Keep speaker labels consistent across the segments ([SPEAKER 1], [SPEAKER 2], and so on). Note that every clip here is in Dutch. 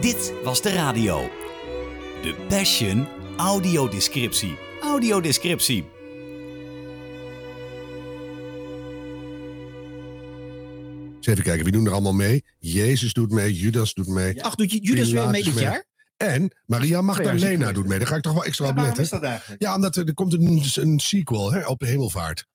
[SPEAKER 1] Dit was de radio. De Passion Audiodescriptie. Audiodescriptie.
[SPEAKER 2] Eens even kijken, wie doen er allemaal mee? Jezus doet mee, Judas doet mee.
[SPEAKER 3] Ach, doet Ju- Judas weer mee
[SPEAKER 2] Pilatus
[SPEAKER 3] dit jaar?
[SPEAKER 2] En
[SPEAKER 4] Oh
[SPEAKER 2] Maria Magdalena
[SPEAKER 3] superleuk.
[SPEAKER 2] doet mee. Daar ga ik toch wel extra op
[SPEAKER 4] waarom
[SPEAKER 2] letten.
[SPEAKER 4] is dat eigenlijk?
[SPEAKER 2] Ja, omdat er, er komt een, een sequel hè, op de hemelvaart.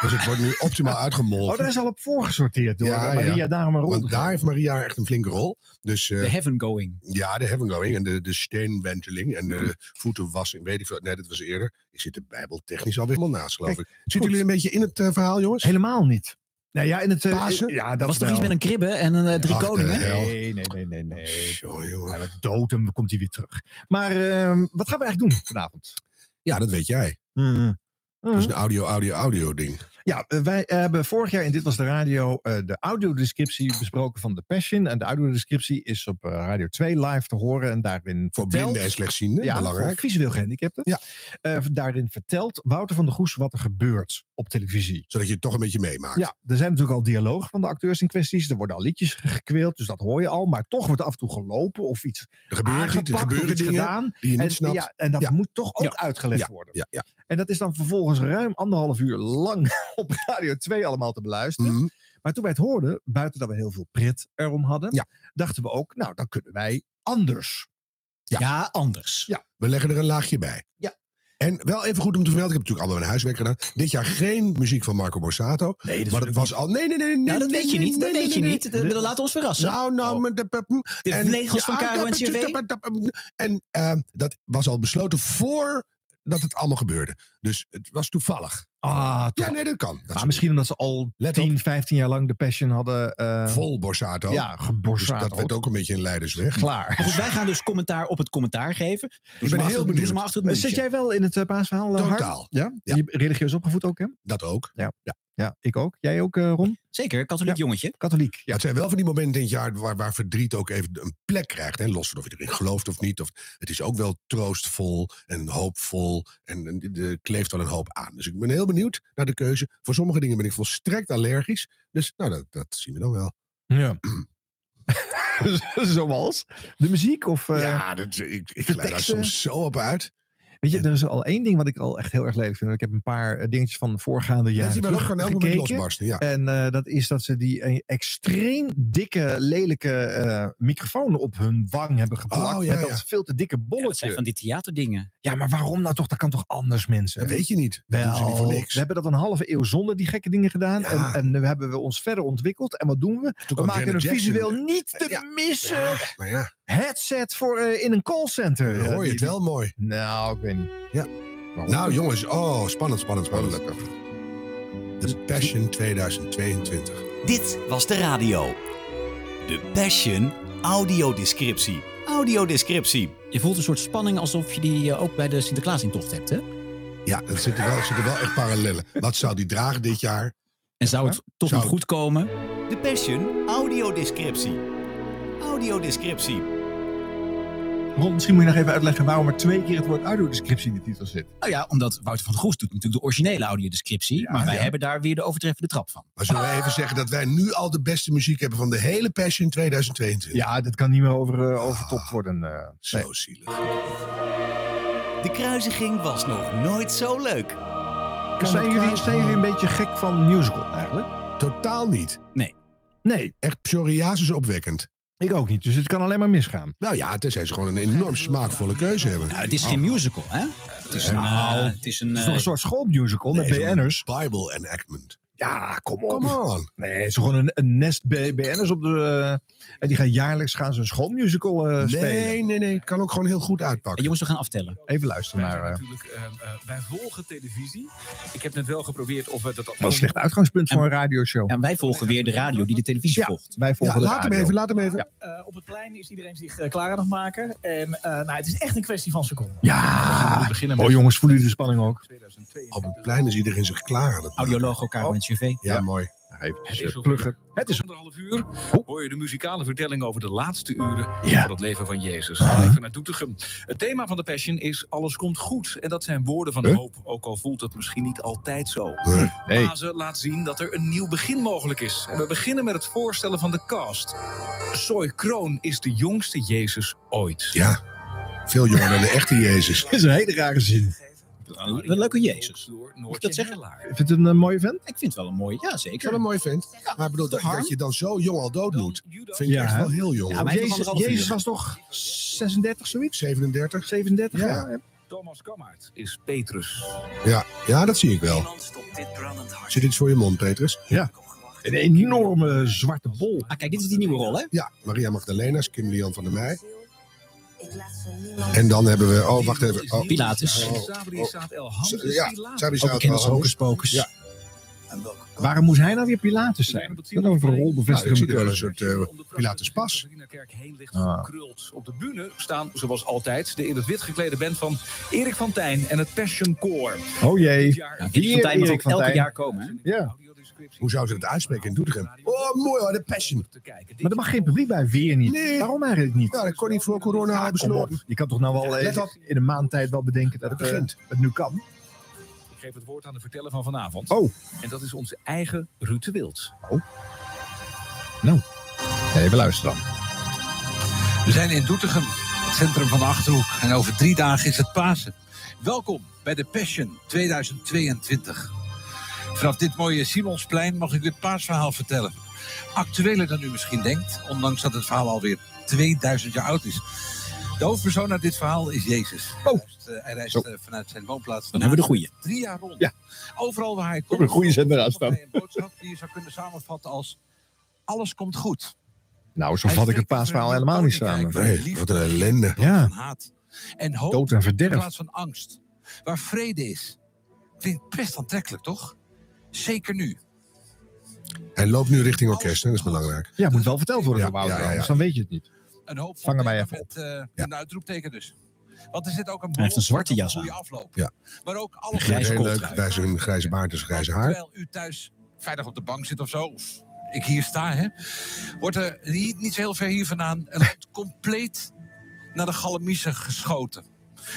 [SPEAKER 2] Dus het wordt nu optimaal
[SPEAKER 4] Oh, daar
[SPEAKER 2] uitgemolken.
[SPEAKER 4] is al op voorgesorteerd door
[SPEAKER 2] Ja,
[SPEAKER 4] ja, Maria
[SPEAKER 2] ja.
[SPEAKER 4] daarom een rol.
[SPEAKER 2] Want daar heeft Maria echt een flinke rol. Dus eh,
[SPEAKER 3] The Heaven Going.
[SPEAKER 2] ja, de heaven going en de, de steenwenteling en de voetenwassing. Weet ik veel. Nee, dat was eerder. Ik zit de Bijbel technisch alweer helemaal naast, geloof ik. Zitten
[SPEAKER 4] goed.
[SPEAKER 2] jullie een beetje in het eh, verhaal, jongens?
[SPEAKER 4] Helemaal niet. Nou ja, in het... eh,
[SPEAKER 2] Pasen?
[SPEAKER 4] Ja, dat
[SPEAKER 3] Dat was toch
[SPEAKER 4] wel.
[SPEAKER 3] iets met een kribbe en een eh, drie
[SPEAKER 2] Ach, de
[SPEAKER 3] koningen?
[SPEAKER 2] hel.
[SPEAKER 4] Nee, nee, nee, nee, nee.
[SPEAKER 2] Zo, jongen.
[SPEAKER 4] Hij werd dood en dan komt hij weer terug. Maar ehm, wat gaan we eigenlijk doen vanavond?
[SPEAKER 2] Ja, dat weet jij.
[SPEAKER 4] Mhm.
[SPEAKER 2] Dat is een audio, audio, audio ding.
[SPEAKER 4] Ja, eh, wij hebben vorig jaar in Dit Was De Radio eh, de audiodescriptie besproken van The Passion. En de audiodescriptie is op eh, Radio 2 live te horen en daarin
[SPEAKER 2] Voor
[SPEAKER 4] vertelt-
[SPEAKER 2] blinden en slechtzienden,
[SPEAKER 4] Ja, voor
[SPEAKER 2] belangrijk.
[SPEAKER 4] visueel gehandicapten.
[SPEAKER 2] Ja.
[SPEAKER 4] Eh, daarin vertelt Wouter van der Goes wat er gebeurt op televisie.
[SPEAKER 2] Zodat je het toch een beetje meemaakt.
[SPEAKER 4] Ja, er zijn natuurlijk al dialogen van de acteurs in kwesties. Er worden al liedjes ge- gekweeld, dus dat hoor je al. Maar toch wordt af en toe gelopen of iets
[SPEAKER 2] Er gebeuren,
[SPEAKER 4] aangepakt
[SPEAKER 2] niet, er
[SPEAKER 4] of
[SPEAKER 2] gebeuren
[SPEAKER 4] iets
[SPEAKER 2] dingen
[SPEAKER 4] gedaan.
[SPEAKER 2] die je niet
[SPEAKER 4] En,
[SPEAKER 2] snapt.
[SPEAKER 4] ja, en dat
[SPEAKER 2] Ja.
[SPEAKER 4] moet toch ook
[SPEAKER 2] Ja.
[SPEAKER 4] uitgelegd worden.
[SPEAKER 2] ja, ja.
[SPEAKER 4] En dat is dan vervolgens ruim anderhalf uur lang op Radio 2 allemaal te beluisteren.
[SPEAKER 2] Mhm.
[SPEAKER 4] Maar toen wij het hoorden, buiten dat we heel veel pret erom hadden,
[SPEAKER 2] Ja.
[SPEAKER 4] dachten we ook, nou, dan kunnen wij anders.
[SPEAKER 3] Ja, anders.
[SPEAKER 4] Ja.
[SPEAKER 2] We leggen er een laagje bij.
[SPEAKER 4] Ja.
[SPEAKER 2] En wel even goed om te vermelden, ik heb natuurlijk allemaal mijn huiswerk gedaan. Dit jaar geen muziek van Marco Borsato.
[SPEAKER 4] Nee,
[SPEAKER 2] maar het was al. Nee, nee, nee. nee
[SPEAKER 3] Nou, dat
[SPEAKER 2] nee,
[SPEAKER 3] weet je
[SPEAKER 2] nee,
[SPEAKER 3] niet. Dat
[SPEAKER 2] nee,
[SPEAKER 3] weet je
[SPEAKER 2] nee,
[SPEAKER 3] niet.
[SPEAKER 2] nee.
[SPEAKER 3] Dat- dat Laat ons verrassen. Oh.
[SPEAKER 2] Nou, nou, maar de- de- de-
[SPEAKER 3] De
[SPEAKER 2] en-
[SPEAKER 3] regels van
[SPEAKER 2] ja,
[SPEAKER 3] Caro en CW.
[SPEAKER 2] En ehm, dat was al besloten voordat het allemaal gebeurde. Dus het was toevallig.
[SPEAKER 4] Ah, toch.
[SPEAKER 2] Ja, nee, dat kan. Dat
[SPEAKER 4] maar
[SPEAKER 2] is
[SPEAKER 4] misschien omdat ze al
[SPEAKER 2] Let
[SPEAKER 4] 10, 15 jaar lang de passion hadden. eh,
[SPEAKER 2] vol Borsato.
[SPEAKER 4] Ja,
[SPEAKER 2] Dus
[SPEAKER 4] geborsteld.
[SPEAKER 2] dat werd ook een beetje een leidersweg.
[SPEAKER 4] klaar.
[SPEAKER 3] Maar goed, wij gaan dus commentaar op het commentaar geven. Dus
[SPEAKER 2] ben heel
[SPEAKER 3] Doe ze
[SPEAKER 2] benieuwd.
[SPEAKER 3] maar achter het
[SPEAKER 4] Eh,
[SPEAKER 3] muurtje.
[SPEAKER 4] Zit jij wel in het eh, paasverhaal? eh, Harm?
[SPEAKER 2] Totaal.
[SPEAKER 4] Ja?
[SPEAKER 2] Ja.
[SPEAKER 4] Je bent religieus opgevoed ook, hè?
[SPEAKER 2] Dat ook.
[SPEAKER 4] Nou, Ja, ik ook. Jij ook, eh, Ron?
[SPEAKER 3] Zeker, katholiek jongetje.
[SPEAKER 4] Katholiek.
[SPEAKER 2] Ja,
[SPEAKER 4] Ja.
[SPEAKER 2] het zijn wel van die momenten in het jaar waar, waar verdriet ook even een plek krijgt. Hè? Los van of je erin gelooft of niet. Of, het is ook wel troostvol en hoopvol. En, en de- er kleeft wel een hoop aan. Dus ik ben heel benieuwd naar de keuze. Voor sommige dingen ben ik volstrekt allergisch. Dus nou, dat, dat zien we dan wel.
[SPEAKER 4] ja. Zoals? De muziek of... eh,
[SPEAKER 2] ja, dat, ik, ik glijd daar
[SPEAKER 4] teksten.
[SPEAKER 2] soms zo op uit.
[SPEAKER 4] Weet je, er is al één ding wat ik al echt heel erg lelijk vind. Ik heb een paar eh, dingetjes van de voorgaande
[SPEAKER 2] Ja, dat
[SPEAKER 4] jaren
[SPEAKER 2] zie je wel ook
[SPEAKER 4] terug
[SPEAKER 2] gewoon elke moment
[SPEAKER 4] gekeken.
[SPEAKER 2] losbarsten. Ja.
[SPEAKER 4] En eh, dat is dat ze die eh, extreem dikke, lelijke eh, microfoon op hun wang hebben geplakt.
[SPEAKER 2] Oh, ja,
[SPEAKER 4] met dat
[SPEAKER 2] ja.
[SPEAKER 4] veel te dikke
[SPEAKER 3] Ja, dat
[SPEAKER 4] bolletje.
[SPEAKER 3] zijn
[SPEAKER 4] Ja,
[SPEAKER 3] van die theaterdingen.
[SPEAKER 4] maar waarom nou toch? Dat kan toch anders, mensen?
[SPEAKER 2] Dat weet je niet. Dat doen ze niet
[SPEAKER 4] Wel,
[SPEAKER 2] voor niks.
[SPEAKER 4] we hebben dat een halve eeuw zonder die gekke dingen gedaan.
[SPEAKER 2] Ja.
[SPEAKER 4] En, en nu hebben we ons verder ontwikkeld. En wat doen we?
[SPEAKER 2] Toen
[SPEAKER 4] We
[SPEAKER 2] kwam
[SPEAKER 4] maken
[SPEAKER 2] Janet
[SPEAKER 4] het
[SPEAKER 2] Jackson.
[SPEAKER 4] visueel niet te
[SPEAKER 2] Ja.
[SPEAKER 4] missen.
[SPEAKER 2] Ja, maar ja,
[SPEAKER 4] Headset voor eh, in een callcenter.
[SPEAKER 2] dan
[SPEAKER 4] Ja,
[SPEAKER 2] hoor
[SPEAKER 4] die-
[SPEAKER 2] je het wel mooi.
[SPEAKER 4] die- Nou, ik weet niet.
[SPEAKER 2] Ja.
[SPEAKER 4] Waarom?
[SPEAKER 2] Nou jongens, oh, spannend, spannend, spannend. De Passion 2022.
[SPEAKER 1] Dit was de radio. De Passion Audiodescriptie. Audiodescriptie.
[SPEAKER 3] Je voelt een soort spanning alsof je die eh, ook bij de Sinterklaasintocht hebt, hè?
[SPEAKER 2] Ja, dat zitten wel, zitten wel echt parallellen. Wat zou die dragen dit jaar?
[SPEAKER 3] En zou het toch
[SPEAKER 2] Zou
[SPEAKER 3] nog
[SPEAKER 2] het-
[SPEAKER 3] goed komen?
[SPEAKER 1] De Passion Audiodescriptie. Audiodescriptie.
[SPEAKER 4] Ron, misschien moet je nog even uitleggen waarom er twee keer het woord audiodescriptie in de titel zit.
[SPEAKER 3] Nou ja, omdat Wouter van der Goes doet natuurlijk de originele audiodescriptie.
[SPEAKER 4] Ja,
[SPEAKER 3] maar wij
[SPEAKER 4] ja.
[SPEAKER 3] hebben daar weer de overtreffende trap van.
[SPEAKER 2] Maar zullen we even zeggen dat wij nu al de beste muziek hebben van de hele Passion 2022?
[SPEAKER 4] Ja, dat kan niet meer over, eh, overtopt worden. eh. Nee.
[SPEAKER 2] Zo zielig.
[SPEAKER 1] De kruisiging was nog nooit zo leuk.
[SPEAKER 4] Zijn, jullie, zijn jullie een beetje gek van musical eigenlijk?
[SPEAKER 2] Totaal niet.
[SPEAKER 4] Nee,
[SPEAKER 2] Echt psoriasis opwekkend.
[SPEAKER 4] ik ook niet. Dus het kan alleen maar misgaan.
[SPEAKER 2] Nou ja, tenzij ze gewoon een enorm smaakvolle keuze hebben.
[SPEAKER 3] Nou, het is
[SPEAKER 4] Oh.
[SPEAKER 3] geen musical, hè? Het is een,
[SPEAKER 4] Nou.
[SPEAKER 3] eh, het is een
[SPEAKER 4] Het is toch
[SPEAKER 3] eh,
[SPEAKER 4] een soort schoolmusical
[SPEAKER 2] Nee,
[SPEAKER 4] met
[SPEAKER 2] zo'n
[SPEAKER 4] BN'ers?
[SPEAKER 2] Bible enactment.
[SPEAKER 4] Ja, kom op.
[SPEAKER 2] Come on.
[SPEAKER 4] Nee, het is gewoon een, een nest B- BN'ers op de... eh, en die gaan jaarlijks gaan ze een schoolmusical eh, spelen.
[SPEAKER 2] Nee, nee, nee. Het kan ook gewoon heel goed uitpakken.
[SPEAKER 3] Jongens, we gaan aftellen.
[SPEAKER 4] Even luisteren
[SPEAKER 5] Wij, zijn
[SPEAKER 4] naar... eh,
[SPEAKER 5] natuurlijk, eh, eh, wij volgen televisie. Ik heb net wel geprobeerd of we dat...
[SPEAKER 4] wel een slecht uitgangspunt voor een radioshow.
[SPEAKER 3] En wij volgen weer de radio die de televisie
[SPEAKER 4] Ja.
[SPEAKER 3] volgt.
[SPEAKER 4] Wij
[SPEAKER 2] Ja,
[SPEAKER 4] volgen de
[SPEAKER 2] laat hem
[SPEAKER 4] radio.
[SPEAKER 2] even, laat hem even.
[SPEAKER 6] Eh, op het plein is iedereen zich eh, klaar aan het maken. En eh, nou, het is echt een kwestie van seconden.
[SPEAKER 4] Ja.
[SPEAKER 2] Ah.
[SPEAKER 3] Ah.
[SPEAKER 5] We beginnen met
[SPEAKER 4] Oh jongens, voelen jullie de spanning ook?
[SPEAKER 5] 2022.
[SPEAKER 2] Op het plein is iedereen zich klaar aan het maken.
[SPEAKER 3] Audioloog elkaar
[SPEAKER 4] Oh.
[SPEAKER 3] met CV.
[SPEAKER 2] Ja, mooi.
[SPEAKER 4] Daar
[SPEAKER 7] Het
[SPEAKER 4] eventjes
[SPEAKER 7] is
[SPEAKER 4] eh,
[SPEAKER 7] ook-
[SPEAKER 4] pluggen. Het is
[SPEAKER 7] anderhalf uur hoor je de muzikale vertelling over de laatste uren
[SPEAKER 4] Ja.
[SPEAKER 7] van het leven van Jezus. Even naar Doetinchem. Het thema van de Passion is alles komt goed. En dat zijn woorden van
[SPEAKER 4] Huh?
[SPEAKER 7] hoop, ook al voelt het misschien niet altijd zo.
[SPEAKER 4] Nee.
[SPEAKER 7] Pasen laat zien dat er een nieuw begin mogelijk is. En we beginnen met het voorstellen van de cast. Soy Kroon is de jongste Jezus ooit.
[SPEAKER 2] Ja, veel jonger dan de echte Jezus.
[SPEAKER 4] is een hele rare zin.
[SPEAKER 8] Een le- leuke Jezus.
[SPEAKER 7] Door
[SPEAKER 8] Moet ik
[SPEAKER 7] Noortje
[SPEAKER 8] dat zeggen?
[SPEAKER 7] Helaar.
[SPEAKER 4] Vind je het een eh, mooie vent?
[SPEAKER 8] Ik vind het wel een mooie. Ja, zeker.
[SPEAKER 2] Ik zou dat mooi vinden. Maar ik bedoel, dat,
[SPEAKER 8] Harm?
[SPEAKER 2] dat je dan zo jong al dood
[SPEAKER 7] Dan
[SPEAKER 2] moet,
[SPEAKER 7] Judas.
[SPEAKER 2] vind ik
[SPEAKER 4] Ja,
[SPEAKER 2] echt
[SPEAKER 4] hè?
[SPEAKER 2] wel heel jong.
[SPEAKER 8] Ja, maar-
[SPEAKER 2] hoor.
[SPEAKER 8] hij heeft nog
[SPEAKER 4] Jezus,
[SPEAKER 8] anderhalf
[SPEAKER 4] Jezus
[SPEAKER 8] uur.
[SPEAKER 4] was toch 36, zoiets?
[SPEAKER 2] 37?
[SPEAKER 4] 37
[SPEAKER 2] Ja.
[SPEAKER 4] jaar?
[SPEAKER 7] Thomas Kammaert is Petrus.
[SPEAKER 2] Ja, ja, dat zie ik wel. Zit iets voor je mond, Petrus?
[SPEAKER 4] Een enorme zwarte bol.
[SPEAKER 8] Ah, kijk, dit is die nieuwe rol, hè?
[SPEAKER 2] Ja, Maria Magdalena, is Kim Lian van der Meij. En dan hebben we... Oh, wacht even. Oh,
[SPEAKER 8] Pilatus.
[SPEAKER 2] Oh, oh. Ja,
[SPEAKER 7] Sabri
[SPEAKER 2] Sabi
[SPEAKER 8] Ook bekend
[SPEAKER 2] Hocus
[SPEAKER 8] als Hocus Pocus.
[SPEAKER 2] Ja.
[SPEAKER 4] Waarom moest hij nou weer Pilatus zijn? Wat nou voor een
[SPEAKER 2] Nou, ik
[SPEAKER 4] rolbevestigende
[SPEAKER 2] zie wel een
[SPEAKER 4] nou,
[SPEAKER 2] soort, eh, Pilatus Pas.
[SPEAKER 4] Ah.
[SPEAKER 7] Gekruld. Op de bühne staan, zoals altijd, de in het wit geklede band van Erik van Tijn en het Passion Core.
[SPEAKER 4] Oh jee.
[SPEAKER 7] jaar
[SPEAKER 8] Ja, die
[SPEAKER 4] Hier,
[SPEAKER 8] van Tijn mag
[SPEAKER 4] Erik
[SPEAKER 8] ook
[SPEAKER 4] van
[SPEAKER 8] elk
[SPEAKER 4] Tijn.
[SPEAKER 8] jaar komen, hè?
[SPEAKER 4] Ja.
[SPEAKER 2] Hoe zou ze dat uitspreken in Doetinchem? Oh, mooi hoor, de passion.
[SPEAKER 4] Maar er mag geen publiek bij, weer niet.
[SPEAKER 2] Nee.
[SPEAKER 4] Waarom eigenlijk niet?
[SPEAKER 2] Ja, dat kon niet voor corona hebben
[SPEAKER 4] Kom op.
[SPEAKER 2] besloten.
[SPEAKER 4] Je kan toch nou wel eh,
[SPEAKER 2] Let op.
[SPEAKER 4] in een maand tijd wel bedenken dat
[SPEAKER 2] Het
[SPEAKER 4] het,
[SPEAKER 2] begint.
[SPEAKER 4] eh, het nu kan.
[SPEAKER 7] Ik geef het woord aan de verteller van vanavond.
[SPEAKER 4] Oh.
[SPEAKER 7] En dat is onze eigen Ruud de Wild.
[SPEAKER 4] Even luisteren
[SPEAKER 9] We zijn in Doetinchem, het centrum van de Achterhoek. En over drie dagen is het Pasen. Welkom bij de Passion 2022. Vanaf dit mooie Simonsplein mag ik u het paasverhaal vertellen. Actueler dan u misschien denkt, ondanks dat het verhaal alweer 2000 jaar oud is. De hoofdpersoon uit dit verhaal is Jezus. Hij
[SPEAKER 4] Oh.
[SPEAKER 9] reist, eh, Hij reist
[SPEAKER 4] Zo.
[SPEAKER 9] eh, vanuit zijn woonplaats.
[SPEAKER 8] Dan hebben we de goeie.
[SPEAKER 9] Drie jaar rond.
[SPEAKER 4] Ja.
[SPEAKER 9] Overal waar hij komt.
[SPEAKER 4] Ook een goede zender aan staan.
[SPEAKER 9] hij Een boodschap die je zou kunnen samenvatten als... Alles komt goed.
[SPEAKER 4] Nou, zo vat ik het paasverhaal helemaal niet samen.
[SPEAKER 2] Nee, wat een ellende.
[SPEAKER 9] Ja.
[SPEAKER 4] Ja,
[SPEAKER 9] Van haat. En hoop
[SPEAKER 4] dood en
[SPEAKER 9] in
[SPEAKER 4] verderf.
[SPEAKER 9] plaats van angst. Waar vrede is. Vind ik best aantrekkelijk, toch? Zeker nu.
[SPEAKER 2] Hij loopt nu richting orkest, hè? dat is belangrijk.
[SPEAKER 4] Ja, moet wel verteld worden
[SPEAKER 2] Ja,
[SPEAKER 4] door Wouter,
[SPEAKER 2] ja, ja, ja.
[SPEAKER 4] anders dan weet je het niet.
[SPEAKER 9] Een hoop
[SPEAKER 4] Vang er
[SPEAKER 9] van
[SPEAKER 4] mij
[SPEAKER 9] dingen met,
[SPEAKER 4] even
[SPEAKER 9] eh,
[SPEAKER 2] Ja.
[SPEAKER 9] Een uitroepteken dus. Want er zit ook een
[SPEAKER 8] Hij heeft een zwarte
[SPEAKER 9] belofte op
[SPEAKER 8] jas
[SPEAKER 9] een goede afloop.
[SPEAKER 2] Ja.
[SPEAKER 9] Maar ook alles
[SPEAKER 8] Een Hij is grijze
[SPEAKER 2] Heel
[SPEAKER 9] goed.
[SPEAKER 2] leuk, wij zijn een grijze baard en zijn grijze haar.
[SPEAKER 9] Terwijl u thuis veilig op de bank zit of zo. Of ik hier sta, hè. Wordt er niet, niet zo heel ver hier vandaan een land compleet naar de galamiezen geschoten.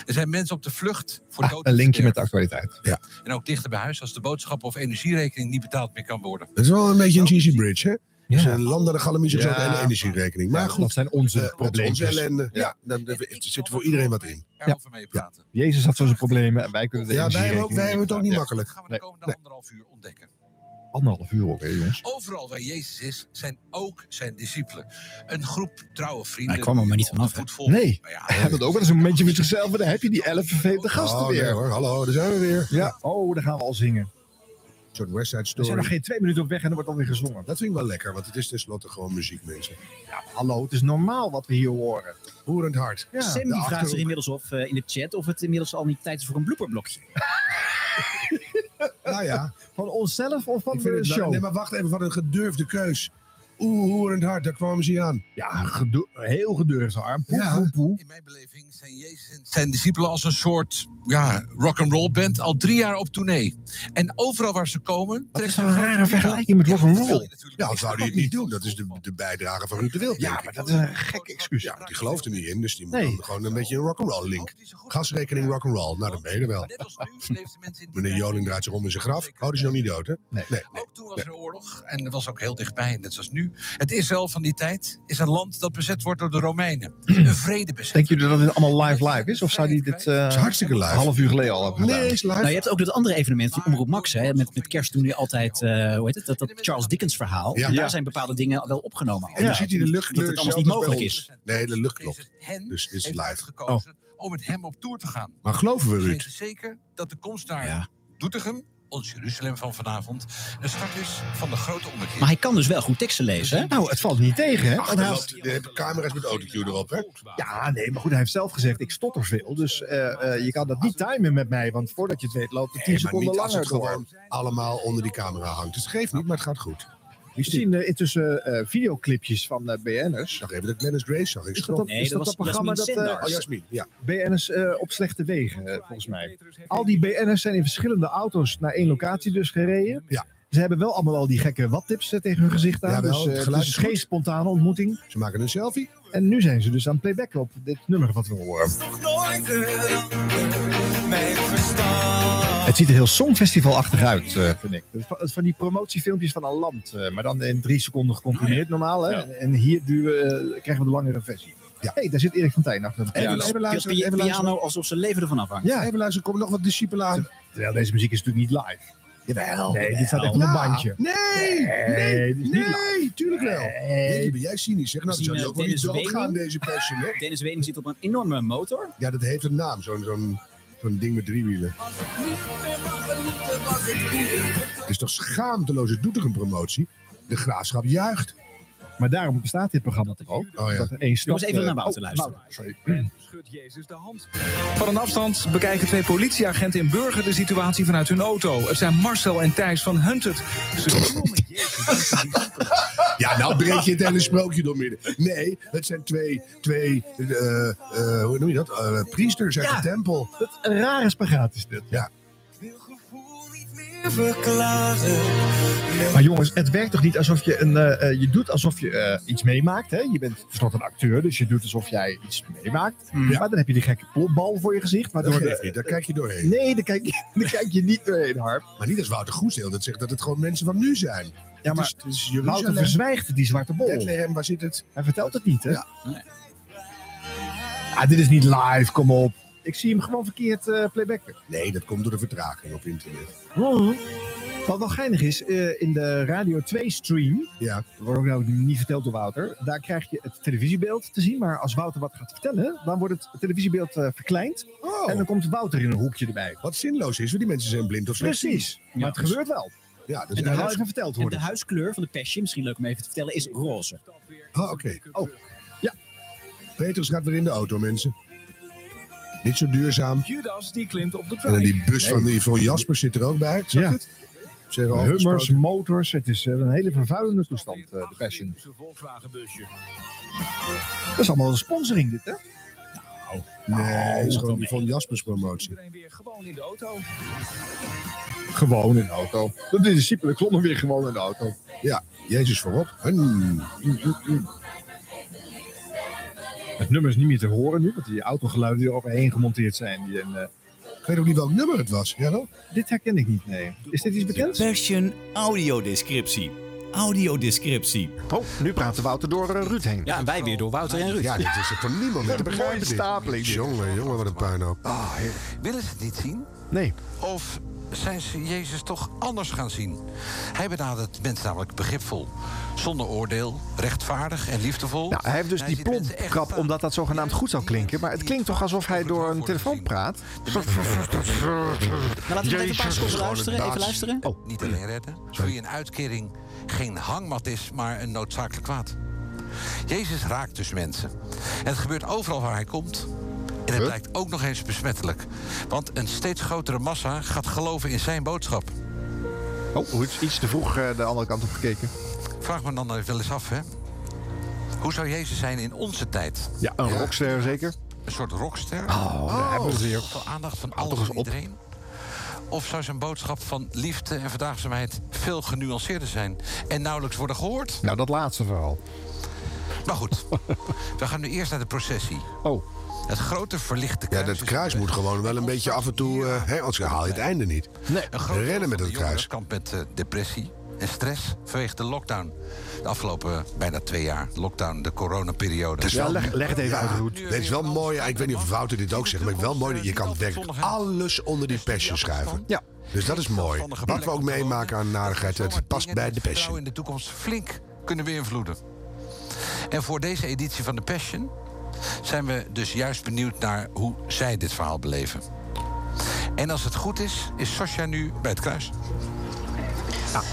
[SPEAKER 9] Er zijn mensen op de vlucht voor
[SPEAKER 4] Ah,
[SPEAKER 9] dood en
[SPEAKER 4] een linkje met de
[SPEAKER 9] sterven.
[SPEAKER 4] actualiteit.
[SPEAKER 9] En ook dichter bij huis als de boodschap of energierekening niet betaald meer kan worden.
[SPEAKER 2] Het is wel een beetje een Gigi Bridge, hè?
[SPEAKER 4] Ja.
[SPEAKER 2] Ze zijn een land naar de galamiezen
[SPEAKER 4] Ja.
[SPEAKER 2] en de energierekening. Maar goed,
[SPEAKER 4] dat zijn onze
[SPEAKER 2] eh, dat is onze
[SPEAKER 4] probleempjes.
[SPEAKER 2] ellende.
[SPEAKER 4] Ja.
[SPEAKER 2] Ja, dan
[SPEAKER 9] En
[SPEAKER 2] er
[SPEAKER 9] ik
[SPEAKER 2] zit
[SPEAKER 9] zal
[SPEAKER 2] voor iedereen wat
[SPEAKER 9] erover
[SPEAKER 2] in.
[SPEAKER 9] mee- Erover mee praten.
[SPEAKER 4] Jezus had zo zijn problemen en wij kunnen de
[SPEAKER 2] Ja, wij hebben, ook,
[SPEAKER 4] energierekening
[SPEAKER 2] wij hebben het ook niet
[SPEAKER 4] niet
[SPEAKER 9] Dat
[SPEAKER 2] makkelijk.
[SPEAKER 9] gaan we de
[SPEAKER 4] Nee.
[SPEAKER 9] komende anderhalf uur ontdekken.
[SPEAKER 4] betalen. Anderhalf uur ook, hè, jongens.
[SPEAKER 9] Overal waar Jezus is, zijn ook zijn discipelen. Een groep trouwe vrienden.
[SPEAKER 8] Hij kwam er maar niet
[SPEAKER 9] die hem
[SPEAKER 8] vanaf, hè?
[SPEAKER 9] goed volgen.
[SPEAKER 4] Nee.
[SPEAKER 9] Nou ja,
[SPEAKER 4] Hij had het ook wel eens een momentje met zichzelf, maar dan heb je die elf vervelende gasten
[SPEAKER 2] oh, nee,
[SPEAKER 4] weer.
[SPEAKER 2] hoor. Hallo, daar zijn we weer.
[SPEAKER 4] Ja, oh, daar gaan we al zingen.
[SPEAKER 2] Een soort West Side
[SPEAKER 4] We zijn nog
[SPEAKER 2] Story.
[SPEAKER 4] geen twee minuten op weg en er wordt alweer gezongen.
[SPEAKER 2] Dat vind ik wel lekker, want het is tenslotte gewoon muziek, mensen.
[SPEAKER 4] Ja, hallo, het is normaal wat we hier horen.
[SPEAKER 2] Roerend hart.
[SPEAKER 4] Ja.
[SPEAKER 8] Sam
[SPEAKER 2] de
[SPEAKER 8] die vraagt zich
[SPEAKER 2] Achterhoek.
[SPEAKER 8] inmiddels of, eh, in de chat of het inmiddels al niet tijd is voor een blooperblokje.
[SPEAKER 2] Nou ja,
[SPEAKER 4] Van onszelf of van
[SPEAKER 2] ik vind
[SPEAKER 4] de
[SPEAKER 2] het wel-
[SPEAKER 4] show?
[SPEAKER 2] Nee, maar wacht even, wat een gedurfde keus. Oeh, roerend hart, daar kwamen ze aan.
[SPEAKER 4] Ja, gedu- heel gedurfde arm. Poep,
[SPEAKER 2] Ja.
[SPEAKER 4] poep, poep.
[SPEAKER 9] In mijn beleving zijn Jezus en zijn discipelen als een soort ja, rock'n'roll band al drie jaar op tournee. En overal waar ze komen...
[SPEAKER 4] Dat
[SPEAKER 9] trekken
[SPEAKER 4] is
[SPEAKER 9] ze
[SPEAKER 4] een rare
[SPEAKER 9] grote
[SPEAKER 4] vergelijking met
[SPEAKER 9] Ja, dat wil
[SPEAKER 4] rock'n'roll.
[SPEAKER 9] je natuurlijk
[SPEAKER 2] Ja,
[SPEAKER 9] niet.
[SPEAKER 2] dan zou hij het niet doen. Dat is de, de bijdrage van Ruud de Wild. denk
[SPEAKER 4] Ja,
[SPEAKER 2] ik.
[SPEAKER 4] maar dat is een gek excuus.
[SPEAKER 2] Ja, die gelooft er niet in, dus die moet
[SPEAKER 4] Nee.
[SPEAKER 2] dan gewoon een beetje een rock'n'roll link. Gasrekening rock'n'roll, nou dan ben je er wel.
[SPEAKER 9] Net als nu leefden mensen in die
[SPEAKER 2] Meneer
[SPEAKER 9] tijd-
[SPEAKER 2] Joling draait zich om in zijn graf. Oh, die is nog niet dood, hè?
[SPEAKER 9] Ook toen was er oorlog en dat was ook heel dichtbij, net zoals nu. Het Israël van die tijd is een land dat bezet wordt door de Romeinen. Een vredebezet.
[SPEAKER 4] Denken jullie Dus dat dit allemaal live live is? Of zou die dit eh,
[SPEAKER 9] Het
[SPEAKER 2] is hartstikke live.
[SPEAKER 4] een half uur geleden al hebben gedaan?
[SPEAKER 2] Nee, is
[SPEAKER 8] Nou,
[SPEAKER 2] live.
[SPEAKER 8] je hebt ook dat andere evenement van Omroep Max. Hè? Met, met kerst doen jullie altijd, eh, hoe heet het, dat, dat Charles Dickens verhaal.
[SPEAKER 2] Ja.
[SPEAKER 8] En
[SPEAKER 4] Ja.
[SPEAKER 8] daar zijn bepaalde dingen wel opgenomen. al.
[SPEAKER 2] En
[SPEAKER 4] Ja.
[SPEAKER 2] dan ziet hij de lucht.
[SPEAKER 8] Dat het anders niet mogelijk is.
[SPEAKER 2] Nee, de lucht klopt.
[SPEAKER 9] hen
[SPEAKER 2] Dus dit is
[SPEAKER 9] heeft
[SPEAKER 2] live.
[SPEAKER 4] Oh.
[SPEAKER 9] gekozen om met hem op tour te gaan.
[SPEAKER 2] Maar geloven we,
[SPEAKER 9] Weet
[SPEAKER 2] Ruud?
[SPEAKER 9] zeker dat de komst naar
[SPEAKER 8] Ja.
[SPEAKER 9] Doetinchem, ons Jeruzalem van vanavond, een start is van de grote ommekeer.
[SPEAKER 8] Maar hij kan dus wel goed teksten lezen. Hè?
[SPEAKER 4] Nou, het valt niet tegen, hè?
[SPEAKER 2] Ach,
[SPEAKER 4] Want hij had-
[SPEAKER 2] de, de camera's met autocue erop, hè?
[SPEAKER 4] Ja, nee, maar goed, hij heeft zelf gezegd, ik stotter veel. Dus eh, eh, je kan dat niet timen met mij, want voordat je het weet loopt het tien
[SPEAKER 2] Nee, maar
[SPEAKER 4] seconden
[SPEAKER 2] niet als
[SPEAKER 4] langer
[SPEAKER 2] het
[SPEAKER 4] gewoon.
[SPEAKER 2] gewoon allemaal onder die camera hangt. Dus het geeft niet, maar het gaat goed.
[SPEAKER 4] We zien eh, intussen eh, videoclipjes van eh, BN'ers.
[SPEAKER 2] Nog even dat Glennis Grace zag. Ik
[SPEAKER 4] Is dat
[SPEAKER 2] schrok.
[SPEAKER 4] dat,
[SPEAKER 8] Nee,
[SPEAKER 4] is dat,
[SPEAKER 8] dat
[SPEAKER 4] dat
[SPEAKER 8] was
[SPEAKER 4] programma dat
[SPEAKER 8] Jasmin
[SPEAKER 4] eh
[SPEAKER 8] Sindar.
[SPEAKER 2] Oh, Jasmin, ja.
[SPEAKER 4] BN'ers eh, op slechte wegen, eh, volgens mij. Al die BN'ers zijn in verschillende auto's naar één locatie dus gereden.
[SPEAKER 2] Ja.
[SPEAKER 4] Er Ze hebben wel allemaal al die gekke wattips eh, tegen hun gezicht aan.
[SPEAKER 2] Jawel,
[SPEAKER 4] dus eh,
[SPEAKER 2] het
[SPEAKER 4] het
[SPEAKER 2] geluid
[SPEAKER 4] is
[SPEAKER 2] is goed.
[SPEAKER 4] geen spontane ontmoeting.
[SPEAKER 2] Ze maken een selfie.
[SPEAKER 4] En nu zijn ze dus aan het playbacken op dit nummer wat we horen. Het ziet er heel songfestivalachtig uit, eh, vind ik. Het is Van, het is van die promotiefilmpjes van een land. eh, maar dan in drie seconden gecomprimeerd normaal. Hè? En hier duwen, eh, krijgen we de langere versie.
[SPEAKER 2] Ja.
[SPEAKER 4] hey, daar zit Erik van Tijn achter.
[SPEAKER 2] Even,
[SPEAKER 4] Ja,
[SPEAKER 2] even
[SPEAKER 3] dus Speelt
[SPEAKER 2] luisteren,
[SPEAKER 3] pia-
[SPEAKER 2] even luisteren.
[SPEAKER 3] piano alsof zijn leven ervan afhangt.
[SPEAKER 2] Ja, even luisteren. Komen nog wat discipelen aan.
[SPEAKER 4] Terwijl deze muziek is natuurlijk niet live.
[SPEAKER 2] Jawel.
[SPEAKER 4] Nee, dit staat echt op een
[SPEAKER 2] oh, Ja.
[SPEAKER 4] bandje.
[SPEAKER 2] Nee, nee,
[SPEAKER 4] dit is niet
[SPEAKER 2] nee, tuurlijk wel. Nee, ben jij cynisch? Zeg, nou, dan zou je
[SPEAKER 3] Misschien,
[SPEAKER 2] ook wel niet
[SPEAKER 3] eh, Dennis
[SPEAKER 2] doodgaan,
[SPEAKER 3] Wening?
[SPEAKER 2] deze passion, hè?
[SPEAKER 3] Dennis Wening zit op een enorme motor.
[SPEAKER 2] Ja, dat heeft een naam, zo'n zo'n Nou, zo'n ding met driewielen. Het is toch schaamteloos, het doet er een promotie. De graafschap juicht.
[SPEAKER 4] Maar daarom bestaat dit programma toch ook?
[SPEAKER 2] Oh ja.
[SPEAKER 4] Dat er één stap,
[SPEAKER 3] Jongens, even
[SPEAKER 4] eh,
[SPEAKER 3] naar Wouter
[SPEAKER 4] oh,
[SPEAKER 3] luisteren.
[SPEAKER 4] Wouter, sorry.
[SPEAKER 5] Schudt Jezus de hand. Van een afstand bekijken twee politieagenten in Burger de situatie vanuit hun auto. Het zijn Marcel en Thijs van Hunted. Ze filmen Jezus.
[SPEAKER 2] Ja, nou breek je het hele sprookje door midden. Nee, het zijn twee, twee eh, eh, hoe noem je dat? Eh, priesters uit
[SPEAKER 4] Ja.
[SPEAKER 2] de tempel.
[SPEAKER 4] Wat een rare spagaat is dit.
[SPEAKER 2] Ja.
[SPEAKER 4] Maar jongens, het werkt toch niet alsof je een. eh, eh, je doet alsof je eh, iets meemaakt. Hè? Je bent tenslotte een acteur, dus je doet alsof jij iets meemaakt. Maar dan heb je die gekke plopbal voor je gezicht.
[SPEAKER 2] Hmm. Dat
[SPEAKER 4] Waardoor
[SPEAKER 2] geeft
[SPEAKER 4] de,
[SPEAKER 2] niet, daar kijk je doorheen.
[SPEAKER 4] nee, daar kijk, je- daar kijk je niet doorheen, Harp.
[SPEAKER 2] Maar niet als Wouter Goesdeel dat zegt dat het gewoon mensen van nu zijn.
[SPEAKER 4] Ja,
[SPEAKER 2] Het
[SPEAKER 4] maar
[SPEAKER 2] is, het is
[SPEAKER 4] Wouter
[SPEAKER 2] Jeruzalem,
[SPEAKER 4] verzwijgt die zwarte bol.
[SPEAKER 2] Bethlehem, waar zit het?
[SPEAKER 4] Hij vertelt het niet, hè?
[SPEAKER 2] Ja.
[SPEAKER 3] Nee.
[SPEAKER 4] Ah, dit is niet live, kom op. Ik zie hem gewoon verkeerd eh playbacken.
[SPEAKER 2] Nee, dat komt door de vertraging op internet.
[SPEAKER 4] Hm. Wat wel geinig is, eh, in de Radio 2-stream,
[SPEAKER 2] Ja,
[SPEAKER 4] wordt ook nou niet verteld door Wouter, daar krijg je het televisiebeeld te zien. Maar als Wouter wat gaat vertellen, dan wordt het televisiebeeld eh, verkleind.
[SPEAKER 2] oh,
[SPEAKER 4] En dan komt Wouter in een hoekje erbij.
[SPEAKER 2] wat zinloos is, want die mensen zijn blind of slecht.
[SPEAKER 4] Precies, maar het gebeurt wel.
[SPEAKER 2] Ja, dat is
[SPEAKER 4] En dan wel
[SPEAKER 2] eigenlijk...
[SPEAKER 4] even verteld
[SPEAKER 3] En de
[SPEAKER 4] worden.
[SPEAKER 3] huiskleur van de Passion, misschien leuk om even te vertellen, is roze.
[SPEAKER 2] Oh, oké.
[SPEAKER 4] Oh.
[SPEAKER 2] Petrus gaat weer in de auto, mensen. Niet zo duurzaam.
[SPEAKER 5] Judas die klimt op de
[SPEAKER 2] En dan
[SPEAKER 5] trein.
[SPEAKER 2] die bus van die van Jasper zit er ook bij. Zag
[SPEAKER 4] Ja.
[SPEAKER 2] je het? Ze hebben al
[SPEAKER 4] Hummers,
[SPEAKER 2] gesproken.
[SPEAKER 4] motors, het is eh, een hele vervuilende toestand, eh, de Passion. Dat is allemaal een sponsoring dit, hè? Nou,
[SPEAKER 2] Nee, het is gewoon die van Jaspers promotie.
[SPEAKER 5] Iedereen weer gewoon in de auto.
[SPEAKER 4] Gewoon in de auto. De discipelen klommen weer gewoon in de auto.
[SPEAKER 2] Ja, Jezus voorop. Hmm.
[SPEAKER 4] Het nummer is niet meer te horen nu, want die autogeluiden die er overheen gemonteerd zijn. Die, en, eh,
[SPEAKER 2] Ik weet ook niet welk nummer het was. Ja, wel?
[SPEAKER 4] dit herken ik niet, nee. Is dit iets bekends?
[SPEAKER 1] Passion audiodescriptie. Audiodescriptie.
[SPEAKER 10] Oh, nu praten Wouter door eh, Ruud heen.
[SPEAKER 3] Ja, en wij weer door Wouter en Ruud.
[SPEAKER 2] Ja, dit is er voor niemand meer te
[SPEAKER 10] Mooie stapeling. dit.
[SPEAKER 2] Jongen, jongen, wat een puinhoop.
[SPEAKER 9] Ah, Willen ze het niet zien?
[SPEAKER 10] Nee.
[SPEAKER 9] Of zijn ze Jezus toch anders gaan zien? Hij benadert mensen namelijk begripvol. Zonder oordeel, rechtvaardig en liefdevol.
[SPEAKER 10] Nou, hij heeft dus die
[SPEAKER 9] ziet mensen echt
[SPEAKER 10] plompkrap
[SPEAKER 9] staan.
[SPEAKER 10] omdat dat zogenaamd goed zou klinken. Maar het klinkt toch alsof hij door een telefoon praat?
[SPEAKER 3] Maar laten we even een paar seconden luisteren. Even luisteren.
[SPEAKER 9] Oh, Niet alleen redden, voor wie een uitkering geen hangmat is, maar een noodzakelijk kwaad. Jezus raakt dus mensen. En het gebeurt overal waar hij komt. En het blijkt ook nog eens besmettelijk. Want een steeds grotere massa gaat geloven in zijn boodschap.
[SPEAKER 10] Oh, hoe is iets te vroeg eh, de andere kant op gekeken.
[SPEAKER 9] Vraag me dan wel eens af, hè? Hoe zou Jezus zijn in onze tijd?
[SPEAKER 10] Ja, een rockster zeker.
[SPEAKER 9] Een soort rockster?
[SPEAKER 10] Oh, daar hebben we ze weer.
[SPEAKER 9] Veel aandacht van alles
[SPEAKER 10] eens
[SPEAKER 9] en
[SPEAKER 10] op.
[SPEAKER 9] iedereen? Of zou zijn boodschap van liefde en verdraagzaamheid veel genuanceerder zijn en nauwelijks worden gehoord?
[SPEAKER 10] Nou, dat laatste verhaal.
[SPEAKER 9] Maar goed, we gaan nu eerst naar de processie.
[SPEAKER 10] Oh,
[SPEAKER 9] Het grote verlichte
[SPEAKER 2] Ja,
[SPEAKER 9] kruis.
[SPEAKER 2] dat kruis moet gewoon wel een beetje af en toe... eh, hè, anders haal je het einde niet.
[SPEAKER 10] nee.
[SPEAKER 9] Een groot
[SPEAKER 2] Rennen
[SPEAKER 9] deel
[SPEAKER 2] met
[SPEAKER 9] van
[SPEAKER 2] het
[SPEAKER 9] de
[SPEAKER 2] kruis.
[SPEAKER 9] jongeren kampt met eh, depressie en stress vanwege de lockdown. De afgelopen eh, bijna twee jaar lockdown, de coronaperiode.
[SPEAKER 2] is
[SPEAKER 10] Ja, leg, leg het even uit, Ruud.
[SPEAKER 2] Het is wel mooi, ja, ik weet niet of Wouter dit ook zegt, maar ik wel mooi dat je kan werkelijk alles onder die passion schuiven.
[SPEAKER 10] Ja.
[SPEAKER 2] Dus dat is mooi. Wat we ook meemaken aan narigheid, het past bij de
[SPEAKER 9] zou in
[SPEAKER 2] passion.
[SPEAKER 9] de toekomst flink kunnen beïnvloeden. En voor deze editie van de Passion zijn we dus juist benieuwd naar hoe zij dit verhaal beleven. En als het goed is, is Sascha nu bij het kruis.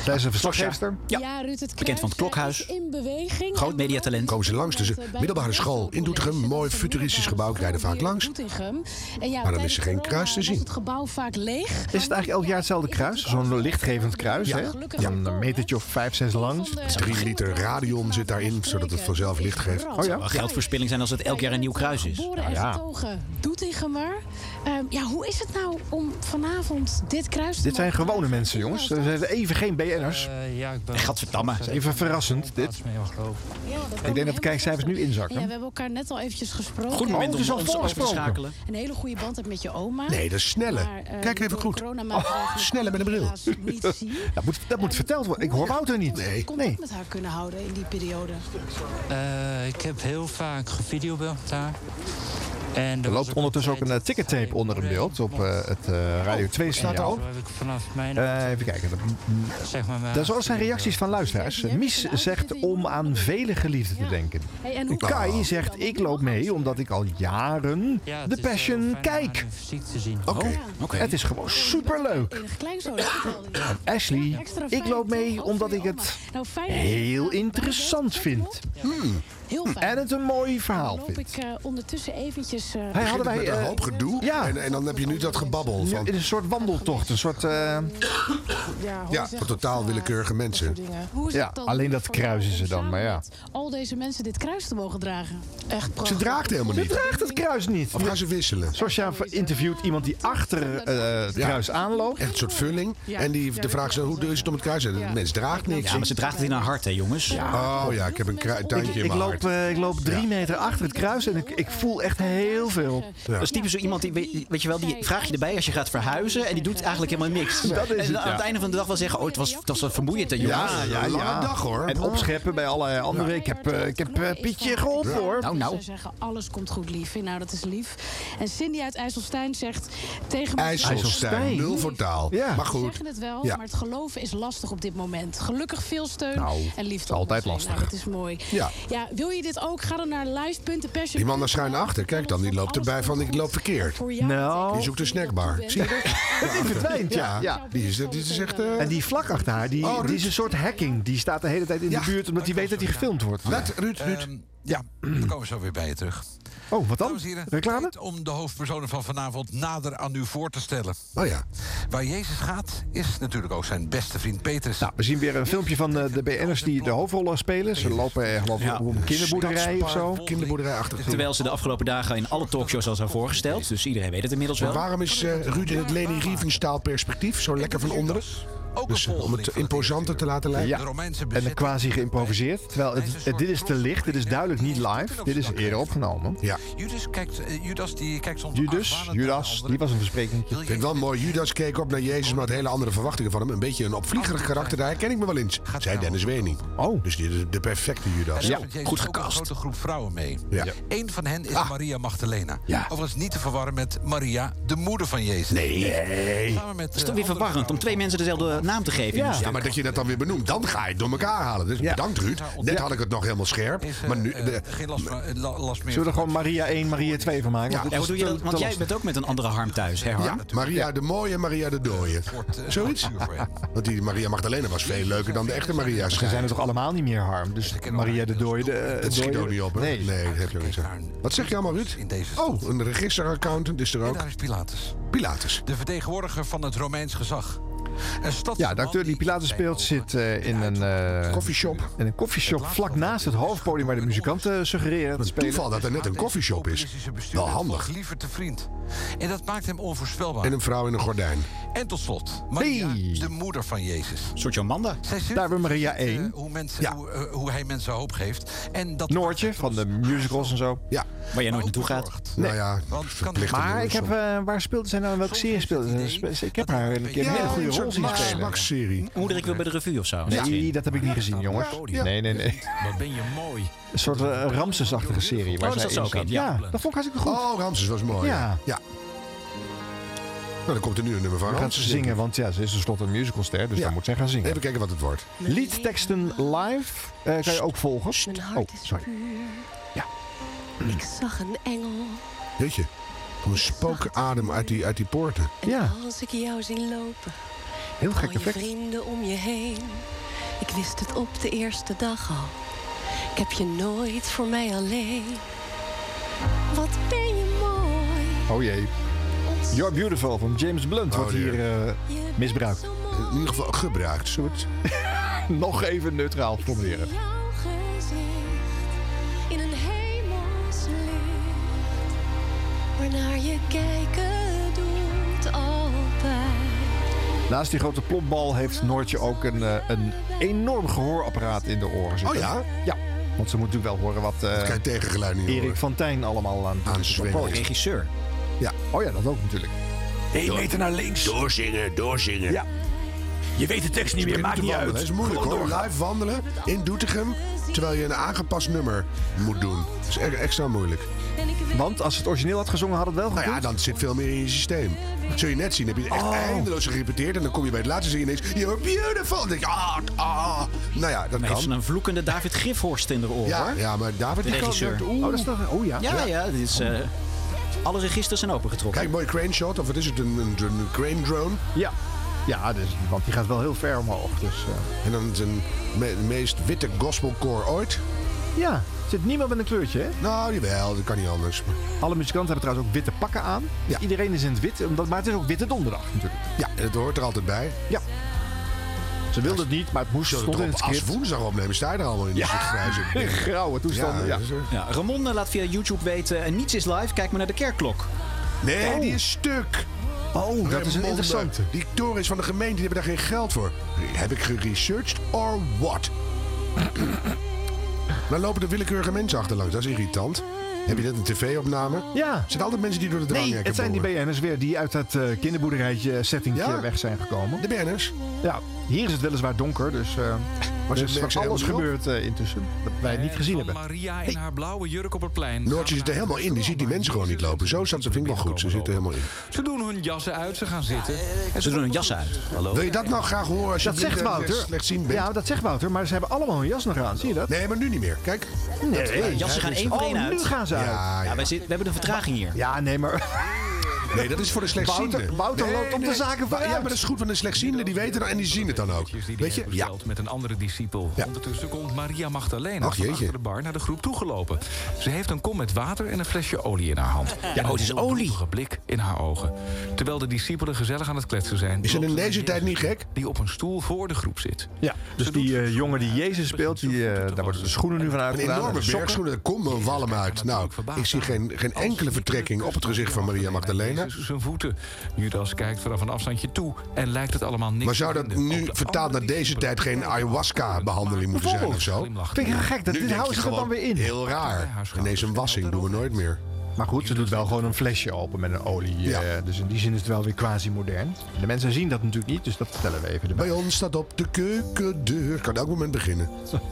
[SPEAKER 10] Zij is een verslaggeefster.
[SPEAKER 3] Ja.
[SPEAKER 11] Ja, Ruud, het
[SPEAKER 3] Bekend van het
[SPEAKER 11] kruis,
[SPEAKER 3] Klokhuis.
[SPEAKER 11] eh, is In beweging.
[SPEAKER 3] Groot
[SPEAKER 11] En
[SPEAKER 3] mediatalent.
[SPEAKER 2] Komen ze langs, dus een middelbare school in Doetinchem, mooi futuristisch gebouw, rijden vaak langs.
[SPEAKER 11] Doetinchem. En ja,
[SPEAKER 2] dan
[SPEAKER 11] tijdens
[SPEAKER 2] is er geen
[SPEAKER 11] corona
[SPEAKER 2] kruis te zien.
[SPEAKER 11] Was het gebouw vaak leeg.
[SPEAKER 10] Is het eigenlijk elk jaar hetzelfde kruis? Zo'n lichtgevend kruis, hè? Een metertje of vijf, zes lang.
[SPEAKER 2] Drie liter radion zit daarin, zodat het vanzelf licht geeft.
[SPEAKER 10] Oh ja.
[SPEAKER 3] Wel geldverspilling zijn als het elk jaar een nieuw kruis is.
[SPEAKER 11] Boren en
[SPEAKER 10] Nou ja.
[SPEAKER 11] vertogen Doetinchemer. Ehm, ja, hoe is het nou om vanavond dit kruis te
[SPEAKER 10] Dit zijn
[SPEAKER 11] maken?
[SPEAKER 10] gewone mensen, jongens. Ze hebben even geen
[SPEAKER 2] geen BN'ers.
[SPEAKER 4] ja, ik ben...
[SPEAKER 2] Gadverdamme. Dat is even verrassend, dit. Ik denk dat de kijkcijfers nu
[SPEAKER 11] Ja, we
[SPEAKER 2] inzakken.
[SPEAKER 11] hebben elkaar net al eventjes gesproken.
[SPEAKER 2] Goed moment Oh, het is om al ons voorgesproken. over te schakelen.
[SPEAKER 11] Een hele goede band hebt met je oma.
[SPEAKER 2] Nee, dat is sneller.
[SPEAKER 11] Maar, eh,
[SPEAKER 2] Kijk even
[SPEAKER 11] door
[SPEAKER 2] goed.
[SPEAKER 11] coronamaatregelen
[SPEAKER 2] Oh, sneller met een bril.
[SPEAKER 11] helaas niet zien.
[SPEAKER 2] Dat moet, dat moet verteld worden. Ik hoor Wouter niet. Nee.
[SPEAKER 11] Contact met haar kunnen houden in die periode.
[SPEAKER 4] Eh, ik heb heel vaak gevideobeld daar. En
[SPEAKER 2] Er loopt ondertussen ook een eh, ticketape onder in beeld op eh, het eh, Radio 2
[SPEAKER 4] staat
[SPEAKER 2] signaal.
[SPEAKER 4] Heb ik vanaf mijn...
[SPEAKER 2] Eh, even kijken.
[SPEAKER 4] Zeg maar mijn-
[SPEAKER 2] Dat zo zijn reacties van luisteraars. Mies zegt om aan vele geliefden te denken.
[SPEAKER 11] Hey, en hoe-
[SPEAKER 2] Kai zegt ik loop mee omdat ik al jaren The Passion kijk. Oké,
[SPEAKER 11] oké.
[SPEAKER 2] Het is gewoon superleuk.
[SPEAKER 11] Enige kleinzoon. dat vertelde je.
[SPEAKER 2] Ashley,
[SPEAKER 11] Extra
[SPEAKER 2] ik
[SPEAKER 11] fijn,
[SPEAKER 2] loop mee
[SPEAKER 11] toch?
[SPEAKER 2] omdat ik
[SPEAKER 11] Voor je
[SPEAKER 2] het
[SPEAKER 11] oma. Nou, fijn.
[SPEAKER 2] heel interessant vind.
[SPEAKER 11] Heel fijn.
[SPEAKER 2] En het een mooi verhaal
[SPEAKER 11] Dan
[SPEAKER 2] vind.
[SPEAKER 11] loop ik eh, ondertussen eventjes... eh,
[SPEAKER 2] Hij hadden wij,
[SPEAKER 7] met een
[SPEAKER 2] eh,
[SPEAKER 7] hoop gedoe. En, en dan heb je nu dat gebabbel.
[SPEAKER 2] Nu,
[SPEAKER 7] Van,
[SPEAKER 2] het is een soort wandeltocht, een soort... eh,
[SPEAKER 11] ja,
[SPEAKER 7] ja, van totaal willekeurige mensen.
[SPEAKER 11] dingen. Hoe is
[SPEAKER 2] Ja,
[SPEAKER 11] het dan
[SPEAKER 2] alleen dat
[SPEAKER 11] voor jou
[SPEAKER 2] kruisen ze
[SPEAKER 11] om
[SPEAKER 2] dan,
[SPEAKER 11] samen
[SPEAKER 2] maar ja.
[SPEAKER 11] met Al deze mensen dit kruis te mogen dragen. Echt prachtig.
[SPEAKER 7] Ze draagt helemaal
[SPEAKER 2] Ze
[SPEAKER 7] niet.
[SPEAKER 2] draagt het kruis niet.
[SPEAKER 7] Of gaan ze wisselen?
[SPEAKER 2] Sosja interviewt iemand die achter eh, het
[SPEAKER 7] Ja.
[SPEAKER 2] kruis aanloopt.
[SPEAKER 7] Echt een soort vulling. En die, de vraag is, dan, hoe is het om het kruis? En De mens draagt niks.
[SPEAKER 12] Ja, maar ze draagt het in haar hart, hè, jongens.
[SPEAKER 7] Oh ja, ik heb een krui-
[SPEAKER 2] Ik,
[SPEAKER 7] tuintje in
[SPEAKER 2] ik,
[SPEAKER 7] mijn
[SPEAKER 2] loop,
[SPEAKER 7] hart.
[SPEAKER 2] eh, ik loop drie meter achter het kruis en ik, ik voel echt heel veel.
[SPEAKER 8] Dat is typisch zo iemand die, weet- weet je wel, die vraag je erbij als je gaat verhuizen en die doet eigenlijk helemaal niks.
[SPEAKER 2] Dat is
[SPEAKER 8] en
[SPEAKER 2] het,
[SPEAKER 8] aan het
[SPEAKER 2] ja.
[SPEAKER 8] einde van de dag wel zeggen, oh, het was, het was wat vermoeiend, hè, jongens.
[SPEAKER 2] En opscheppen bij alle anderen. Ik heb, eh, ik heb eh, Pietje geholpen, hoor.
[SPEAKER 7] Nou,
[SPEAKER 12] Nou,
[SPEAKER 11] Ze zeggen, alles komt goed, lief. Nou, dat is lief. En Cindy uit IJsselstein zegt tegen me-
[SPEAKER 7] IJsselstein, nul voor taal. Maar
[SPEAKER 11] We
[SPEAKER 7] goed.
[SPEAKER 11] zeggen het wel,
[SPEAKER 7] Ja.
[SPEAKER 11] maar het geloven is lastig op dit moment. Gelukkig veel steun
[SPEAKER 7] Nou,
[SPEAKER 11] en
[SPEAKER 7] het is
[SPEAKER 11] liefde.
[SPEAKER 7] altijd
[SPEAKER 11] om ons heen.
[SPEAKER 7] lastig.
[SPEAKER 11] Nou, dat is mooi.
[SPEAKER 7] Ja.
[SPEAKER 11] wil je dit ook? Ga dan naar live.passion.
[SPEAKER 7] Die man daar schuin achter, kijk dan, die loopt erbij van ik loop verkeerd.
[SPEAKER 2] Nou.
[SPEAKER 7] Die zoekt een snackbar. Zie je dat?
[SPEAKER 2] Die verdwijnt, ja. ja.
[SPEAKER 7] Die is, die is echt... eh,
[SPEAKER 2] En die vlak achter haar, die,
[SPEAKER 7] Oh, Ruud.
[SPEAKER 2] die is een soort hacking. Die staat de hele tijd in de buurt omdat hij weet dat hij gefilmd wordt.
[SPEAKER 9] Let, Ruud, Ruud. Ehm, ja, we komen zo weer bij je terug.
[SPEAKER 2] Oh, wat dan?
[SPEAKER 9] Dames en heren,
[SPEAKER 2] Reclame?
[SPEAKER 9] tijd om de hoofdpersonen van vanavond nader aan u voor te stellen.
[SPEAKER 7] Oh ja.
[SPEAKER 9] Waar Jezus gaat, is natuurlijk ook zijn beste vriend Petrus.
[SPEAKER 2] Nou, We zien weer een filmpje van eh, de BN'ers die de hoofdrollen spelen. Ze lopen eh, geloof ik
[SPEAKER 8] Ja.
[SPEAKER 2] op een kinderboerderij of zo. Kinderboerderij achter.
[SPEAKER 8] Terwijl ze de afgelopen dagen in alle talkshows al zijn voorgesteld. Dus iedereen weet het inmiddels wel.
[SPEAKER 7] Waarom is eh, Ruud in het Leni Riefenstaal perspectief zo lekker van onderen? Dus eh, om het imposanter te laten lijken.
[SPEAKER 2] Ja, en dan quasi geïmproviseerd. Terwijl het, het- dit is te licht, dit is duidelijk niet live. Dit is eerder opgenomen.
[SPEAKER 7] Ja.
[SPEAKER 9] Judas, kijkt, eh, Judas die kijkt soms
[SPEAKER 2] Judas, Judas, die was een verspreking.
[SPEAKER 7] Ik vind het wel mooi. Judas keek op naar Jezus met hele andere verwachtingen van hem. Een beetje een opvliegerig karakter, daar herken ik me wel eens. Zei Dennis Wening.
[SPEAKER 2] Oh.
[SPEAKER 7] Dus dit is de perfecte Judas.
[SPEAKER 9] Een grote groep vrouwen mee.
[SPEAKER 7] Ja. Ah.
[SPEAKER 9] Eén van hen is Maria Magdalena. Overigens niet te verwarren met Maria, de moeder van Jezus.
[SPEAKER 7] Nee.
[SPEAKER 9] Samen met,
[SPEAKER 8] Het is
[SPEAKER 9] eh,
[SPEAKER 8] toch weer verwarrend om twee mensen dezelfde naam te geven. in
[SPEAKER 7] Ja.
[SPEAKER 8] een stuk.
[SPEAKER 7] maar dat je dat dan weer benoemt, dan ga je het door elkaar halen. Dus bedankt Ruud. Net had ik het nog helemaal scherp. Maar nu,
[SPEAKER 8] eh,
[SPEAKER 7] de-
[SPEAKER 9] geen last, van- eh, la- last meer.
[SPEAKER 2] Zullen we er gewoon Maria 1, Maria 2 van maken?
[SPEAKER 8] Ja,
[SPEAKER 2] Want
[SPEAKER 8] en
[SPEAKER 2] het
[SPEAKER 8] hoe
[SPEAKER 2] is te-
[SPEAKER 8] doe je dat?
[SPEAKER 2] te
[SPEAKER 8] Want jij
[SPEAKER 2] lastig.
[SPEAKER 8] bent ook met een andere harm thuis, hè, Harm?
[SPEAKER 7] ja, Maria de mooie, Maria de dooie.
[SPEAKER 8] eh,
[SPEAKER 7] Zoiets? Want die Maria Magdalena was veel leuker dan de echte Maria.
[SPEAKER 2] Ze zijn
[SPEAKER 7] schijnt.
[SPEAKER 2] er toch allemaal niet meer, Harm? Dus Maria de Dooie... De, eh,
[SPEAKER 7] Het schiet
[SPEAKER 2] Dooie-
[SPEAKER 7] ook niet op, hè?
[SPEAKER 2] Nee.
[SPEAKER 7] dat heb je ook niet zo. Wat zeg je allemaal, Ruud? Oh, een registeraccountant is er ook.
[SPEAKER 9] Daar is Pilatus.
[SPEAKER 7] Pilatus. Oh,
[SPEAKER 9] De vertegenwoordiger van het Romeins gezag. Een stads-
[SPEAKER 2] Ja, de acteur die Pilatus speelt zit eh, in een...
[SPEAKER 7] Koffieshop.
[SPEAKER 2] In een koffieshop vlak naast het hoofdpodium waar de eh, muzikanten suggereren te spelen.
[SPEAKER 7] Toeval dat er net een koffieshop is. Wel handig.
[SPEAKER 9] Liever te vriend. En dat maakt hem onvoorspelbaar.
[SPEAKER 7] En
[SPEAKER 9] En,
[SPEAKER 7] een vrouw in een gordijn.
[SPEAKER 9] tot slot, Maria, de moeder van Jezus.
[SPEAKER 8] soort Jomanda.
[SPEAKER 9] Zij zit-
[SPEAKER 2] Daar hebben we Maria 1.
[SPEAKER 9] Hoe, mensen, hoe, eh, hoe hij mensen hoop geeft. En dat
[SPEAKER 2] Noortje van de musicals en zo.
[SPEAKER 7] Ja.
[SPEAKER 8] Waar jij nooit naartoe gaat.
[SPEAKER 7] Nou ja, verplicht
[SPEAKER 2] Maar ik heb, eh, waar speelde zij nou? Welke serie speelde ze? Spe- ze? Ik heb haar een keer een hele goede rol zien spelen.
[SPEAKER 7] Max-serie.
[SPEAKER 8] Moeder, ik wil bij de revue of zo.
[SPEAKER 2] Nee, dat heb ik niet gezien, jongens. Nee, nee, nee.
[SPEAKER 8] Wat ben je mooi.
[SPEAKER 2] Een soort eh, Ramses-achtige serie. Waar
[SPEAKER 8] Oh,
[SPEAKER 2] zij
[SPEAKER 8] dat zat ze ook
[SPEAKER 2] zat.
[SPEAKER 8] in,
[SPEAKER 2] Ja,
[SPEAKER 8] ja.
[SPEAKER 2] dus dat vond ik hartstikke goed.
[SPEAKER 7] Oh, Ramses was mooi.
[SPEAKER 2] Ja.
[SPEAKER 7] ja. Nou, dan komt er nu een nummer van
[SPEAKER 2] Dan gaat ze
[SPEAKER 7] Ramses.
[SPEAKER 2] zingen, want ja, ze is tenslotte een musicalster, dus
[SPEAKER 7] Ja.
[SPEAKER 2] dan moet zij gaan zingen.
[SPEAKER 7] Even kijken wat het wordt.
[SPEAKER 2] Liedteksten live eh, kan je ook volgen. Oh, sorry.
[SPEAKER 13] Ik zag een engel
[SPEAKER 7] Weet je, een spookadem uit die, uit die poorten.
[SPEAKER 13] en als ik jou zie lopen,
[SPEAKER 7] Heel gek
[SPEAKER 13] al je
[SPEAKER 7] effect.
[SPEAKER 13] vrienden om je heen. Ik wist het op de eerste dag al. Ik heb je nooit voor mij alleen. Wat ben je mooi.
[SPEAKER 2] Oh jee. You're Beautiful van James Blunt wordt hier eh, misbruikt.
[SPEAKER 7] In ieder geval gebruikt, soort.
[SPEAKER 2] Nog even neutraal proberen.
[SPEAKER 13] Jouw gezicht in een hemels licht. Waarnaar je kijken doet altijd.
[SPEAKER 10] Naast die grote plopbal heeft Noortje ook een, eh, een enorm gehoorapparaat in de oren zitten.
[SPEAKER 2] Oh ja?
[SPEAKER 10] Ja. Want ze moet natuurlijk wel horen wat eh,
[SPEAKER 2] krijg je tegengeluid niet
[SPEAKER 10] Erik
[SPEAKER 2] horen.
[SPEAKER 10] van Tijn allemaal aan het
[SPEAKER 2] Aanzwengel.
[SPEAKER 10] Oh, regisseur. Ja. Oh ja, dat ook natuurlijk.
[SPEAKER 14] Eén meter naar links.
[SPEAKER 2] Doorzingen, doorzingen.
[SPEAKER 14] Ja. Je weet de tekst niet
[SPEAKER 2] Ze
[SPEAKER 14] meer,
[SPEAKER 2] beginnen
[SPEAKER 14] maakt
[SPEAKER 2] te
[SPEAKER 14] niet uit.
[SPEAKER 2] wandelen. Het is moeilijk
[SPEAKER 14] Gewoon
[SPEAKER 2] hoor.
[SPEAKER 14] doorgaan.
[SPEAKER 2] Live wandelen in Doetinchem. Terwijl je een aangepast nummer moet doen. Dat is e- extra moeilijk.
[SPEAKER 10] Want als het origineel had gezongen, had het wel
[SPEAKER 2] Nou ja, dan zit veel meer in je systeem. Zul je net zien, heb je echt
[SPEAKER 10] Oh.
[SPEAKER 2] eindeloos gerepeteerd. En dan kom je bij het laatste zin ineens... You're beautiful! Dan denk je, ah, ah. Nou ja, dat
[SPEAKER 8] Dan
[SPEAKER 2] kan.
[SPEAKER 8] heeft ze een vloekende David Gifhorst in de oren.
[SPEAKER 2] Ja,
[SPEAKER 8] hoor.
[SPEAKER 2] ja, maar David
[SPEAKER 8] De
[SPEAKER 2] die kan
[SPEAKER 8] regisseur.
[SPEAKER 2] dat- oeh. Oh, dat is toch- oh ja.
[SPEAKER 8] Ja,
[SPEAKER 2] Ja. Oh,
[SPEAKER 8] ja. dit is, eh, alle registers zijn opengetrokken.
[SPEAKER 2] Kijk, mooi crane shot. Of wat is het, een, een, een crane drone?
[SPEAKER 10] Ja. Ja, dus, want die gaat wel heel ver omhoog. Dus, eh.
[SPEAKER 2] En dan zijn me- meest witte gospelcore ooit.
[SPEAKER 10] Ja, zit niemand met een kleurtje, hè?
[SPEAKER 2] Nou, jawel, dat kan niet anders.
[SPEAKER 10] Alle muzikanten hebben trouwens ook witte pakken aan. Dus Iedereen is in het wit, omdat, maar het is ook Witte Donderdag natuurlijk.
[SPEAKER 2] Ja, en het hoort er altijd bij.
[SPEAKER 10] Ja. Ze wilde het niet, maar het moest
[SPEAKER 2] Zullen
[SPEAKER 10] stond
[SPEAKER 2] we
[SPEAKER 10] in
[SPEAKER 2] het
[SPEAKER 10] het
[SPEAKER 2] erop als
[SPEAKER 10] script.
[SPEAKER 2] woensdag opnemen? Sta je er allemaal in?
[SPEAKER 10] Ja,
[SPEAKER 2] Dus het grijze-
[SPEAKER 10] grauwe toestanden, ja.
[SPEAKER 2] dat is er.
[SPEAKER 8] Ja, Ramon eh, laat via YouTube weten, en niets is live, kijk maar naar de kerkklok.
[SPEAKER 2] Nee, die is stuk.
[SPEAKER 10] Oh,
[SPEAKER 8] dat is een interessante.
[SPEAKER 2] Die torens van de gemeente die hebben daar geen geld voor. Heb ik geresearched or what? Dan lopen er willekeurige mensen achterlangs. Dat is irritant. Heb je net een tv-opname?
[SPEAKER 10] Ja.
[SPEAKER 2] Er zijn altijd mensen die door de drang
[SPEAKER 10] Nee, het zijn die BN'ers weer die uit dat eh, kinderboerderijtje settingje
[SPEAKER 2] Ja?
[SPEAKER 10] weg zijn gekomen.
[SPEAKER 2] De BN'ers?
[SPEAKER 10] Ja, hier is het weliswaar donker, dus eh
[SPEAKER 2] Maar
[SPEAKER 10] er
[SPEAKER 2] ze
[SPEAKER 10] is
[SPEAKER 2] merken
[SPEAKER 10] van
[SPEAKER 2] ze
[SPEAKER 10] alles
[SPEAKER 2] helemaal niet
[SPEAKER 10] gebeurd eh, intussen dat wij niet gezien hebben.
[SPEAKER 5] Maria in haar blauwe jurk op het plein.
[SPEAKER 2] Noortje zit er helemaal in. Die ziet die mensen gewoon niet lopen. Zo staat ze vind ik wel goed. Ze zit er helemaal in.
[SPEAKER 5] Ze doen hun jassen uit, ze gaan zitten.
[SPEAKER 8] Ze doen hun jas uit. Hallo.
[SPEAKER 2] Wil je dat nou graag horen als je
[SPEAKER 10] Dat zegt
[SPEAKER 2] blind en
[SPEAKER 10] Wouter.
[SPEAKER 2] slechtziend bent?
[SPEAKER 10] Ja, dat zegt Wouter, maar ze hebben allemaal hun jas nog aan. Zie je dat?
[SPEAKER 2] Nee, maar nu niet meer. Kijk.
[SPEAKER 10] Nee,
[SPEAKER 8] Ja, jassen gaan één voor één
[SPEAKER 10] oh,
[SPEAKER 8] uit.
[SPEAKER 10] nu gaan ze uit.
[SPEAKER 8] Ja, wij zit- we hebben een vertraging hier.
[SPEAKER 10] Ja, nee, maar...
[SPEAKER 2] Nee, dat is voor de slechtziende.
[SPEAKER 10] Wouter- Wouter loopt op de zaken
[SPEAKER 2] Maar-
[SPEAKER 10] vooruit.
[SPEAKER 2] Ja, maar dat is goed, want de slechtziende die weten dat en die zien het dan ook. Weet je? Ja.
[SPEAKER 5] Met een andere discipel. Ondertussen komt Maria Magdalena
[SPEAKER 2] Ach,
[SPEAKER 5] van
[SPEAKER 2] jeetje.
[SPEAKER 5] achter de bar naar de groep toegelopen. Ze heeft een kom met water en een flesje olie in haar hand. Ja,
[SPEAKER 8] oh, het is olie.
[SPEAKER 5] Een blik in haar ogen. Terwijl de discipelen gezellig aan het kletsen zijn.
[SPEAKER 2] Is het in
[SPEAKER 5] loopt
[SPEAKER 2] deze tijd niet gek?
[SPEAKER 5] Die op een stoel voor de groep zit.
[SPEAKER 10] Ja, dus die eh, jongen die Jezus speelt, die, eh, daar worden de schoenen nu van
[SPEAKER 2] Een
[SPEAKER 10] uitgedaan. en
[SPEAKER 2] enorme
[SPEAKER 10] de sokken.
[SPEAKER 2] bergschoenen, daar komt een walm uit. Nou, ik zie geen, geen enkele vertrekking op het gezicht van Maria Magdalena.
[SPEAKER 5] Jezus zijn voeten. Judas kijkt vanaf een afstandje toe en lijkt het allemaal niks
[SPEAKER 2] Maar zou
[SPEAKER 5] te
[SPEAKER 2] dat
[SPEAKER 5] vinden. Oh.
[SPEAKER 2] nu vertaald naar deze tijd geen ayahuasca-behandeling moeten zijn of zo?
[SPEAKER 10] Vind ik heel gek, dat,
[SPEAKER 2] Nu
[SPEAKER 10] dit
[SPEAKER 2] denk
[SPEAKER 10] houden
[SPEAKER 2] je
[SPEAKER 10] ze er dan
[SPEAKER 2] gewoon,
[SPEAKER 10] weer in.
[SPEAKER 2] Heel raar. Ineens een wassing doen we nooit meer.
[SPEAKER 10] Maar goed, ze doet wel gewoon een flesje open met een olie. eh, dus in die zin is het wel weer quasi-modern. De mensen zien dat natuurlijk niet, dus dat vertellen we even erbij.
[SPEAKER 2] Bij ons staat op de keukendeur. Kan elk moment beginnen.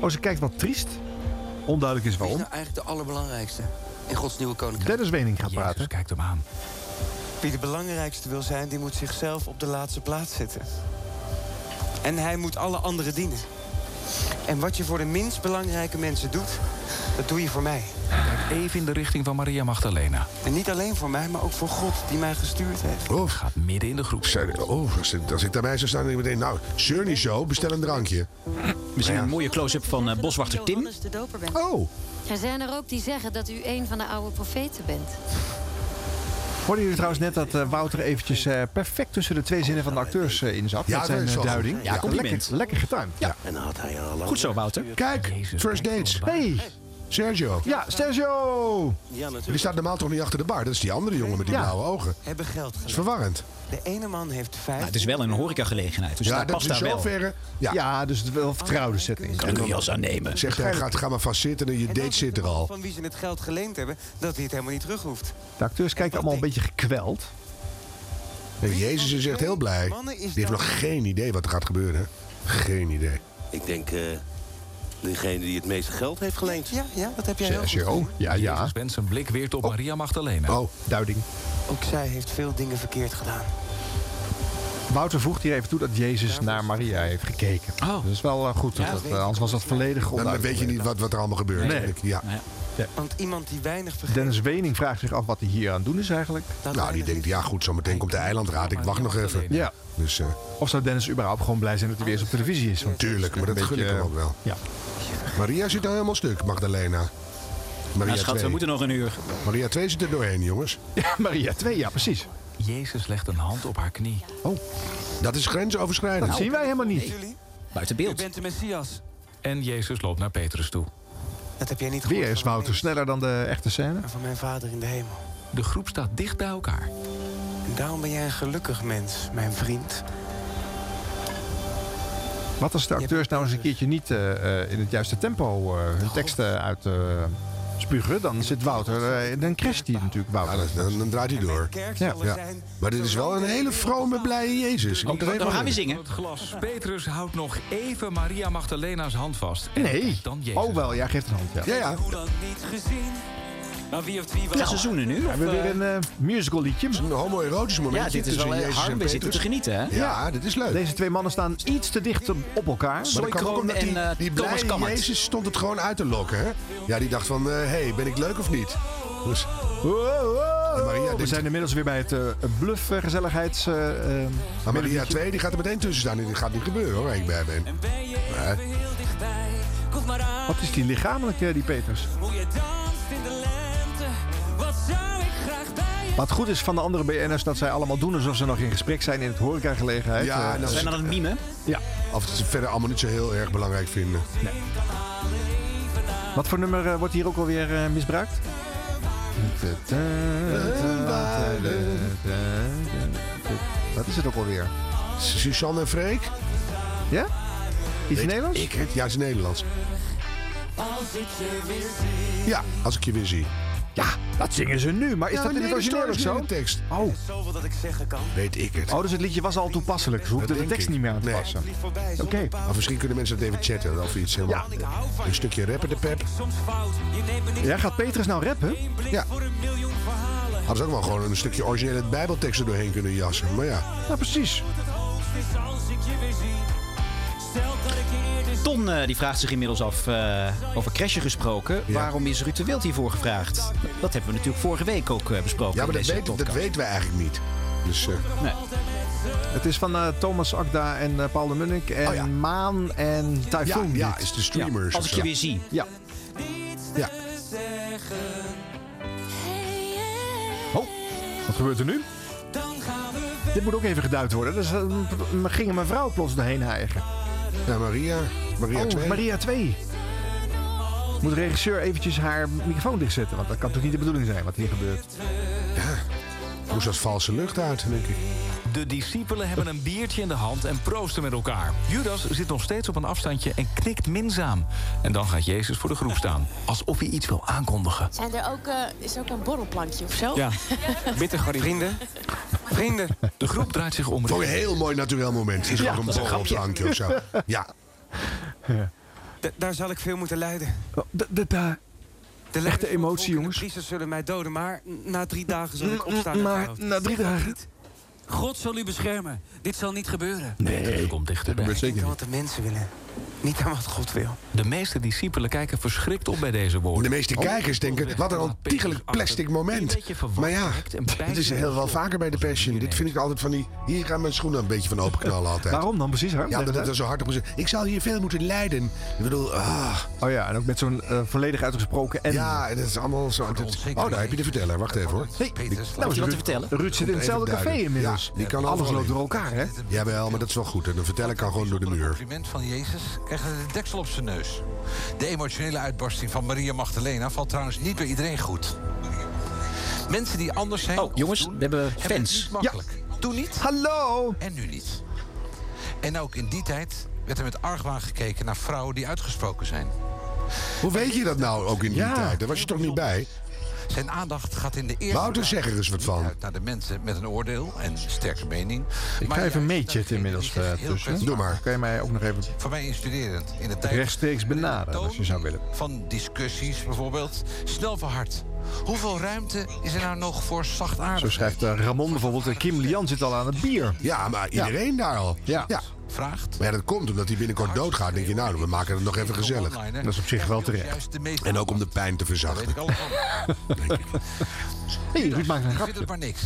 [SPEAKER 10] Oh, ze kijkt wat triest. Onduidelijk is
[SPEAKER 15] Wie
[SPEAKER 10] waarom.
[SPEAKER 15] is nou eigenlijk de allerbelangrijkste in Gods nieuwe koninkrijk?
[SPEAKER 10] Dennis Wening gaat praten.
[SPEAKER 5] Kijkt hem aan.
[SPEAKER 15] Wie de belangrijkste wil zijn, die moet zichzelf op de laatste plaats zetten. En hij moet alle anderen dienen. En wat je voor de minst belangrijke mensen doet, dat doe je voor mij.
[SPEAKER 5] Kijkt even in de richting van Maria Magdalena.
[SPEAKER 15] En niet alleen voor mij, maar ook voor God die mij gestuurd heeft.
[SPEAKER 2] Oh,
[SPEAKER 5] gaat midden in de groep.
[SPEAKER 2] Oh, als ik, als ik daarbij zou staan, denk ik meteen... Nou, zeur niet zo, bestel een drankje. Nou
[SPEAKER 8] We zien een mooie close-up van eh, boswachter Tim.
[SPEAKER 16] Johannes de Doper bent.
[SPEAKER 2] Oh.
[SPEAKER 16] Er zijn er ook die zeggen dat u een van de oude profeten bent.
[SPEAKER 10] Hoorden jullie trouwens net dat eh, Wouter eventjes eh, perfect tussen de twee zinnen van de acteurs eh, in zat?
[SPEAKER 2] Ja,
[SPEAKER 10] met
[SPEAKER 2] dat
[SPEAKER 10] zijn
[SPEAKER 2] is
[SPEAKER 10] eh,
[SPEAKER 2] wel
[SPEAKER 10] duiding.
[SPEAKER 2] goed. Ja, compliment.
[SPEAKER 10] Lekker, lekker getimed. Ja.
[SPEAKER 15] En had hij
[SPEAKER 2] eh,
[SPEAKER 15] al
[SPEAKER 10] Goed zo, Wouter.
[SPEAKER 2] Kijk, first dates.
[SPEAKER 10] Hey,
[SPEAKER 2] Sergio.
[SPEAKER 10] ja, Sergio!
[SPEAKER 15] Ja,
[SPEAKER 2] Die staat normaal toch niet achter de bar? Dat is die andere jongen met die
[SPEAKER 15] Ja.
[SPEAKER 2] blauwe ogen.
[SPEAKER 15] Hebben geld
[SPEAKER 2] Dat is
[SPEAKER 15] geleend.
[SPEAKER 2] verwarrend.
[SPEAKER 15] De ene man heeft vijf...
[SPEAKER 8] Nou, het is wel een horecagelegenheid, dus
[SPEAKER 2] Ja,
[SPEAKER 8] daar
[SPEAKER 2] dat
[SPEAKER 8] past
[SPEAKER 2] is
[SPEAKER 8] daar
[SPEAKER 2] in
[SPEAKER 8] wel.
[SPEAKER 2] zoverre- Ja.
[SPEAKER 10] dus het wel vertrouwde setting.
[SPEAKER 8] Kan ik een jas aannemen?
[SPEAKER 2] Zegt hij, ga, ga maar vast zitten en je date zit er al.
[SPEAKER 15] van wie ze het geld geleend hebben, dat hij het helemaal niet terug hoeft.
[SPEAKER 10] De acteurs kijken allemaal een beetje gekweld.
[SPEAKER 2] En Jezus is echt heel blij. Die heeft nog geen idee wat er gaat gebeuren. Geen idee.
[SPEAKER 14] Ik denk eh, degene die het meeste geld heeft geleend.
[SPEAKER 15] Ja, ja, dat heb jij heel goed
[SPEAKER 10] Sergio, ja, ja.
[SPEAKER 5] Wendt zijn blik weer op Maria Magdalena.
[SPEAKER 2] Oh,
[SPEAKER 10] duiding.
[SPEAKER 15] Ook zij heeft veel dingen verkeerd gedaan.
[SPEAKER 10] Wouter voegt hier even toe dat Jezus naar Maria heeft gekeken.
[SPEAKER 8] Oh.
[SPEAKER 10] Dat is wel eh, goed,
[SPEAKER 15] Ja.
[SPEAKER 10] dat, eh, anders was dat volledig
[SPEAKER 2] Dan weet je niet wat, wat er allemaal gebeurt.
[SPEAKER 10] Nee.
[SPEAKER 2] Ik- Ja.
[SPEAKER 15] Want iemand die weinig vergeet...
[SPEAKER 10] Dennis Wening vraagt zich af wat hij hier aan het doen is eigenlijk.
[SPEAKER 2] Nou, die denkt, ja goed, zometeen komt de eilandraad. Ik wacht nog even.
[SPEAKER 10] Ja.
[SPEAKER 2] Dus, eh,
[SPEAKER 10] Of zou Dennis überhaupt gewoon blij zijn dat hij weer eens op televisie is? Want
[SPEAKER 2] Tuurlijk, maar dat gun ik hem ook wel.
[SPEAKER 10] Ja.
[SPEAKER 2] Maria zit daar helemaal stuk, Magdalena.
[SPEAKER 8] Nou,
[SPEAKER 2] Maria
[SPEAKER 8] schat, we
[SPEAKER 2] 2.
[SPEAKER 8] moeten nog een uur.
[SPEAKER 2] Maria 2 zit er doorheen, jongens.
[SPEAKER 10] Ja, Maria 2, ja, precies.
[SPEAKER 5] Jezus legt een hand op haar knie.
[SPEAKER 10] Oh.
[SPEAKER 2] Dat is grensoverschrijdend.
[SPEAKER 5] Nou,
[SPEAKER 10] Dat zien wij helemaal niet.
[SPEAKER 15] Jullie,
[SPEAKER 8] Buiten
[SPEAKER 15] u bent de Messias.
[SPEAKER 5] En Jezus loopt naar Petrus toe.
[SPEAKER 15] Dat heb jij niet gehoord
[SPEAKER 10] Weer is
[SPEAKER 15] van mijn
[SPEAKER 10] Wouter sneller dan de echte scène.
[SPEAKER 15] en van mijn vader in de hemel.
[SPEAKER 5] De groep staat dicht bij elkaar.
[SPEAKER 17] En daarom ben jij een gelukkig mens, mijn vriend.
[SPEAKER 2] Wat als de acteurs nou eens een keertje niet eh, eh, in het juiste tempo eh, hun teksten uit eh, spugen, dan zit Wouter, eh, dan crasht hij natuurlijk Wouter.
[SPEAKER 4] dan, draait hij door.
[SPEAKER 2] Ja. Oh,
[SPEAKER 4] Maar dit is wel een hele vrome, blije Jezus.
[SPEAKER 7] Het glas. Petrus houdt nog even Maria Magdalena's hand vast. En
[SPEAKER 2] Nee.
[SPEAKER 7] Dan Jezus.
[SPEAKER 2] Oh wel, jij geeft een hand. Ja,
[SPEAKER 7] ja.
[SPEAKER 15] lang niet gezien. Maar wie heeft wie wel?
[SPEAKER 2] Ja, seizoenen nu, Nou, We hebben weer een eh, musical liedje.
[SPEAKER 4] Een homoerotisch moment.
[SPEAKER 8] Ja, dit is wel, eh, Harm, we zitten te genieten, hè?
[SPEAKER 2] Ja,
[SPEAKER 8] Ja,
[SPEAKER 4] dit is leuk.
[SPEAKER 2] Deze twee mannen staan iets te dicht op, op elkaar.
[SPEAKER 4] Maar dat kan ook omdat
[SPEAKER 8] eh,
[SPEAKER 4] die, die blije Jezus stond het gewoon uit te lokken. Hè? Ja, die dacht van, hé, hey, ben ik leuk of niet? Dus, En Maria
[SPEAKER 2] we
[SPEAKER 4] denkt-
[SPEAKER 2] zijn inmiddels weer bij het eh, bluff eh, gezelligheids. eh, eh,
[SPEAKER 4] maar Maria
[SPEAKER 2] melodietje.
[SPEAKER 4] 2 die gaat er meteen tussen staan. Dit gaat niet gebeuren hoor, waar ik bij ben. Maar,
[SPEAKER 15] Kom maar aan.
[SPEAKER 2] Wat is die lichamelijk, eh, die Peters?
[SPEAKER 15] Hoe je danst in de lente. Wat zou ik graag bij je
[SPEAKER 2] Wat goed is van de andere BN'ers dat zij allemaal doen alsof ze nog in gesprek zijn in het horecagelegenheid.
[SPEAKER 4] Ja,
[SPEAKER 2] Eh,
[SPEAKER 4] en dan Zijn is- aan het
[SPEAKER 8] mimen?
[SPEAKER 2] Ja.
[SPEAKER 4] of ze het verder allemaal niet zo heel erg belangrijk vinden.
[SPEAKER 2] Wat voor nummer eh, wordt hier ook alweer eh, misbruikt? Wat is het ook alweer?
[SPEAKER 4] Suzanne en Freek?
[SPEAKER 2] Ja? Is
[SPEAKER 4] het
[SPEAKER 2] Nederlands?
[SPEAKER 4] Ik, ja, het is Nederlands.
[SPEAKER 15] als ik je weer zie?
[SPEAKER 4] Ja, als ik je weer zie.
[SPEAKER 2] Ja, dat zingen ze nu. Maar is
[SPEAKER 4] Ja,
[SPEAKER 2] dat in
[SPEAKER 4] nee,
[SPEAKER 2] het
[SPEAKER 4] dat
[SPEAKER 2] origineel
[SPEAKER 4] staat
[SPEAKER 2] ook
[SPEAKER 4] dus
[SPEAKER 2] zo?
[SPEAKER 4] in de tekst.
[SPEAKER 2] Oh.
[SPEAKER 15] Zoveel dat ik zeggen kan.
[SPEAKER 4] Weet ik het.
[SPEAKER 2] oh, dus het liedje was al toepasselijk. Ze hoefden de
[SPEAKER 4] denk
[SPEAKER 2] tekst
[SPEAKER 4] ik.
[SPEAKER 2] niet meer aan te
[SPEAKER 4] Nee.
[SPEAKER 2] passen. Oké.
[SPEAKER 4] Maar misschien kunnen mensen dat even chatten of iets. Helemaal. Een stukje rapper de pep.
[SPEAKER 15] Soms fout. Je neemt me niks
[SPEAKER 2] Ja, gaat Petrus nou rappen?
[SPEAKER 4] Ja.
[SPEAKER 15] voor een miljoen verhalen.
[SPEAKER 4] Hadden ze ook wel gewoon een stukje originele bijbeltekst er doorheen kunnen jassen. Maar ja.
[SPEAKER 2] Ja, precies.
[SPEAKER 15] Hoogst is als ik je weer zie. Stel dat ik je eerder
[SPEAKER 8] Ton eh, die vraagt zich inmiddels af, eh, over crashen gesproken. Waarom is Ruud de Wild hiervoor gevraagd? Dat hebben we natuurlijk vorige week ook eh, besproken.
[SPEAKER 4] Ja, maar dat,
[SPEAKER 8] in deze
[SPEAKER 4] weet, dat
[SPEAKER 8] podcast.
[SPEAKER 4] weten wij eigenlijk niet. Dus eh,
[SPEAKER 2] Het is van eh, Thomas Akda en eh, Paul de Munnik en Maan en Typhoon.
[SPEAKER 4] Oh, Ja, ja,
[SPEAKER 2] dit.
[SPEAKER 4] is de streamers
[SPEAKER 2] Ja,
[SPEAKER 4] of zo.
[SPEAKER 2] Ja.
[SPEAKER 4] ja.
[SPEAKER 2] Oh, wat gebeurt er nu? Dit moet ook even geduid worden. Dus eh, m- ging mijn vrouw plots doorheen hijgen.
[SPEAKER 4] Ja, Maria. Maria
[SPEAKER 2] oh,
[SPEAKER 4] 2.
[SPEAKER 2] Maria 2. Moet de regisseur eventjes haar microfoon dichtzetten? Want dat kan toch niet de bedoeling zijn wat hier gebeurt.
[SPEAKER 4] moest dat valse lucht uit, denk ik.
[SPEAKER 7] De discipelen hebben een biertje in de hand en proosten met elkaar. Judas zit nog steeds op een afstandje en knikt minzaam. En dan gaat Jezus voor de groep staan, alsof hij iets wil aankondigen.
[SPEAKER 11] Zijn er ook, eh, is er ook een borrelplankje of zo?
[SPEAKER 7] Ja.
[SPEAKER 17] Bitter Vrienden. Vrienden.
[SPEAKER 7] De groep draait zich om.
[SPEAKER 4] Vond ik een heel mooi natuurlijk moment. Is
[SPEAKER 17] Ja,
[SPEAKER 4] ook een
[SPEAKER 17] dat is een grapje.
[SPEAKER 4] borrelplankje of zo. Ja.
[SPEAKER 17] Da- daar zal ik veel moeten lijden.
[SPEAKER 10] Oh,
[SPEAKER 2] De, de,
[SPEAKER 17] echte emotie, jongens. De priesters zullen mij doden, maar na drie dagen zal
[SPEAKER 10] Mm,
[SPEAKER 17] ik opstaan. uit de dood. Zeg dat niet.
[SPEAKER 15] God zal u beschermen. Dit zal niet gebeuren.
[SPEAKER 7] Nee, komt dichterbij.
[SPEAKER 17] Denk aan wat de mensen willen. Niet aan wat God wil.
[SPEAKER 7] De meeste discipelen kijken verschrikt op bij deze woorden.
[SPEAKER 4] De meeste kijkers denken, wat een ontiegelijk plastic moment. Maar ja, het is heel wel vaker bij de Passion. Dit vind ik altijd van die... Hier gaan mijn schoenen een beetje van open knallen altijd.
[SPEAKER 2] Waarom dan precies, hè?
[SPEAKER 4] Ja, dat dat er zo hard op gezet. Ik zou hier veel moeten lijden. Ik bedoel, ah.
[SPEAKER 2] Oh ja, en ook met zo'n eh, volledig uitgesproken en...
[SPEAKER 4] Ja, en dat is allemaal zo... dat- oh, daar heb je de verteller. Wacht even hoor.
[SPEAKER 2] Hey,
[SPEAKER 4] Die-
[SPEAKER 2] nou, Ruud- Ruud zit in hetzelfde
[SPEAKER 4] Even
[SPEAKER 2] café
[SPEAKER 4] duiden.
[SPEAKER 2] inmiddels.
[SPEAKER 4] Ja, die kan
[SPEAKER 2] Alles
[SPEAKER 4] overal
[SPEAKER 2] loopt
[SPEAKER 4] in.
[SPEAKER 2] door elkaar, hè?
[SPEAKER 4] Jawel, maar dat is wel goed. En de verteller kan gewoon door de muur.
[SPEAKER 9] compliment van Jezus krijgt hij de deksel op zijn neus. De emotionele uitbarsting van Maria Magdalena valt trouwens niet bij iedereen goed. Mensen die anders zijn. Oh, jongens, we hebben
[SPEAKER 8] fans.
[SPEAKER 9] Het niet makkelijk. Toen niet.
[SPEAKER 2] Hallo!
[SPEAKER 9] En nu niet. En ook in die tijd werd er met argwaan gekeken naar vrouwen die uitgesproken zijn.
[SPEAKER 4] Hoe weet je dat nou ook in die
[SPEAKER 9] Ja.
[SPEAKER 4] tijd? Daar was je toch niet bij?
[SPEAKER 9] Zijn aandacht gaat in de eerste.
[SPEAKER 4] Wouter, zeg er eens wat van.
[SPEAKER 9] Uit naar de mensen met een oordeel en sterke mening.
[SPEAKER 2] Ik ga even meetje het inmiddels eh, tussen.
[SPEAKER 9] Doe maar.
[SPEAKER 2] Kan je mij ook nog even
[SPEAKER 9] Voor mij instuderend. In de tijd
[SPEAKER 2] rechtstreeks benaderen als je zou willen?
[SPEAKER 9] van discussies bijvoorbeeld snel verhard. Hoeveel ruimte is er nou nog voor
[SPEAKER 2] Zo
[SPEAKER 9] zachtaardig?
[SPEAKER 2] schrijft eh, Ramon bijvoorbeeld, eh, Kim Lian zit al aan het bier.
[SPEAKER 4] Ja, maar iedereen daar al.
[SPEAKER 2] Ja.
[SPEAKER 9] Vraagt.
[SPEAKER 4] Maar ja, dat komt omdat hij binnenkort doodgaat. denk je, nou, we maken het nog even gezellig.
[SPEAKER 9] Online, hè?
[SPEAKER 2] Dat is op zich wel terecht.
[SPEAKER 9] Juist de meeste.
[SPEAKER 4] En ook om de pijn te
[SPEAKER 9] Weet ik
[SPEAKER 4] verzachten.
[SPEAKER 9] allemaal.
[SPEAKER 2] Hé, hey, Ruud maakt een
[SPEAKER 9] Ik vind
[SPEAKER 2] grapje.
[SPEAKER 9] het maar niks.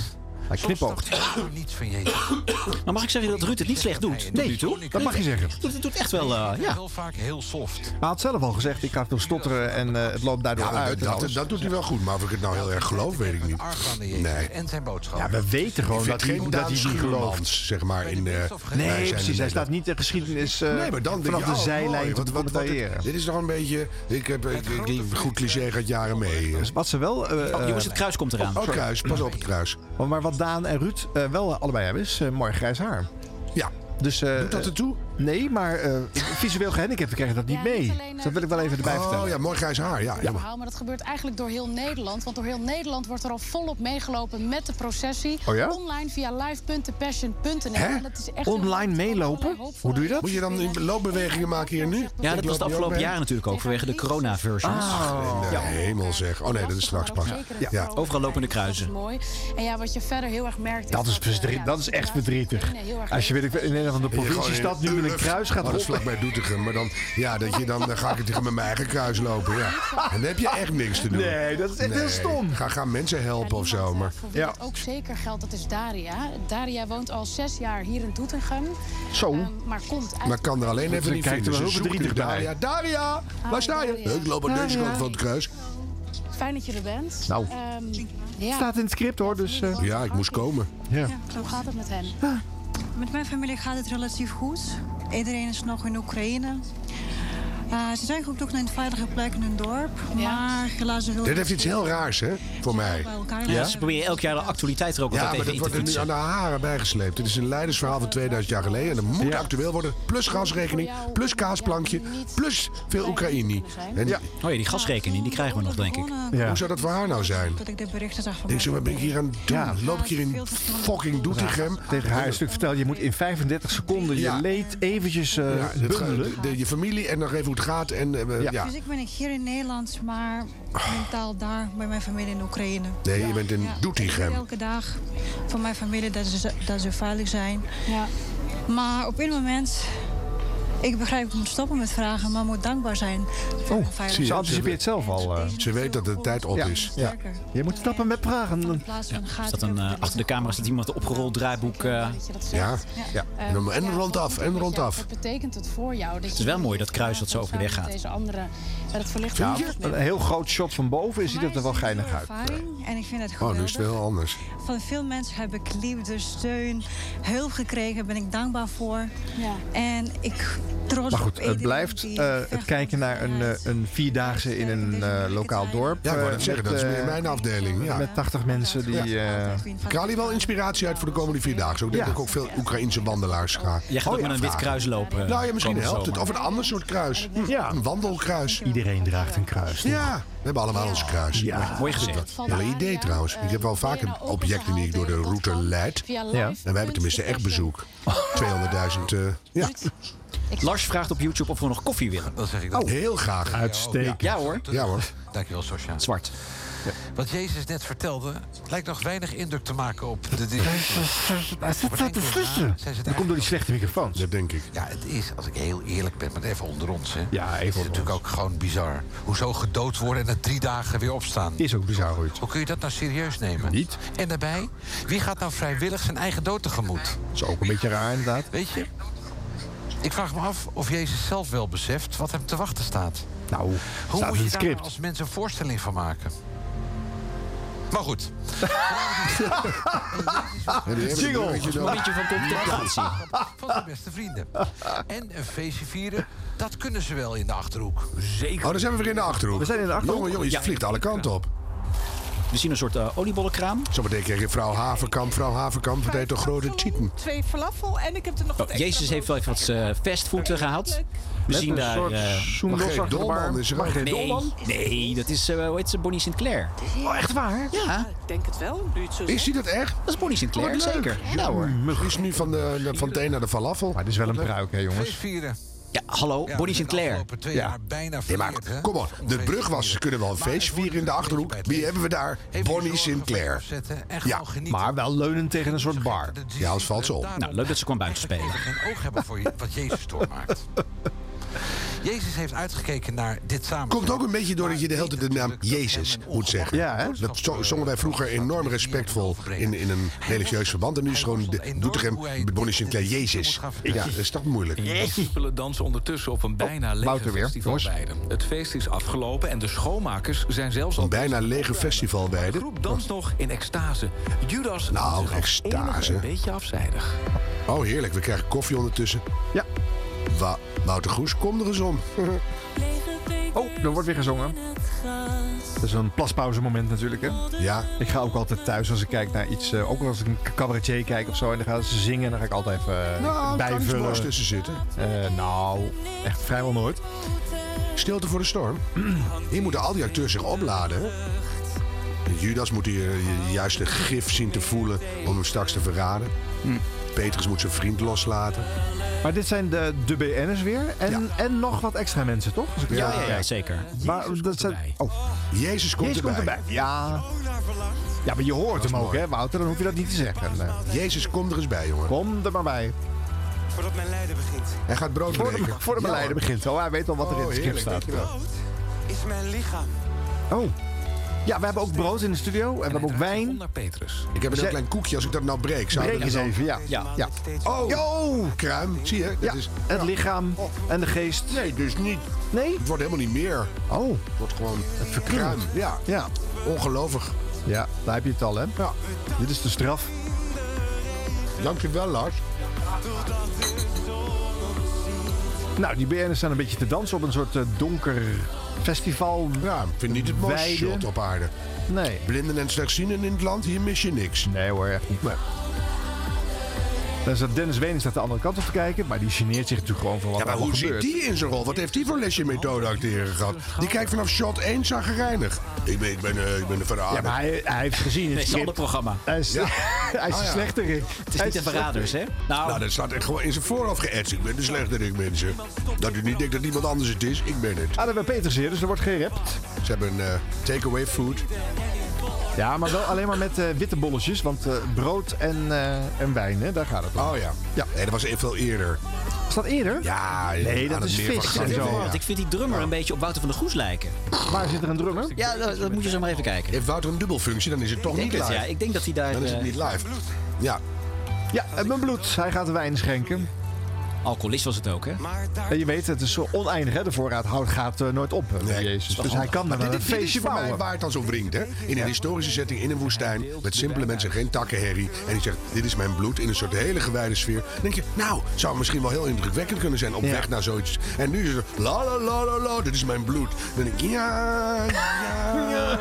[SPEAKER 2] Hij knipoogt.
[SPEAKER 9] Soms dacht ik er niets van Jezus.
[SPEAKER 8] Maar Nou, mag ik zeggen dat Ruud het niet slecht doet? tot
[SPEAKER 2] Nee,
[SPEAKER 8] nu toe?
[SPEAKER 2] dat mag je zeggen.
[SPEAKER 8] Doet- Het doet echt wel, eh, ja.
[SPEAKER 9] Heel vaak heel soft.
[SPEAKER 2] Hij had zelf al gezegd, ik ga veel stotteren en eh, het loopt daardoor
[SPEAKER 4] Ja, maar
[SPEAKER 2] uit. en
[SPEAKER 4] dat,
[SPEAKER 2] alles.
[SPEAKER 4] dat doet hij wel goed. Maar of ik het nou heel erg geloof, weet ik niet.
[SPEAKER 9] Argwaan de Jezus
[SPEAKER 4] Nee.
[SPEAKER 9] en zijn boodschap.
[SPEAKER 2] Ja, we weten
[SPEAKER 4] Ik
[SPEAKER 2] gewoon
[SPEAKER 4] vind
[SPEAKER 2] dat hij,
[SPEAKER 4] geen
[SPEAKER 2] dat hij
[SPEAKER 4] Daan
[SPEAKER 2] niet gelooft.
[SPEAKER 4] Schuurmans, zeg maar, in... eh, wij zijn
[SPEAKER 2] Nee,
[SPEAKER 4] in
[SPEAKER 2] precies. Hij
[SPEAKER 4] Nederland.
[SPEAKER 2] staat niet de geschiedenis eh,
[SPEAKER 4] nee, maar dan denk
[SPEAKER 2] vanaf
[SPEAKER 4] je,
[SPEAKER 2] de
[SPEAKER 4] oh,
[SPEAKER 2] zijlijn
[SPEAKER 4] mooi,
[SPEAKER 2] te
[SPEAKER 4] dit,
[SPEAKER 2] becommentariëren.
[SPEAKER 4] dit is nog een beetje... Ik heb ik, ik- een goed cliché gaat jaren mee. eh.
[SPEAKER 2] Wat ze wel... eh,
[SPEAKER 8] Oh, jongens, het kruis komt eraan.
[SPEAKER 4] Oh, kruis. Pas op het kruis.
[SPEAKER 10] Want- Maar wat Daan en Ruud eh, wel allebei hebben is eh, mooi grijs haar.
[SPEAKER 2] Ja.
[SPEAKER 10] Dus, eh,
[SPEAKER 2] Doet dat ertoe?
[SPEAKER 10] Nee, maar eh, visueel gehandicapten krijgen dat niet
[SPEAKER 11] Ja,
[SPEAKER 10] mee.
[SPEAKER 11] niet alleen,
[SPEAKER 10] Dus dat wil ik wel even erbij
[SPEAKER 11] Oh,
[SPEAKER 10] vertellen.
[SPEAKER 11] ja, mooi
[SPEAKER 2] grijs haar. Ja,
[SPEAKER 11] verhaal, Nou, maar dat gebeurt eigenlijk door heel Nederland. Want door heel Nederland wordt er al volop meegelopen met de processie.
[SPEAKER 10] Oh ja?
[SPEAKER 11] Online via live.passion.nl.
[SPEAKER 2] Hè?
[SPEAKER 11] En dat is echt
[SPEAKER 10] Online meelopen? Hoe doe je dat?
[SPEAKER 2] Moet je dan in loopbewegingen maken hier nu?
[SPEAKER 8] Ja, dat was het afgelopen jaar natuurlijk ook vanwege de corona-versions.
[SPEAKER 2] Ah, in de hemel zeg. Oh nee, dat is straks pas. Ja.
[SPEAKER 8] Overal lopende kruisen.
[SPEAKER 11] mooi. En ja, wat je verder heel erg merkt...
[SPEAKER 10] Dat is, bedrie- dat is echt bedrietig. Als je weet, ik, in een of andere provinciestad nu met een kruis gaat
[SPEAKER 2] Oh, dat is
[SPEAKER 10] rollen.
[SPEAKER 2] vlakbij Doetinchem. Maar dan, ja, dat je, dan, dan ga ik tegen mijn eigen kruis lopen. Ja. En dan heb je echt niks te doen.
[SPEAKER 10] Nee, dat is echt heel stom.
[SPEAKER 2] Ga, ga mensen helpen of zo. Maar,
[SPEAKER 11] Voor wie het ook zeker geldt, dat is Daria. Daria woont al zes jaar hier in Doetinchem.
[SPEAKER 2] Zo.
[SPEAKER 11] Ehm, maar komt uit...
[SPEAKER 2] maar kan er alleen even niet vinden. Ze zoekt nu Daria.
[SPEAKER 11] Ah, Daria,
[SPEAKER 2] Waar sta je? Ik loop aan deze kant van het kruis.
[SPEAKER 11] Fijn dat je er bent.
[SPEAKER 2] Nou.
[SPEAKER 11] Ehm, ja.
[SPEAKER 10] Staat in het script hoor, dus... eh,
[SPEAKER 2] Ja, ik moest komen.
[SPEAKER 10] Ja.
[SPEAKER 11] Hoe gaat het met hen?
[SPEAKER 18] Met mijn familie gaat het relatief goed. Iedereen is nog in Oekraïne. Eh, ze zijn ook nog naar een veilige plek in hun dorp. Maar helaas... heel
[SPEAKER 2] Dit heeft iets heel raars, hè? Voor mij.
[SPEAKER 8] Ja, ze proberen elk jaar de actualiteit er ook
[SPEAKER 2] Ja,
[SPEAKER 8] altijd
[SPEAKER 2] maar
[SPEAKER 8] tegen
[SPEAKER 2] dat
[SPEAKER 8] in te
[SPEAKER 2] wordt er nu aan
[SPEAKER 8] fietsen.
[SPEAKER 2] de haren bijgesleept. Dit is een leidersverhaal van 2000 jaar geleden. En dat moet actueel worden. Plus gasrekening, plus kaasplankje, plus veel Oekraïne. En ja.
[SPEAKER 8] Oh ja, die gasrekening, die krijgen we nog, denk ik.
[SPEAKER 2] Hoe zou dat voor haar nou zijn?
[SPEAKER 18] Dat ik de berichten zag van...
[SPEAKER 2] Ik zo, wat ben ik hier aan het doen? Loop ik hier in fucking Doetinchem?
[SPEAKER 10] Tegen haar een stuk vertel, je moet in 35 seconden je
[SPEAKER 2] Ja.
[SPEAKER 10] leed eventjes eh
[SPEAKER 2] Ja, het gaat-
[SPEAKER 10] bundelen.
[SPEAKER 2] de- de- je familie en nog even hoe het gaat. En, eh, ja. Oh.
[SPEAKER 18] Dus ik ben hier in Nederland, maar mentaal daar bij mijn familie in Oekraïne.
[SPEAKER 2] Nee, je bent in Doetinchem.
[SPEAKER 18] Elke dag voor mijn familie dat ze, dat ze veilig zijn. Maar op een moment, ik begrijp, ik moet stoppen met vragen, maar moet dankbaar zijn. voor
[SPEAKER 10] Oh,
[SPEAKER 18] mijn veiligheid.
[SPEAKER 10] ze anticipeert zelf al. eh.
[SPEAKER 2] Ze weet dat de tijd op is.
[SPEAKER 10] Ja. Je moet stappen met vragen.
[SPEAKER 8] Is dat een, eh, achter de camera staat iemand een opgerold draaiboek. eh.
[SPEAKER 2] Ja, Eh, ja.
[SPEAKER 11] Ehm,
[SPEAKER 2] En, dan- en rondaf, en rondaf.
[SPEAKER 11] Wat betekent het voor jou? Dat
[SPEAKER 8] Het is wel mooi dat kruis dat zo over de weg gaat.
[SPEAKER 11] Deze anderen. Dat het verlicht
[SPEAKER 10] Ja,
[SPEAKER 11] ook
[SPEAKER 10] een heel groot shot van boven ziet dat er wel geinig uit.
[SPEAKER 18] ervaring en ik vind het
[SPEAKER 2] Oh, nu
[SPEAKER 18] geweldig.
[SPEAKER 2] is het wel anders.
[SPEAKER 18] Van veel mensen heb ik liefde, steun, hulp gekregen. Ben ik dankbaar voor. En ik trots
[SPEAKER 10] Maar
[SPEAKER 18] op
[SPEAKER 10] goed, het
[SPEAKER 18] iedereen
[SPEAKER 10] blijft
[SPEAKER 18] die
[SPEAKER 10] eh, het kijken naar een, eh, een vierdaagse in een eh, lokaal dorp.
[SPEAKER 2] Ja, ik wou
[SPEAKER 10] eh,
[SPEAKER 2] net zeggen,
[SPEAKER 10] met,
[SPEAKER 2] dat is meer
[SPEAKER 10] eh,
[SPEAKER 2] mijn afdeling. Ja.
[SPEAKER 10] Met 80 mensen die... eh,
[SPEAKER 2] Ik haal hier wel inspiratie uit voor de komende vier dagen. Zo, Ik denk dat ik ook veel Oekraïnse wandelaars ga.
[SPEAKER 8] Jij gaat ook met een wit kruis lopen. eh,
[SPEAKER 2] Nou ja, misschien
[SPEAKER 8] komende
[SPEAKER 2] helpt het.
[SPEAKER 8] zomer.
[SPEAKER 2] Of een ander soort kruis. Hm, Een wandelkruis.
[SPEAKER 10] Iedereen draagt een kruis.
[SPEAKER 2] Ja, we hebben allemaal ons kruis. Ja,
[SPEAKER 8] mooi gezegd.
[SPEAKER 2] Hele idee trouwens. Ik heb wel vaker objecten die ik door de route leid.
[SPEAKER 11] Via
[SPEAKER 2] En
[SPEAKER 11] live.
[SPEAKER 2] wij hebben tenminste echt bezoek. 200.000. eh, ja.
[SPEAKER 8] Lars vraagt op YouTube of we nog koffie willen.
[SPEAKER 9] Dan zeg ik dat.
[SPEAKER 2] Oh, heel graag.
[SPEAKER 9] Uitstekend.
[SPEAKER 8] Ja hoor.
[SPEAKER 2] Ja hoor.
[SPEAKER 9] Dankjewel, Sosja.
[SPEAKER 8] Zwart.
[SPEAKER 9] Wat Jezus net vertelde, lijkt nog weinig indruk te maken op de discipelen.
[SPEAKER 10] Wat staat te slussen? Dat komt door die slechte microfoons.
[SPEAKER 2] Dat denk ik.
[SPEAKER 9] Ja, het is, als ik heel eerlijk ben, maar even onder ons. Hè.
[SPEAKER 10] Ja, even
[SPEAKER 9] Het is
[SPEAKER 10] onder
[SPEAKER 9] natuurlijk ook gewoon bizar. Hoezo gedood worden en na drie dagen weer opstaan?
[SPEAKER 10] Is ook bizar, hoor.
[SPEAKER 9] Hoe kun je dat nou serieus nemen? Niet. En daarbij, wie gaat nou vrijwillig zijn eigen dood tegemoet?
[SPEAKER 10] Dat is ook een beetje raar, inderdaad.
[SPEAKER 9] Weet je, ik vraag me af of Jezus zelf wel beseft wat hem te wachten staat.
[SPEAKER 10] Nou,
[SPEAKER 9] Hoe
[SPEAKER 10] staat
[SPEAKER 9] moet
[SPEAKER 10] in
[SPEAKER 9] je
[SPEAKER 10] het
[SPEAKER 9] daar
[SPEAKER 10] script.
[SPEAKER 9] nou als mensen een voorstelling van maken? Maar goed.
[SPEAKER 10] Jingle. Een momentje van contemplatie.
[SPEAKER 9] Van zijn beste vrienden. En een feestje vieren, dat kunnen ze wel in de Achterhoek. Zeker.
[SPEAKER 2] Oh, dan zijn we weer in de Achterhoek.
[SPEAKER 9] We zijn in de Achterhoek.
[SPEAKER 2] Jongen, jongen, je
[SPEAKER 9] Ja.
[SPEAKER 2] vliegt alle kanten op.
[SPEAKER 8] We zien een soort eh, oliebollenkraam.
[SPEAKER 2] Zometeen krijg je vrouw Haverkamp. Vrouw Haverkamp, wat heet toch grote cheaten?
[SPEAKER 19] Twee falafel en ik heb er nog
[SPEAKER 8] Oh, Jezus heeft wel even wat eh fastfood gehaald. We
[SPEAKER 2] Met
[SPEAKER 8] zien
[SPEAKER 2] een
[SPEAKER 8] daar...
[SPEAKER 2] soort
[SPEAKER 8] eh,
[SPEAKER 2] zoendos Margreet achter de bar. Dolman is er ook. Margreet Dolman?
[SPEAKER 8] nee, nee, dat is, eh hoe heet ze, Bonnie Sinclair.
[SPEAKER 19] Oh, echt waar?
[SPEAKER 8] Ja.
[SPEAKER 19] Ik denk het wel, nu het zo
[SPEAKER 2] Is hij dat echt? Oh,
[SPEAKER 8] Dat is Bonnie Sinclair,
[SPEAKER 2] Wat leuk.
[SPEAKER 8] zeker. Nou hoor.
[SPEAKER 2] Die Is nu van, de, de- van het een naar de falafel. Maar
[SPEAKER 10] het is wel een pruik, hè jongens.
[SPEAKER 9] Feestvieren.
[SPEAKER 8] Ja, hallo,
[SPEAKER 9] Ja, we
[SPEAKER 8] Bonnie
[SPEAKER 9] zijn de
[SPEAKER 8] Sinclair.
[SPEAKER 9] afgelopen twee jaar bijna
[SPEAKER 2] Nee, maar
[SPEAKER 9] verleerd, hè?
[SPEAKER 2] kom op. De brug was. Ze kunnen wel een feestje vieren in de Achterhoek. Wie hebben we daar? Bonnie Sinclair.
[SPEAKER 9] Zetten en
[SPEAKER 2] Ja,
[SPEAKER 9] gewoon genieten.
[SPEAKER 10] Maar wel leunend tegen een soort bar.
[SPEAKER 2] Ja, als valt ze op.
[SPEAKER 8] Nou, leuk dat ze kwam buiten spelen.
[SPEAKER 9] geen oog hebben voor je- wat Jezus doormaakt. Jezus heeft uitgekeken naar dit samen.
[SPEAKER 2] Komt ook een beetje door dat je de hele tijd de naam Jezus moet zeggen.
[SPEAKER 9] Ja, hè?
[SPEAKER 2] Dat zo- zongen wij vroeger enorm respectvol in, in een religieus verband. En nu is gewoon de Doetinchem met Bonnie Sinclair Jezus. Ja, dat is toch moeilijk.
[SPEAKER 7] Willen dansen ondertussen
[SPEAKER 10] Oh,
[SPEAKER 7] op een bijna lege
[SPEAKER 2] Wouter weer,
[SPEAKER 7] festival
[SPEAKER 2] jongens.
[SPEAKER 7] Weiden. Het feest is afgelopen en de schoonmakers zijn zelfs al...
[SPEAKER 2] Een bijna lege festival bij
[SPEAKER 7] De groep
[SPEAKER 10] Oh.
[SPEAKER 7] danst nog in extase. Judas
[SPEAKER 2] Nou,
[SPEAKER 7] zich als
[SPEAKER 2] extase.
[SPEAKER 7] enige een beetje afzijdig.
[SPEAKER 2] Oh, heerlijk. We krijgen koffie ondertussen. Ja. Wouter Goes, kom er eens om.
[SPEAKER 20] Oh,
[SPEAKER 10] Er wordt weer gezongen. Dat is een plaspauzemoment natuurlijk, hè?
[SPEAKER 2] Ja.
[SPEAKER 10] Ik ga ook altijd thuis als ik kijk naar iets... eh, ook als ik een cabaretier kijk of zo... en dan gaan ze zingen en dan ga ik altijd even eh,
[SPEAKER 2] Nou,
[SPEAKER 10] bijvullen.
[SPEAKER 2] Tuinsborst tussen zitten.
[SPEAKER 10] Eh, nou, echt vrijwel nooit.
[SPEAKER 2] Stilte voor de storm. Hier moeten al die acteurs zich opladen. hè? Judas moet hier eh, juist de gif zien te voelen om hem straks te verraden. Petrus moet zijn vriend loslaten.
[SPEAKER 10] Hm. Maar dit zijn de, de BN'ers weer. En, en nog wat extra mensen, toch? Als ik
[SPEAKER 2] Ja,
[SPEAKER 10] het zo
[SPEAKER 2] ja, ja,
[SPEAKER 10] bekijk.
[SPEAKER 2] zeker.
[SPEAKER 10] Maar dat zijn... Oh.
[SPEAKER 2] Jezus
[SPEAKER 10] komt
[SPEAKER 2] erbij.
[SPEAKER 10] Ja. Ja, maar je hoort hem ook,
[SPEAKER 2] mooi.
[SPEAKER 10] hè, Wouter? Dan hoef je dat niet te zeggen.
[SPEAKER 2] Jezus, kom er eens bij, jongen.
[SPEAKER 10] Kom er maar bij.
[SPEAKER 15] Voordat mijn lijden begint.
[SPEAKER 2] Hij gaat eh, brood
[SPEAKER 10] Voor de,
[SPEAKER 2] breken.
[SPEAKER 10] voor de
[SPEAKER 2] Ja,
[SPEAKER 10] beleider
[SPEAKER 2] hoor.
[SPEAKER 10] begint. Oh, hij weet al wat er
[SPEAKER 2] Oh,
[SPEAKER 10] in het schip
[SPEAKER 2] heerlijk,
[SPEAKER 10] staat.
[SPEAKER 2] dankjewel.
[SPEAKER 15] Is mijn lichaam.
[SPEAKER 10] Oh. Ja, we hebben ook brood in de studio. En we hebben ook wijn.
[SPEAKER 5] Petrus.
[SPEAKER 2] Ik heb een heel
[SPEAKER 10] Zij-
[SPEAKER 2] klein koekje. Als ik dat nou breek, zou
[SPEAKER 10] Breek
[SPEAKER 2] dat
[SPEAKER 10] eens
[SPEAKER 2] dan-
[SPEAKER 10] even, ja. ja. ja.
[SPEAKER 2] Oh, kruim. Zie je? Dat
[SPEAKER 10] Ja,
[SPEAKER 2] is,
[SPEAKER 10] het
[SPEAKER 2] ja. Oh.
[SPEAKER 10] lichaam en de geest.
[SPEAKER 2] Nee, dus niet.
[SPEAKER 10] Nee?
[SPEAKER 2] Het wordt helemaal niet meer.
[SPEAKER 10] Oh.
[SPEAKER 2] Het wordt gewoon
[SPEAKER 10] Het verkruimelt.
[SPEAKER 2] kruim. Ja.
[SPEAKER 10] Ja.
[SPEAKER 2] Ongelovig.
[SPEAKER 10] Ja, daar heb je het al, hè? Ja. Dit is de straf.
[SPEAKER 2] Dankjewel, Lars.
[SPEAKER 10] Nou, die BN'ers staan een beetje te dansen op een soort eh, donker festival.
[SPEAKER 2] Ja, ik vind niet het mooiste shot op aarde.
[SPEAKER 10] Nee.
[SPEAKER 2] Blinden en slechtzienden in het land, hier mis je niks.
[SPEAKER 10] Nee hoor, echt niet. Dan staat Dennis Wening staat de andere kant op te kijken, maar die geneert zich natuurlijk gewoon van wat
[SPEAKER 2] Ja,
[SPEAKER 10] er
[SPEAKER 2] maar hoe
[SPEAKER 10] allemaal
[SPEAKER 2] zit
[SPEAKER 10] gebeurt.
[SPEAKER 2] die in zijn rol? Wat heeft die voor lesje methode acteren gehad? Die kijkt vanaf shot 1 zagrijnig. Ik ben, ik ben, eh, ik ben de verrader.
[SPEAKER 10] Ja, maar hij, hij heeft gezien in
[SPEAKER 8] Nee,
[SPEAKER 10] het
[SPEAKER 8] het is een
[SPEAKER 10] script.
[SPEAKER 8] ander programma.
[SPEAKER 10] Hij is,
[SPEAKER 2] Ja.
[SPEAKER 10] hij is
[SPEAKER 2] Ah,
[SPEAKER 10] er
[SPEAKER 2] ja.
[SPEAKER 10] slechter in.
[SPEAKER 8] Het is niet de verraders, hè?
[SPEAKER 2] Nou, dat staat echt gewoon in zijn voorhoofd geëtst. Ik ben de slechterik, mensen. Dat u niet denkt dat iemand anders het is, ik ben het.
[SPEAKER 10] Ah, dan hebben we Peters hier, dus er wordt gerapt.
[SPEAKER 2] Ze hebben eh, takeaway food.
[SPEAKER 10] Ja, maar wel alleen maar met eh, witte bolletjes, want eh, brood en, eh, en wijn, hè, daar gaat het om.
[SPEAKER 2] Oh ja. ja. Nee, dat was even veel eerder.
[SPEAKER 10] Is dat eerder?
[SPEAKER 2] Ja,
[SPEAKER 10] Nee, dat
[SPEAKER 2] aan het
[SPEAKER 10] is
[SPEAKER 2] meer van
[SPEAKER 10] vis en
[SPEAKER 2] Garderen.
[SPEAKER 10] zo.
[SPEAKER 2] Ja.
[SPEAKER 8] Want ik vind die drummer een beetje op Wouter van der Goes lijken.
[SPEAKER 10] Waar zit er een drummer?
[SPEAKER 8] Ja, dat, dat moet je zo maar even kijken.
[SPEAKER 2] Heeft Wouter een dubbelfunctie, dan is het toch
[SPEAKER 8] Ik denk
[SPEAKER 2] niet
[SPEAKER 8] het,
[SPEAKER 2] live.
[SPEAKER 8] ja. Ik denk dat hij daar...
[SPEAKER 2] Dan is het
[SPEAKER 8] eh,
[SPEAKER 2] niet live. Ja.
[SPEAKER 10] Ja, en mijn bloed. Hij gaat de wijn schenken.
[SPEAKER 8] Alcoholist was het ook, hè?
[SPEAKER 10] En je weet, het is zo oneindig, hè? De voorraad hout gaat eh, nooit op, eh, Jezus. Dus hij kan dan
[SPEAKER 2] Maar dit,
[SPEAKER 10] wel een
[SPEAKER 2] dit, dit is
[SPEAKER 10] feestje
[SPEAKER 2] voor mij
[SPEAKER 10] bouwen.
[SPEAKER 2] waar het dan zo wringt. Hè? In een historische setting, in een woestijn, met simpele mensen, geen takkenherrie. En die zegt, dit is mijn bloed, in een soort hele gewijde sfeer. Dan denk je, nou, zou misschien wel heel indrukwekkend kunnen zijn op weg naar zoiets. En nu is het, la la la la la, dit is mijn bloed. Dan denk ik, ja, ja,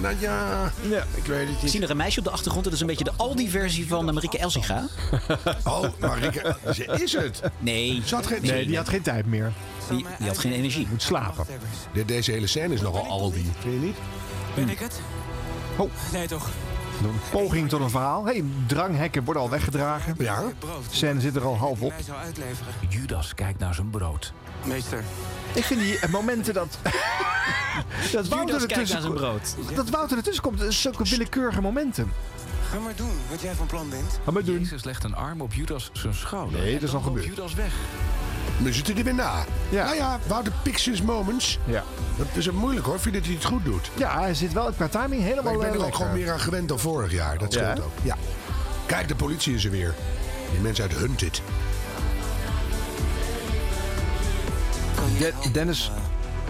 [SPEAKER 2] nou ja. Ik weet het
[SPEAKER 8] Ik
[SPEAKER 2] niet.
[SPEAKER 8] zie nog een meisje op de achtergrond. Dat is een beetje de Aldi-versie van eh, Marieke Elsinga.
[SPEAKER 2] Oh, maar Rieke, ze is het.
[SPEAKER 8] Nee.
[SPEAKER 2] Ze had geen-
[SPEAKER 10] Nee, die had geen tijd meer.
[SPEAKER 8] Die, die had geen energie.
[SPEAKER 10] Moet slapen.
[SPEAKER 2] De- deze hele scène is nogal Aldi. Hm. Vind je niet?
[SPEAKER 19] Ben ik het?
[SPEAKER 10] Oh.
[SPEAKER 19] Nee toch?
[SPEAKER 10] Een poging tot een verhaal. Hé, hey, dranghekken worden al weggedragen.
[SPEAKER 2] Ja.
[SPEAKER 10] Scène zit er al half op.
[SPEAKER 15] Mij zou uitleveren.
[SPEAKER 7] Judas kijkt naar zijn brood.
[SPEAKER 15] Meester.
[SPEAKER 10] Ik vind die eh, momenten dat... dat Wouter
[SPEAKER 8] Judas kijkt
[SPEAKER 10] ertussen
[SPEAKER 8] naar zijn
[SPEAKER 10] komt-
[SPEAKER 8] brood.
[SPEAKER 10] Dat Wouter ertussen komt, dat is zulke willekeurige momenten.
[SPEAKER 15] Ga maar doen wat jij van plan bent.
[SPEAKER 10] Ga maar doen.
[SPEAKER 5] Jezus legt een arm op Judas zijn schouder.
[SPEAKER 10] Nee, dat is al
[SPEAKER 5] Loopt
[SPEAKER 10] gebeurd.
[SPEAKER 5] Judas weg.
[SPEAKER 2] We zitten er weer na.
[SPEAKER 10] Ja.
[SPEAKER 2] Nou ja, Wouter Pictures Moments.
[SPEAKER 10] Ja.
[SPEAKER 2] Dat is het moeilijk hoor, vind je dat hij het goed doet.
[SPEAKER 10] Ja, hij zit wel qua timing
[SPEAKER 2] Maar
[SPEAKER 10] helemaal
[SPEAKER 2] ik ben er
[SPEAKER 10] eh,
[SPEAKER 2] ook gewoon
[SPEAKER 10] lekker.
[SPEAKER 2] meer aan gewend dan vorig jaar. Dat
[SPEAKER 10] Ja,
[SPEAKER 2] scheelt
[SPEAKER 10] hè?
[SPEAKER 2] ook. Ja. Kijk, de politie is er weer. Die mensen uit Hunted.
[SPEAKER 10] De- Dennis,
[SPEAKER 7] eh,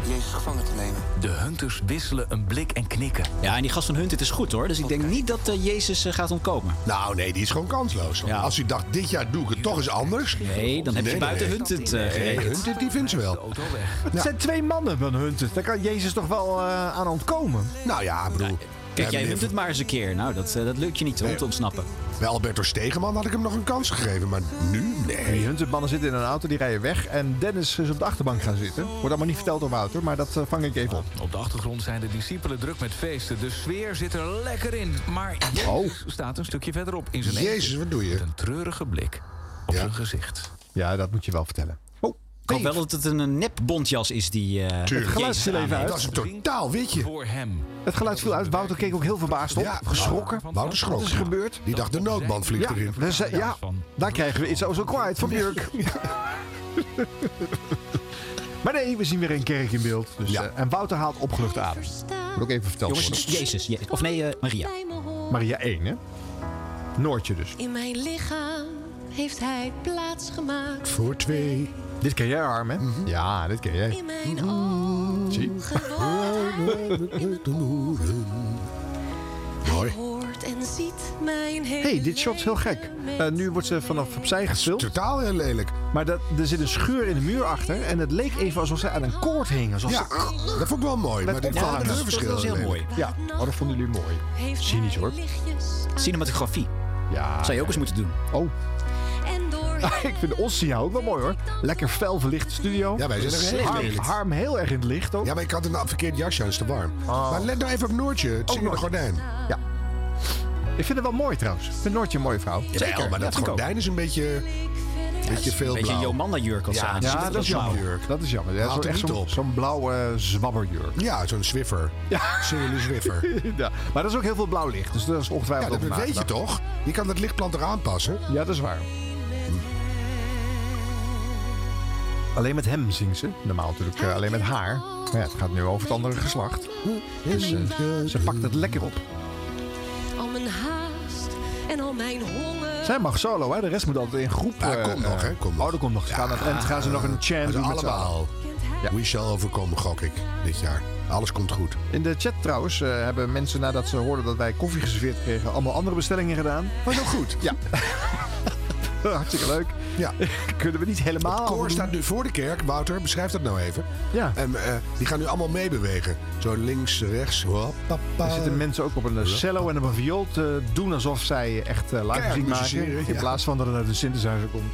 [SPEAKER 15] Jezus gevangen te nemen.
[SPEAKER 7] De hunters wisselen een blik en knikken.
[SPEAKER 8] Ja, en die gast van Hunt, het is goed hoor. Dus ik denk niet dat eh, Jezus eh, gaat ontkomen.
[SPEAKER 2] Nou nee, die is gewoon kansloos.
[SPEAKER 8] Ja.
[SPEAKER 2] Als hij dacht, dit jaar doe ik het toch eens anders.
[SPEAKER 8] Nee, dan heb je
[SPEAKER 2] Nee,
[SPEAKER 8] buiten
[SPEAKER 2] nee.
[SPEAKER 8] Hunt het eh,
[SPEAKER 2] Nee,
[SPEAKER 8] geregeld.
[SPEAKER 2] Hunted, die vindt ze
[SPEAKER 5] De
[SPEAKER 2] wel.
[SPEAKER 5] auto weg.
[SPEAKER 10] het zijn twee mannen van Hunted. Daar kan Jezus toch wel eh, aan ontkomen.
[SPEAKER 2] Nou ja, broer.
[SPEAKER 8] Kijk, jij Hunt het maar eens een keer. Nou, dat, eh, dat lukt je niet hoor, om te ontsnappen.
[SPEAKER 2] Bij Alberto Stegeman had ik hem nog een kans gegeven, maar nu nee.
[SPEAKER 10] Die Hunted-mannen zitten in een auto, die rijden weg. En Dennis is op de achterbank gaan zitten. Wordt allemaal niet verteld door Wouter, maar dat eh, vang ik even op.
[SPEAKER 5] Op de achtergrond zijn de discipelen druk met feesten. De sfeer zit er lekker in. Maar Jezus
[SPEAKER 10] Oh.
[SPEAKER 5] staat een stukje verderop in zijn eentje.
[SPEAKER 2] Jezus, wat doe je?
[SPEAKER 5] Met een treurige blik op zijn gezicht.
[SPEAKER 10] Ja, dat moet je wel vertellen. Oh,
[SPEAKER 8] Ik hoop wel dat het een eh, nep bondjas is die. eh,
[SPEAKER 2] Tuurlijk.
[SPEAKER 10] geluid
[SPEAKER 8] Jezus
[SPEAKER 10] viel even
[SPEAKER 8] aanheeft.
[SPEAKER 10] uit.
[SPEAKER 2] Dat is een totaal witje.
[SPEAKER 5] Voor hem.
[SPEAKER 10] het geluid viel uit. Wouter keek ook heel verbaasd op.
[SPEAKER 2] Ja,
[SPEAKER 10] geschrokken.
[SPEAKER 2] Wouter
[SPEAKER 10] Wat is er
[SPEAKER 2] schrok.
[SPEAKER 10] gebeurd?
[SPEAKER 2] Die dacht, de noodband vliegt
[SPEAKER 10] Ja,
[SPEAKER 2] erin.
[SPEAKER 10] we zijn- Dus, eh, ja, daar krijgen we iets zo kwijt van Björk. maar nee, we zien weer een kerk in beeld. Dus,
[SPEAKER 2] Ja.
[SPEAKER 10] eh, en Wouter haalt opgelucht adem. Moet ook even verteld
[SPEAKER 8] Jongens,
[SPEAKER 10] worden.
[SPEAKER 8] Jezus. Je- of nee, eh, Maria.
[SPEAKER 10] Maria 1, hè? Noortje dus.
[SPEAKER 13] In mijn lichaam heeft hij plaats gemaakt.
[SPEAKER 2] Voor twee. Mhm.
[SPEAKER 10] Dit ken jij, Arm, hè? Ja, dit ken jij.
[SPEAKER 13] In mijn
[SPEAKER 2] Mm-hmm.
[SPEAKER 13] ogen
[SPEAKER 10] Zie.
[SPEAKER 13] wordt hij
[SPEAKER 2] Mooi.
[SPEAKER 13] hoort en ziet mijn hele
[SPEAKER 10] hey, dit shot is heel gek. Eh, nu wordt ze vanaf opzij gespeeld.
[SPEAKER 2] totaal heel lelijk.
[SPEAKER 10] Maar dat, er zit een schuur in de muur achter. En het leek even alsof ze aan een koord hing. Alsof
[SPEAKER 2] Ja,
[SPEAKER 10] ze-
[SPEAKER 2] dat vond ik wel mooi.
[SPEAKER 10] Met
[SPEAKER 2] maar dit
[SPEAKER 10] opgehangen.
[SPEAKER 2] waren de verschillen.
[SPEAKER 10] Ja, oh, dat vonden jullie mooi. Cynisch hoor.
[SPEAKER 8] Cinematografie.
[SPEAKER 10] Ja.
[SPEAKER 8] Zou je ook eens moeten doen.
[SPEAKER 10] Oh. Ik vind de Ossia ook wel mooi hoor. Lekker fel verlicht studio. Dus
[SPEAKER 2] Ja, wij zijn er heel erg in
[SPEAKER 10] Harm,
[SPEAKER 2] het licht.
[SPEAKER 10] Harm heel erg in het licht ook. Oh.
[SPEAKER 2] Ja, maar ik had een verkeerd jasje aan, is te warm. Maar let nou even op Noortje. Het zit in de gordijn.
[SPEAKER 10] Ja. Ik vind het wel mooi trouwens. Ik vind Noortje een mooie vrouw.
[SPEAKER 2] Zeker, maar dat gordijn is een beetje... Beetje veel
[SPEAKER 10] beetje
[SPEAKER 2] blauw.
[SPEAKER 8] Jomanda-jurk als
[SPEAKER 2] ja,
[SPEAKER 8] aan.
[SPEAKER 10] Ja,
[SPEAKER 8] Ziet
[SPEAKER 10] dat,
[SPEAKER 8] er wel
[SPEAKER 10] is
[SPEAKER 8] blauw.
[SPEAKER 10] jammer. Dat is jammer. Ja,
[SPEAKER 2] Haalt
[SPEAKER 10] zo,
[SPEAKER 2] er
[SPEAKER 10] echt
[SPEAKER 2] niet
[SPEAKER 10] zo'n,
[SPEAKER 2] op.
[SPEAKER 10] zo'n blauwe zwabberjurk.
[SPEAKER 2] Ja, zo'n Zwiffer.
[SPEAKER 10] Ja.
[SPEAKER 2] Serious Zwiffer.
[SPEAKER 10] ja. Maar dat is ook heel veel blauw licht. Dus dat is
[SPEAKER 2] Ja,
[SPEAKER 10] ongetwijfeld
[SPEAKER 2] dat
[SPEAKER 10] ook
[SPEAKER 2] weet je
[SPEAKER 10] nagedacht.
[SPEAKER 2] toch? Je kan dat lichtplan er aanpassen.
[SPEAKER 10] Ja, dat is waar. Hm. Alleen met hem zingt ze. Normaal natuurlijk eh, alleen met haar. Maar ja, het gaat nu over het andere geslacht. Dus eh, ze pakt het lekker op.
[SPEAKER 13] Al mijn haast en al mijn honger.
[SPEAKER 10] Zij mag solo, hè? De rest moet altijd in groep.
[SPEAKER 2] Ja,
[SPEAKER 10] eh,
[SPEAKER 2] komt nog, hè? Komt nog.
[SPEAKER 10] Oh, er komt nog. Ze gaan aan het eind gaan ze nog een chant
[SPEAKER 2] We
[SPEAKER 10] doen met z'n allen.
[SPEAKER 2] allemaal. We shall overkomen, gok ik, dit jaar. Alles komt goed.
[SPEAKER 10] In de chat trouwens eh, hebben mensen nadat ze hoorden dat wij koffie geserveerd kregen... allemaal andere bestellingen gedaan.
[SPEAKER 2] Was ook goed.
[SPEAKER 10] Ja. Hartstikke leuk.
[SPEAKER 2] Ja.
[SPEAKER 10] Kunnen we niet helemaal...
[SPEAKER 2] Het koor staat nu voor de kerk. Wouter, beschrijf dat nou even.
[SPEAKER 10] Ja.
[SPEAKER 2] En eh, die gaan nu allemaal meebewegen. Zo links, rechts. Hoppapa.
[SPEAKER 10] Er zitten mensen ook op een eh, cello en op een viool te doen alsof zij echt eh, live muziek
[SPEAKER 2] Kerkmusiceren,
[SPEAKER 10] maken. In
[SPEAKER 2] ja.
[SPEAKER 10] plaats van dat het uit de synthesizer komt.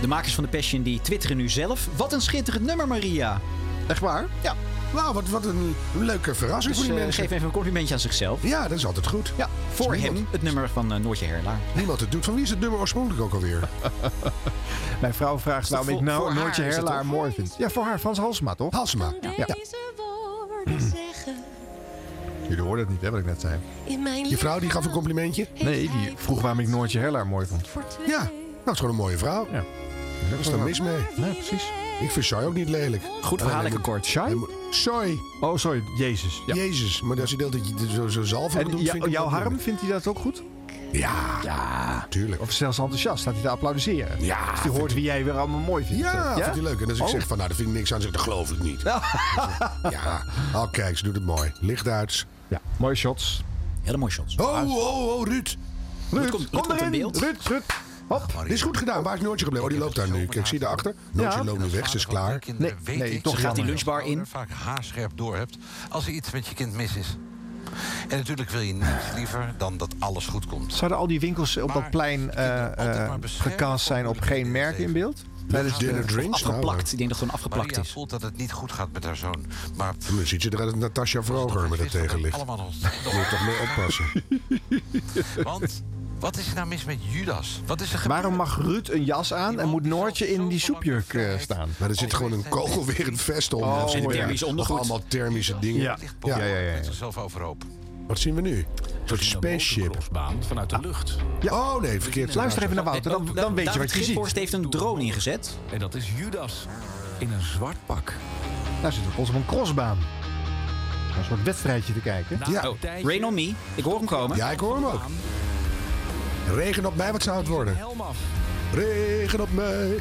[SPEAKER 8] De makers van de Passion die twitteren nu zelf. Wat een schitterend nummer, Maria.
[SPEAKER 10] Echt waar?
[SPEAKER 8] Ja.
[SPEAKER 2] Nou, wat, wat een leuke verrassing
[SPEAKER 8] Dus,
[SPEAKER 2] voor die
[SPEAKER 8] eh,
[SPEAKER 2] mensen.
[SPEAKER 8] geef even een complimentje aan zichzelf.
[SPEAKER 2] Ja, dat is altijd goed.
[SPEAKER 8] Ja, voor
[SPEAKER 2] Is niemand-
[SPEAKER 8] hem het nummer van eh, Noortje Herlaar.
[SPEAKER 2] Niemand het doet. Van wie is het nummer oorspronkelijk ook alweer?
[SPEAKER 10] Mijn vrouw vraagt waarom ik
[SPEAKER 2] voor- voor
[SPEAKER 10] nou
[SPEAKER 2] haar
[SPEAKER 10] Noortje
[SPEAKER 2] is het,
[SPEAKER 10] Herlaar
[SPEAKER 2] toch?
[SPEAKER 10] mooi vind. Ja, voor haar. Frans Halsma, toch?
[SPEAKER 2] Halsma.
[SPEAKER 10] Ja.
[SPEAKER 13] Woorden zeggen
[SPEAKER 10] Jullie hoorden het niet, hè, wat ik net zei.
[SPEAKER 13] in mijn
[SPEAKER 2] Je vrouw die gaf een complimentje?
[SPEAKER 10] Nee, die vroeg waarom ik Noortje Herlaar mooi vond.
[SPEAKER 2] Ja, dat is gewoon een mooie vrouw.
[SPEAKER 10] Ja.
[SPEAKER 2] Daar is dan mis mee.
[SPEAKER 10] Nee, precies.
[SPEAKER 2] Ik vind Shai ook niet lelijk.
[SPEAKER 8] Goed verhaal, lekker kort.
[SPEAKER 10] Shai?
[SPEAKER 2] Shai.
[SPEAKER 10] Oh, sorry. Jezus. Ja.
[SPEAKER 2] Jezus. Maar als je deelt dat je zo, zo zalven
[SPEAKER 10] En
[SPEAKER 2] bedoelt,
[SPEAKER 10] jou-
[SPEAKER 2] vind ik
[SPEAKER 10] jouw
[SPEAKER 2] ook wel
[SPEAKER 10] Harm, vindt hij dat ook goed?
[SPEAKER 2] Ja.
[SPEAKER 10] Ja.
[SPEAKER 2] Tuurlijk.
[SPEAKER 10] Of zelfs enthousiast, staat hij te applaudisseren.
[SPEAKER 2] Ja,
[SPEAKER 10] Dus die hoort wie jij weer allemaal mooi vindt.
[SPEAKER 2] Ja,
[SPEAKER 10] vind
[SPEAKER 2] vindt hij leuk. En als ik
[SPEAKER 10] Oh.
[SPEAKER 2] zeg van, nou, daar vind ik niks aan, zeg dat geloof ik niet. Ja. Oh, kijk, ze doet het mooi. Licht uit.
[SPEAKER 10] Ja, mooie shots.
[SPEAKER 8] Hele mooie shots.
[SPEAKER 2] Oh, oh, oh, Ruud. Oh,
[SPEAKER 10] Ruud,
[SPEAKER 8] komt- dit
[SPEAKER 10] kom
[SPEAKER 8] komt in
[SPEAKER 10] erin.
[SPEAKER 8] beeld. Oh,
[SPEAKER 10] Ruud, Ruud. Hop.
[SPEAKER 2] Dit is goed gedaan. Waar is Noortje gebleven? Oh, die loopt daar nu. Kijk, zie je daarachter? Noortje loopt nu weg. Ze is klaar.
[SPEAKER 9] Kinderen
[SPEAKER 10] Nee,
[SPEAKER 9] weet
[SPEAKER 10] nee,
[SPEAKER 9] ik,
[SPEAKER 10] toch jammer.
[SPEAKER 9] ze gaan
[SPEAKER 8] Die lunchbar in.
[SPEAKER 9] vaak haarscherp door hebt als er iets met je kind mis is. En natuurlijk wil je niets liever dan dat alles goed komt.
[SPEAKER 10] Zouden al die winkels op dat plein eh eh, gecast zijn op geen merk in beeld?
[SPEAKER 2] Tijdens dinner drinks. Nou,
[SPEAKER 8] Afgeplakt. Ik denk dat het gewoon afgeplakt
[SPEAKER 9] Maria
[SPEAKER 8] is.
[SPEAKER 9] voelt dat het niet goed gaat met haar zoon. Maar pff,
[SPEAKER 2] eh, dan ziet je eruit als Natasja Vroger met het tegenlicht.
[SPEAKER 9] allemaal nog...
[SPEAKER 2] Moet je toch mee oppassen.
[SPEAKER 9] Want wat is er nou mis met Judas? Wat is er gebeurd?
[SPEAKER 10] Waarom mag Ruud een jas aan en moet Noortje in die soepjurk eh, staan?
[SPEAKER 2] Maar er zit gewoon een kogelwerend vest om.
[SPEAKER 10] Oh,
[SPEAKER 2] Of
[SPEAKER 10] en thermisch
[SPEAKER 2] Of allemaal thermische dingen.
[SPEAKER 10] Ja.
[SPEAKER 2] Ja.
[SPEAKER 10] Ja, ja, ja, ja.
[SPEAKER 9] Zet zichzelf overhoop.
[SPEAKER 2] Wat zien we nu? Een soort spaceship.
[SPEAKER 7] crossbaan vanuit de lucht.
[SPEAKER 2] Oh nee, verkeerd.
[SPEAKER 10] Ah. Luister even naar Wouter, dan, dan weet je
[SPEAKER 8] oh, David
[SPEAKER 10] wat je ziet.
[SPEAKER 8] Giphorst heeft een drone ingezet.
[SPEAKER 7] En dat is Judas in een zwart pak.
[SPEAKER 10] Daar zit op ons op een crossbaan. Een soort wedstrijdje te kijken.
[SPEAKER 2] Ja.
[SPEAKER 8] Oh, Rain on me. Ik hoor hem komen.
[SPEAKER 2] ja, ik hoor hem ook. Regen op mij, wat zou het worden?
[SPEAKER 7] Helm af.
[SPEAKER 2] Regen op mij.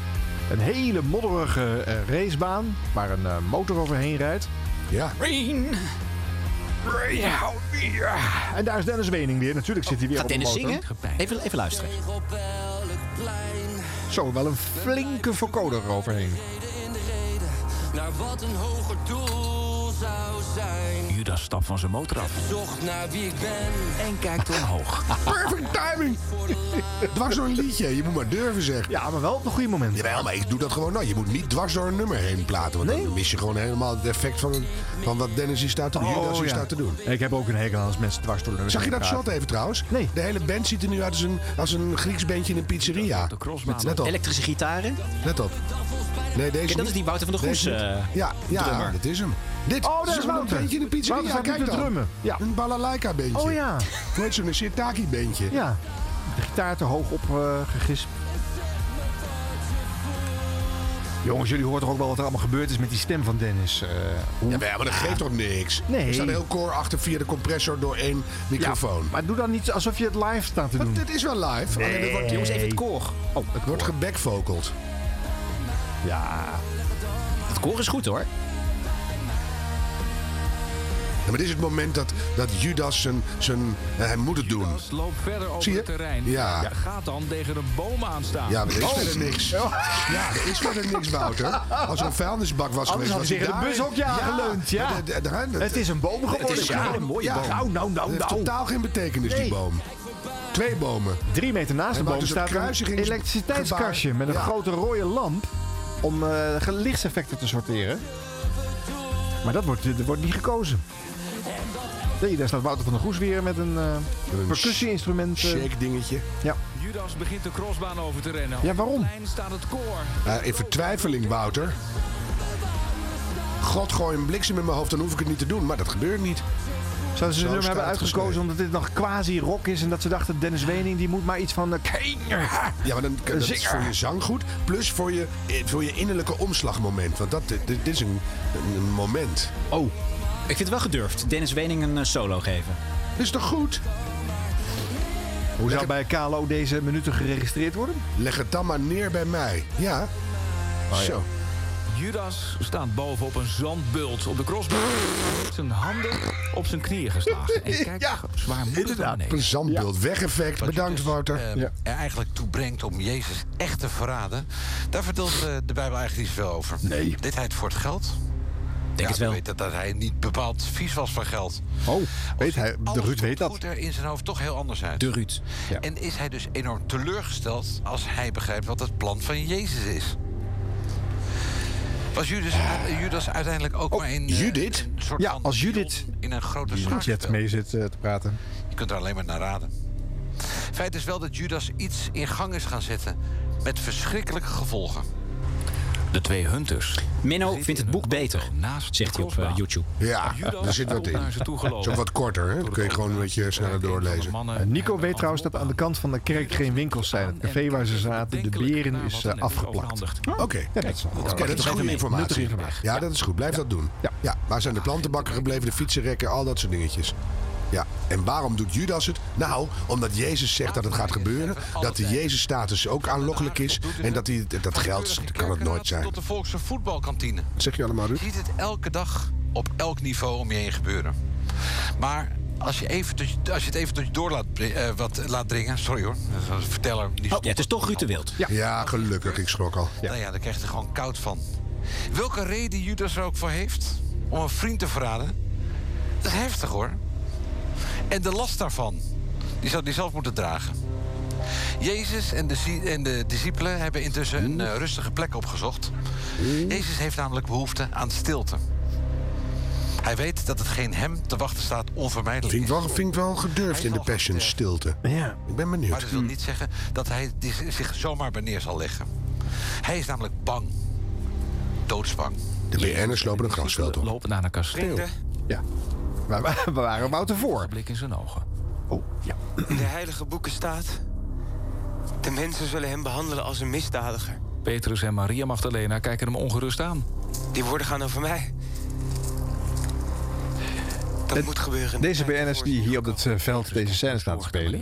[SPEAKER 10] Een hele modderige eh, racebaan waar een eh, motor overheen rijdt.
[SPEAKER 2] Ja,
[SPEAKER 8] Rain.
[SPEAKER 10] Ah, En daar is Dennis Wening weer. Natuurlijk zit hij weer
[SPEAKER 8] Gaat
[SPEAKER 10] op een
[SPEAKER 8] Dennis
[SPEAKER 10] motor.
[SPEAKER 8] zingen? Even, even luisteren.
[SPEAKER 10] Zo, wel een flinke verkoder overheen.
[SPEAKER 20] Naar wat een hoger doel zou zijn.
[SPEAKER 7] Judas stapt van zijn motor af
[SPEAKER 20] Zocht naar wie ik ben.
[SPEAKER 7] en kijkt omhoog.
[SPEAKER 2] perfect timing. Dwars door een liedje, je moet maar durven zeggen.
[SPEAKER 10] Ja, maar wel op een goede moment.
[SPEAKER 2] Jawel, maar ik doe dat gewoon nooit. Je moet niet dwars door een nummer heen platen. Want dan mis je gewoon helemaal het effect van, van wat Dennis hier staat te doen. Judas hier
[SPEAKER 10] Oh, ja.
[SPEAKER 2] staat te doen.
[SPEAKER 10] Ik heb ook een hekel aan als mensen dwars door de
[SPEAKER 2] Zag je dat shot even trouwens?
[SPEAKER 10] Nee.
[SPEAKER 2] De hele band ziet er nu uit als een, als een Grieks bandje in een pizzeria.
[SPEAKER 7] De crossbaan.
[SPEAKER 2] Let op,
[SPEAKER 8] Elektrische gitaren.
[SPEAKER 2] let op. Nee, deze
[SPEAKER 8] Kijk, dat
[SPEAKER 2] niet.
[SPEAKER 8] is die Wouter van der Goes.
[SPEAKER 2] Deze niet.
[SPEAKER 8] eh,
[SPEAKER 2] ja, ja
[SPEAKER 8] drummer.
[SPEAKER 2] dat is hem. Dit
[SPEAKER 10] Oh, daar
[SPEAKER 2] dit
[SPEAKER 10] is
[SPEAKER 2] wel
[SPEAKER 10] Wouter.
[SPEAKER 2] een bandje in een pizzeria.
[SPEAKER 10] Wouter staat
[SPEAKER 2] Kijk
[SPEAKER 10] nu te
[SPEAKER 2] dan.
[SPEAKER 10] drummen. Ja.
[SPEAKER 2] Een balalaika-bandje.
[SPEAKER 10] Oh ja,
[SPEAKER 2] Weet zo'n sirtaki-bandje.
[SPEAKER 10] ja. De gitaar te hoog op eh, gegispt. Jongens, jullie horen toch ook wel wat er allemaal gebeurd is met die stem van Dennis. eh, hoe-
[SPEAKER 2] Ja, maar dat geeft toch niks?
[SPEAKER 10] Nee.
[SPEAKER 2] Er staat een heel koor achter via de compressor door één microfoon.
[SPEAKER 10] maar doe dan niet alsof je het live staat te
[SPEAKER 2] Want
[SPEAKER 10] doen.
[SPEAKER 2] dit is wel live. Alleen het wordt,
[SPEAKER 8] Jongens, even het koor. Oh,
[SPEAKER 2] het wordt gebackvocald.
[SPEAKER 10] Ja.
[SPEAKER 8] het koor is goed hoor.
[SPEAKER 2] maar dit is het moment dat, dat Judas zijn, zijn... eh, hij moet het doen.
[SPEAKER 5] Loopt verder over
[SPEAKER 2] Zie je?
[SPEAKER 5] het terrein.
[SPEAKER 2] Ja.
[SPEAKER 5] En Gaat dan tegen een boom aanstaan.
[SPEAKER 2] Ja, maar er is verder niks. Ja, er is verder niks, Wouter. Als er een vuilnisbak was
[SPEAKER 5] Anders
[SPEAKER 2] geweest...
[SPEAKER 5] had
[SPEAKER 2] was
[SPEAKER 5] hij tegen
[SPEAKER 2] daar-
[SPEAKER 5] het bushokje aangeleund, ja.
[SPEAKER 2] maar de- de- de- de-
[SPEAKER 5] Het is een boom geworden.
[SPEAKER 2] Het is
[SPEAKER 5] Ja, een mooie boom.
[SPEAKER 2] Nou, nou, nou, heeft
[SPEAKER 5] nou.
[SPEAKER 2] totaal geen betekenis, die
[SPEAKER 5] Nee.
[SPEAKER 2] boom. Twee bomen.
[SPEAKER 4] Drie meter naast de
[SPEAKER 2] En dus
[SPEAKER 4] boom
[SPEAKER 2] Wouter,
[SPEAKER 4] staat
[SPEAKER 2] zo'n
[SPEAKER 4] een
[SPEAKER 2] kruisigings-
[SPEAKER 4] elektriciteitskastje met een
[SPEAKER 2] Ja.
[SPEAKER 4] grote rode lamp om eh, ge- lichtseffecten te sorteren. Maar dat wordt, dat wordt niet gekozen. Nee, daar staat Wouter van der Goes weer met een eh percussie-instrument. eh.
[SPEAKER 2] shake dingetje.
[SPEAKER 4] Ja.
[SPEAKER 5] Judas begint de crossbaan over te rennen.
[SPEAKER 4] Ja, waarom?
[SPEAKER 5] Op de lijn staat het koor.
[SPEAKER 2] Eh, in vertwijfeling, Wouter. God, gooi een bliksem in mijn hoofd, dan hoef ik het niet te doen. Maar dat gebeurt niet.
[SPEAKER 4] Zouden ze
[SPEAKER 2] Zo
[SPEAKER 4] de nummer hebben
[SPEAKER 2] staat het
[SPEAKER 4] uitgekozen omdat dit nog quasi-rock is en dat ze dachten Dennis Wening die moet maar iets van... eh, Kane.
[SPEAKER 2] Ja, maar dan, dat is
[SPEAKER 4] Zinger.
[SPEAKER 2] voor je zang goed. Plus voor je, eh, voor je innerlijke omslagmoment. Want dat, dit, dit is een, een, een moment.
[SPEAKER 8] Oh, ik vind het wel gedurfd. Dennis Wening een eh, solo geven.
[SPEAKER 2] Dat is toch goed?
[SPEAKER 4] Hoe zou bij KLO deze minuten geregistreerd worden?
[SPEAKER 2] Leg het dan maar neer bij mij. Ja.
[SPEAKER 5] ja.
[SPEAKER 2] Zo.
[SPEAKER 5] Judas staat boven op een zandbult op de crossbaan. Met Zijn handen op zijn knieën geslagen. En kijkt zwaarmoedig naar beneden.
[SPEAKER 2] Zandbeeld, wegeffect. Bedankt, Wouter.
[SPEAKER 9] eh, er eigenlijk toe brengt om Jezus echt te verraden. Daar vertelt eh, de Bijbel eigenlijk niet veel over. Nee. Dit hij het voor het geld. ja,
[SPEAKER 8] het wel.
[SPEAKER 9] we weten dat hij niet bepaald vies was van geld.
[SPEAKER 4] Oh, weet hij, de Ruud weet dat.
[SPEAKER 9] Goed er in zijn hoofd toch heel anders uit.
[SPEAKER 8] De Ruud.
[SPEAKER 9] En is hij dus enorm teleurgesteld als hij begrijpt wat het plan van Jezus is. Was Judas, Judas uiteindelijk ook
[SPEAKER 8] Oh,
[SPEAKER 9] maar in eh,
[SPEAKER 4] Judith?
[SPEAKER 9] een soort
[SPEAKER 4] Ja,
[SPEAKER 9] van
[SPEAKER 4] als Judith.
[SPEAKER 9] in een grote
[SPEAKER 4] Die
[SPEAKER 9] schaak?
[SPEAKER 4] chat mee zit eh, te praten.
[SPEAKER 9] Je kunt er alleen maar naar raden. Feit is wel dat Judas iets in gang is gaan zetten met verschrikkelijke gevolgen.
[SPEAKER 8] De twee hunters. Minno vindt Oh, het boek beter, zegt hij op eh, YouTube.
[SPEAKER 2] Ja,
[SPEAKER 8] Judas
[SPEAKER 2] er zit wat in.
[SPEAKER 8] naar ze toe
[SPEAKER 2] Het
[SPEAKER 8] gelopen.
[SPEAKER 2] is ook wat korter, hè? Dan kun je gewoon een beetje sneller doorlezen.
[SPEAKER 4] Eh, Nico weet trouwens dat aan de kant van de kerk geen winkels zijn. Het café waar ze zaten, de beren is eh, afgeplakt.
[SPEAKER 2] Oké,
[SPEAKER 4] Ja, dat is wel goed.
[SPEAKER 2] Oké, dat is goede
[SPEAKER 4] Nuttige
[SPEAKER 2] informatie.
[SPEAKER 4] informatie.
[SPEAKER 2] Ja, dat is goed. Blijf dat doen. Ja. Waar zijn de plantenbakken gebleven, de fietsenrekken, al dat soort dingetjes? Ja, en waarom doet Judas het? Nou, omdat Jezus zegt dat het gaat gebeuren. Dat de Jezus-status ook aanlokkelijk is. En dat, die, dat geld, dat kan het nooit zijn.
[SPEAKER 9] Tot de volkse voetbalkantine.
[SPEAKER 2] Wat zeg je allemaal, Ruud?
[SPEAKER 9] Je ziet het elke dag op elk niveau om je heen gebeuren. Maar als je, even tot je- als je het even tot je door laat, bri- eh, wat, laat dringen... Sorry hoor, dat is een verteller. Die stopt.
[SPEAKER 8] Oh, het is toch Ruud de Wild.
[SPEAKER 2] Ja. gelukkig. Ik schrok al.
[SPEAKER 9] Nou ja, daar krijg je er gewoon koud van. Welke reden Judas er ook voor heeft om een vriend te verraden... dat is heftig hoor. En de last daarvan, die zou hij zelf moeten dragen. Jezus en de, zi- en de discipelen hebben intussen een eh, rustige plek opgezocht. Jezus heeft namelijk behoefte aan stilte. Hij weet dat hetgeen hem te wachten staat onvermijdelijk
[SPEAKER 2] Vind ik
[SPEAKER 9] is.
[SPEAKER 2] wel, vind ik wel gedurfd in de passion, stilte.
[SPEAKER 4] Ja.
[SPEAKER 2] Ik ben benieuwd.
[SPEAKER 9] Maar dat wil niet zeggen dat hij die z- zich zomaar bij neer zal leggen. Hij is namelijk bang. Doodsbang.
[SPEAKER 2] De BN'ers lopen een grasveld op.
[SPEAKER 5] Lopen naar een kasteel.
[SPEAKER 4] Ja. Maar we- we waren Wouter voor.
[SPEAKER 5] Blik in zijn ogen.
[SPEAKER 15] In de heilige boeken staat... De mensen zullen hem behandelen als een misdadiger.
[SPEAKER 5] Petrus en Maria Magdalena kijken hem ongerust aan.
[SPEAKER 15] Die woorden gaan over mij. Dat moet gebeuren.
[SPEAKER 4] Deze BN'ers die hier op het eh, veld deze scène staan te spelen...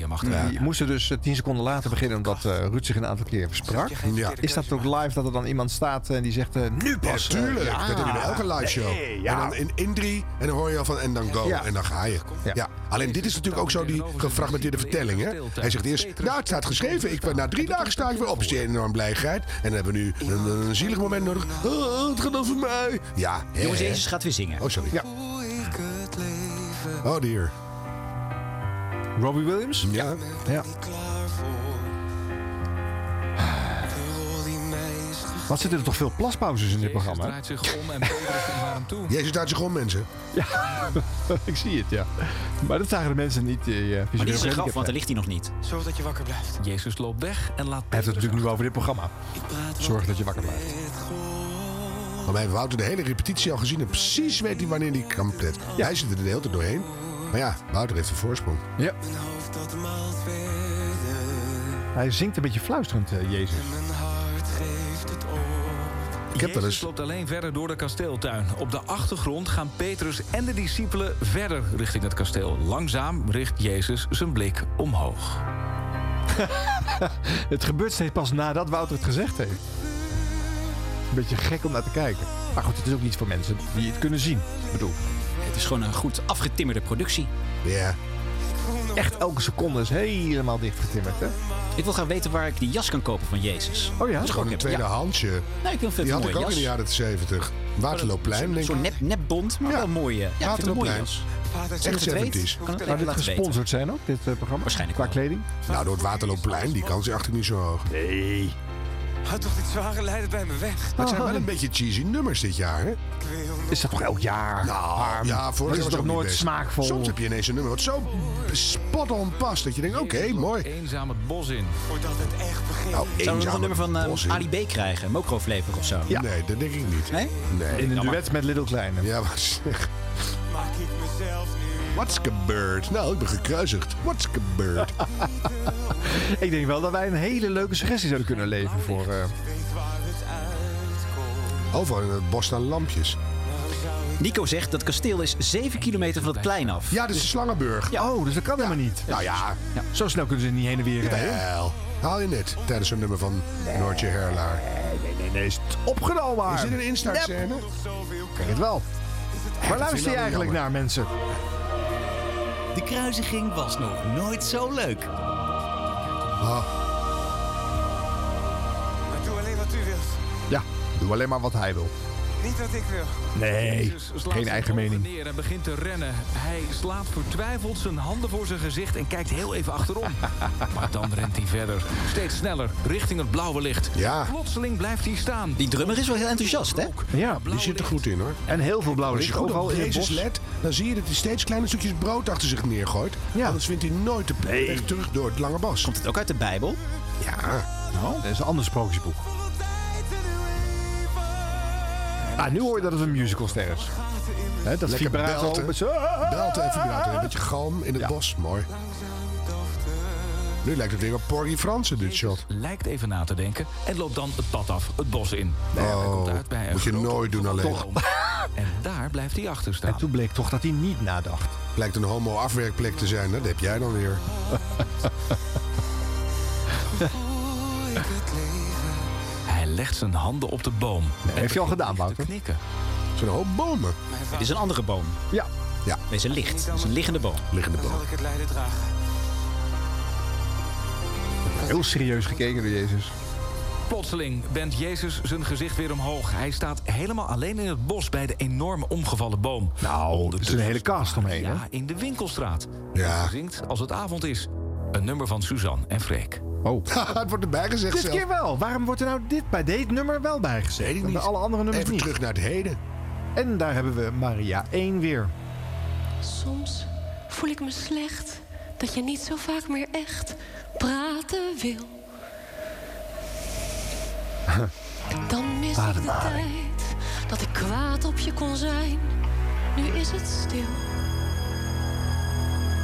[SPEAKER 4] die moesten dus eh, tien seconden later beginnen... omdat eh, Ruud zich een aantal keer versprak.
[SPEAKER 2] Ja.
[SPEAKER 4] Is dat ook live dat er dan iemand staat en die zegt... eh, nu
[SPEAKER 2] Ja,
[SPEAKER 4] pas!
[SPEAKER 2] tuurlijk.
[SPEAKER 4] eh, ja.
[SPEAKER 2] Dat heb je bij elke live show.
[SPEAKER 4] Nee, ja.
[SPEAKER 2] En dan in, in drie, en dan hoor je al van en dan go,
[SPEAKER 4] Ja.
[SPEAKER 2] en dan ga je. Ja. Alleen dit is natuurlijk ook zo die gefragmenteerde vertelling. Hè? Hij zegt eerst, nou het staat geschreven, ik ben, na drie dagen sta ik weer op. Is die enorm blijheid. En dan hebben we nu een, een zielig moment nodig. Oh, het gaat over mij. Ja. hè,
[SPEAKER 8] Jongens,
[SPEAKER 2] hè.
[SPEAKER 8] Jezus gaat weer zingen.
[SPEAKER 2] Oh, sorry.
[SPEAKER 4] Ja.
[SPEAKER 2] Oh dear.
[SPEAKER 4] Robbie Williams?
[SPEAKER 2] Ja.
[SPEAKER 4] ja. Wat zitten er toch veel plaspauzes in dit
[SPEAKER 5] Jezus
[SPEAKER 4] programma?
[SPEAKER 5] draait zich om en Petrus komt naar hem toe.
[SPEAKER 2] Jezus duidt zich om, mensen.
[SPEAKER 4] Ja, ik zie het, ja. Maar dat zagen de mensen niet. eh, visueel
[SPEAKER 8] Maar dit is een graf,
[SPEAKER 4] gehandicapt
[SPEAKER 8] want daar
[SPEAKER 4] zijn.
[SPEAKER 8] ligt hij nog niet.
[SPEAKER 15] Zorg dat je wakker blijft.
[SPEAKER 5] Jezus loopt weg en laat
[SPEAKER 4] Hij heeft het natuurlijk nu over dit programma. Zorg dat je wakker blijft.
[SPEAKER 2] Maar wij hebben Wouter de hele repetitie al gezien. En precies weet hij wanneer die kan pletten. Hij zit er de hele tijd doorheen. Maar ja, Wouter heeft een voorsprong.
[SPEAKER 4] Ja. Hij zingt een beetje fluisterend, eh, Jezus.
[SPEAKER 5] Ik
[SPEAKER 2] heb wel
[SPEAKER 5] Jezus loopt alleen verder door de kasteeltuin. Op de achtergrond gaan Petrus en de discipelen verder richting het kasteel. Langzaam richt Jezus zijn blik omhoog.
[SPEAKER 4] Het gebeurt steeds pas nadat Wouter het gezegd heeft. Een beetje gek om naar te kijken. Maar goed, het is ook niet voor mensen die het kunnen zien. Ik bedoel,
[SPEAKER 5] Het
[SPEAKER 8] Het is gewoon een goed afgetimmerde productie.
[SPEAKER 4] Ja. Echt elke seconde is helemaal dichtgetimmerd, hè?
[SPEAKER 8] Ik wil graag weten waar ik die jas kan kopen van Jezus.
[SPEAKER 4] Oh ja?
[SPEAKER 8] Dat is
[SPEAKER 2] Gewoon een tweedehandsje.
[SPEAKER 8] Nee, ik wil veel
[SPEAKER 2] Die had
[SPEAKER 8] mooie
[SPEAKER 2] ik ook
[SPEAKER 8] jas.
[SPEAKER 2] in de jaren 70. Waterloopplein, denk ik.
[SPEAKER 8] Zo'n nep, nepbond, maar wel mooie. Ja, ik vind het een mooie
[SPEAKER 2] Waterloopplein.
[SPEAKER 8] jas.
[SPEAKER 2] Echt
[SPEAKER 8] Zeg het weet.
[SPEAKER 2] 70s.
[SPEAKER 8] Kan het even
[SPEAKER 4] Zou dit
[SPEAKER 8] laten weten.
[SPEAKER 4] gesponsord zijn ook, dit eh, programma?
[SPEAKER 8] Waarschijnlijk
[SPEAKER 4] Qua kleding?
[SPEAKER 2] Nou, door het Waterloopplein, die kans is achter niet zo hoog. Nee.
[SPEAKER 15] Houd toch dit zware lijden bij me weg.
[SPEAKER 2] Maar het zijn wel een beetje cheesy nummers dit jaar, hè?
[SPEAKER 4] Oh. Is dat toch elk jaar?
[SPEAKER 2] Nou,
[SPEAKER 4] Maar-
[SPEAKER 2] ja, voor
[SPEAKER 4] maar is het toch nooit smaakvol?
[SPEAKER 2] Soms heb je ineens een nummer wat zo spot on past dat je denkt, oké, mooi.
[SPEAKER 7] Eenzaam het bos in.
[SPEAKER 15] Voordat het echt begint.
[SPEAKER 2] Nou,
[SPEAKER 8] Zouden we nog
[SPEAKER 2] eenzaam
[SPEAKER 8] een nummer van eh,
[SPEAKER 2] bos in.
[SPEAKER 8] Ali B krijgen? Mocroflavor of zo?
[SPEAKER 2] Nee, dat denk ik niet.
[SPEAKER 8] Nee?
[SPEAKER 2] Nee.
[SPEAKER 4] In een
[SPEAKER 8] Jammer.
[SPEAKER 4] duet met Little Kleine.
[SPEAKER 2] Ja, maar zeg.
[SPEAKER 15] Maak ik mezelf nu.
[SPEAKER 2] What's gebeurd? Nou, ik ben gekruisigd. What's gebeurd?
[SPEAKER 4] Ik denk wel dat wij een hele leuke suggestie zouden kunnen leveren voor... eh,
[SPEAKER 2] Overal in het bos staan lampjes.
[SPEAKER 8] Nico zegt dat kasteel is 7 kilometer van het plein af.
[SPEAKER 2] Ja, dit is de Slangenburg.
[SPEAKER 4] Oh, dus dat kan helemaal niet.
[SPEAKER 2] Nou ja,
[SPEAKER 4] Zo snel kunnen ze niet heen en weer rijden.
[SPEAKER 2] wel. Haal je net tijdens een nummer van Noortje Herlaar.
[SPEAKER 4] Nee, nee, nee. Is het opgenomen?
[SPEAKER 2] Is dit een
[SPEAKER 4] Nep.
[SPEAKER 2] instartscène?
[SPEAKER 4] Ik denk het wel. Waar luister je eigenlijk naar, mensen?
[SPEAKER 1] De kruisiging was nog nooit zo leuk. Ah.
[SPEAKER 15] Maar doe alleen wat u wilt.
[SPEAKER 4] Ja, doe alleen maar wat hij wil.
[SPEAKER 15] Niet wat ik wil.
[SPEAKER 4] Nee,
[SPEAKER 7] Jezus slaat
[SPEAKER 4] geen
[SPEAKER 7] zijn
[SPEAKER 4] eigen
[SPEAKER 7] ogen
[SPEAKER 4] mening.
[SPEAKER 7] Neer en begint te rennen. Hij slaat vertwijfeld zijn handen voor zijn gezicht en kijkt heel even achterom. maar dan rent hij verder. Steeds sneller, richting het blauwe licht.
[SPEAKER 2] Ja,
[SPEAKER 7] Plotseling blijft hij staan.
[SPEAKER 8] Die drummer is wel heel enthousiast, hè?
[SPEAKER 4] Ja,
[SPEAKER 2] die zit er goed in hoor.
[SPEAKER 4] en heel veel blauwe
[SPEAKER 2] Als je
[SPEAKER 4] licht.
[SPEAKER 2] goed
[SPEAKER 4] Overal
[SPEAKER 2] op
[SPEAKER 4] in het
[SPEAKER 2] Jezus
[SPEAKER 4] bos.
[SPEAKER 2] let, dan zie je dat hij steeds kleine stukjes brood achter zich neergooit.
[SPEAKER 4] Ja.
[SPEAKER 2] Anders vindt hij nooit de weg terug door het lange bos.
[SPEAKER 8] Komt het ook uit de Bijbel?
[SPEAKER 2] Ja,
[SPEAKER 4] Nou, dat is een ander sprookjesboek. Ah, nu hoor je dat het een musicalster is. Hè, dat
[SPEAKER 2] Lekker
[SPEAKER 4] vibrato.
[SPEAKER 2] belten.
[SPEAKER 4] met zo-
[SPEAKER 2] belt even buiten. Een beetje galm in het bos, mooi. Nu lijkt het weer op Porgy Fransen, dit shot.
[SPEAKER 7] Lijkt even na te denken en loopt dan het pad af, het bos in. Hij komt
[SPEAKER 2] Oh,
[SPEAKER 7] uit bij een
[SPEAKER 2] moet je
[SPEAKER 7] grote
[SPEAKER 2] nooit doen alleen.
[SPEAKER 7] boom. En daar blijft hij achter staan.
[SPEAKER 4] En toen bleek toch dat hij niet nadacht.
[SPEAKER 2] Blijkt een homo-afwerkplek te zijn, hè? dat heb jij dan weer.
[SPEAKER 7] Hij legt zijn handen op de boom. en
[SPEAKER 4] Heeft je al
[SPEAKER 7] begint
[SPEAKER 4] gedaan,
[SPEAKER 7] te
[SPEAKER 4] Wouter?
[SPEAKER 7] knikken.
[SPEAKER 2] Zo'n hoop bomen.
[SPEAKER 8] Dit is een andere boom.
[SPEAKER 4] Ja.
[SPEAKER 8] Deze licht. Het is een liggende boom.
[SPEAKER 2] Liggende
[SPEAKER 15] Dan zal
[SPEAKER 2] bomen.
[SPEAKER 15] ik het lijden dragen.
[SPEAKER 4] Heel serieus gekeken door Jezus.
[SPEAKER 7] Plotseling bent Jezus zijn gezicht weer omhoog. Hij staat helemaal alleen in het bos bij de enorme omgevallen boom.
[SPEAKER 4] Nou, er is een hele cast omheen, hè?
[SPEAKER 7] Ja, in de winkelstraat.
[SPEAKER 2] Ja.
[SPEAKER 7] Zingt als het avond is. Een nummer van Suzanne en Freek.
[SPEAKER 4] Oh.
[SPEAKER 2] het wordt erbij gezegd
[SPEAKER 4] Dit
[SPEAKER 2] zelf.
[SPEAKER 4] keer wel. Waarom wordt er nou dit bij dit nummer wel
[SPEAKER 2] Weet
[SPEAKER 4] bijgezet?
[SPEAKER 2] ik
[SPEAKER 4] En bij
[SPEAKER 2] niet.
[SPEAKER 4] alle andere nummers
[SPEAKER 2] Even
[SPEAKER 4] niet.
[SPEAKER 2] terug naar het heden.
[SPEAKER 4] En daar hebben we Maria 1 weer.
[SPEAKER 13] Soms voel ik me slecht dat je niet zo vaak meer echt praten wil. Dan mis ik de tijd dat ik kwaad op je kon zijn. Nu is het stil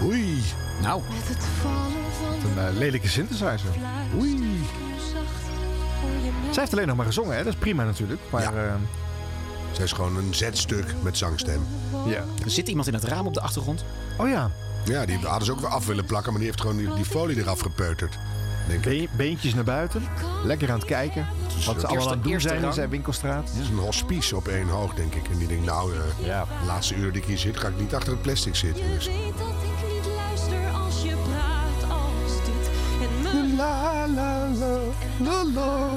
[SPEAKER 2] Oei.
[SPEAKER 8] Nou,
[SPEAKER 13] met het vallen van
[SPEAKER 4] Een
[SPEAKER 13] de
[SPEAKER 4] eh, lelijke synthesizer.
[SPEAKER 13] pluis.
[SPEAKER 4] Oei.
[SPEAKER 13] Zacht hoor je mij.
[SPEAKER 4] Zij heeft alleen nog maar gezongen, hè? Dat is prima natuurlijk. Maar eh,
[SPEAKER 2] Zij is gewoon een zetstuk met zangstem.
[SPEAKER 4] ja.
[SPEAKER 8] er zit iemand in het raam op de achtergrond.
[SPEAKER 4] Oh ja.
[SPEAKER 2] Ja, die hadden ze ook weer af willen plakken, maar die heeft gewoon die, die folie eraf gepeuterd. Denk ik.
[SPEAKER 4] Be- beentjes naar buiten. Lekker aan het kijken. Wat ze allemaal aan het doen
[SPEAKER 8] eerste
[SPEAKER 4] zijn in
[SPEAKER 8] rang.
[SPEAKER 4] zijn winkelstraat.
[SPEAKER 2] Dit is een hospice op één hoog, denk ik. En die denkt, nou, eh,
[SPEAKER 4] Ja.
[SPEAKER 2] de laatste uur dat ik hier zit, ga ik niet achter het plastic zitten.
[SPEAKER 13] Je
[SPEAKER 2] Dus.
[SPEAKER 13] weet dat ik niet luister als je praat als dit. En me
[SPEAKER 4] La, la, la, la, la.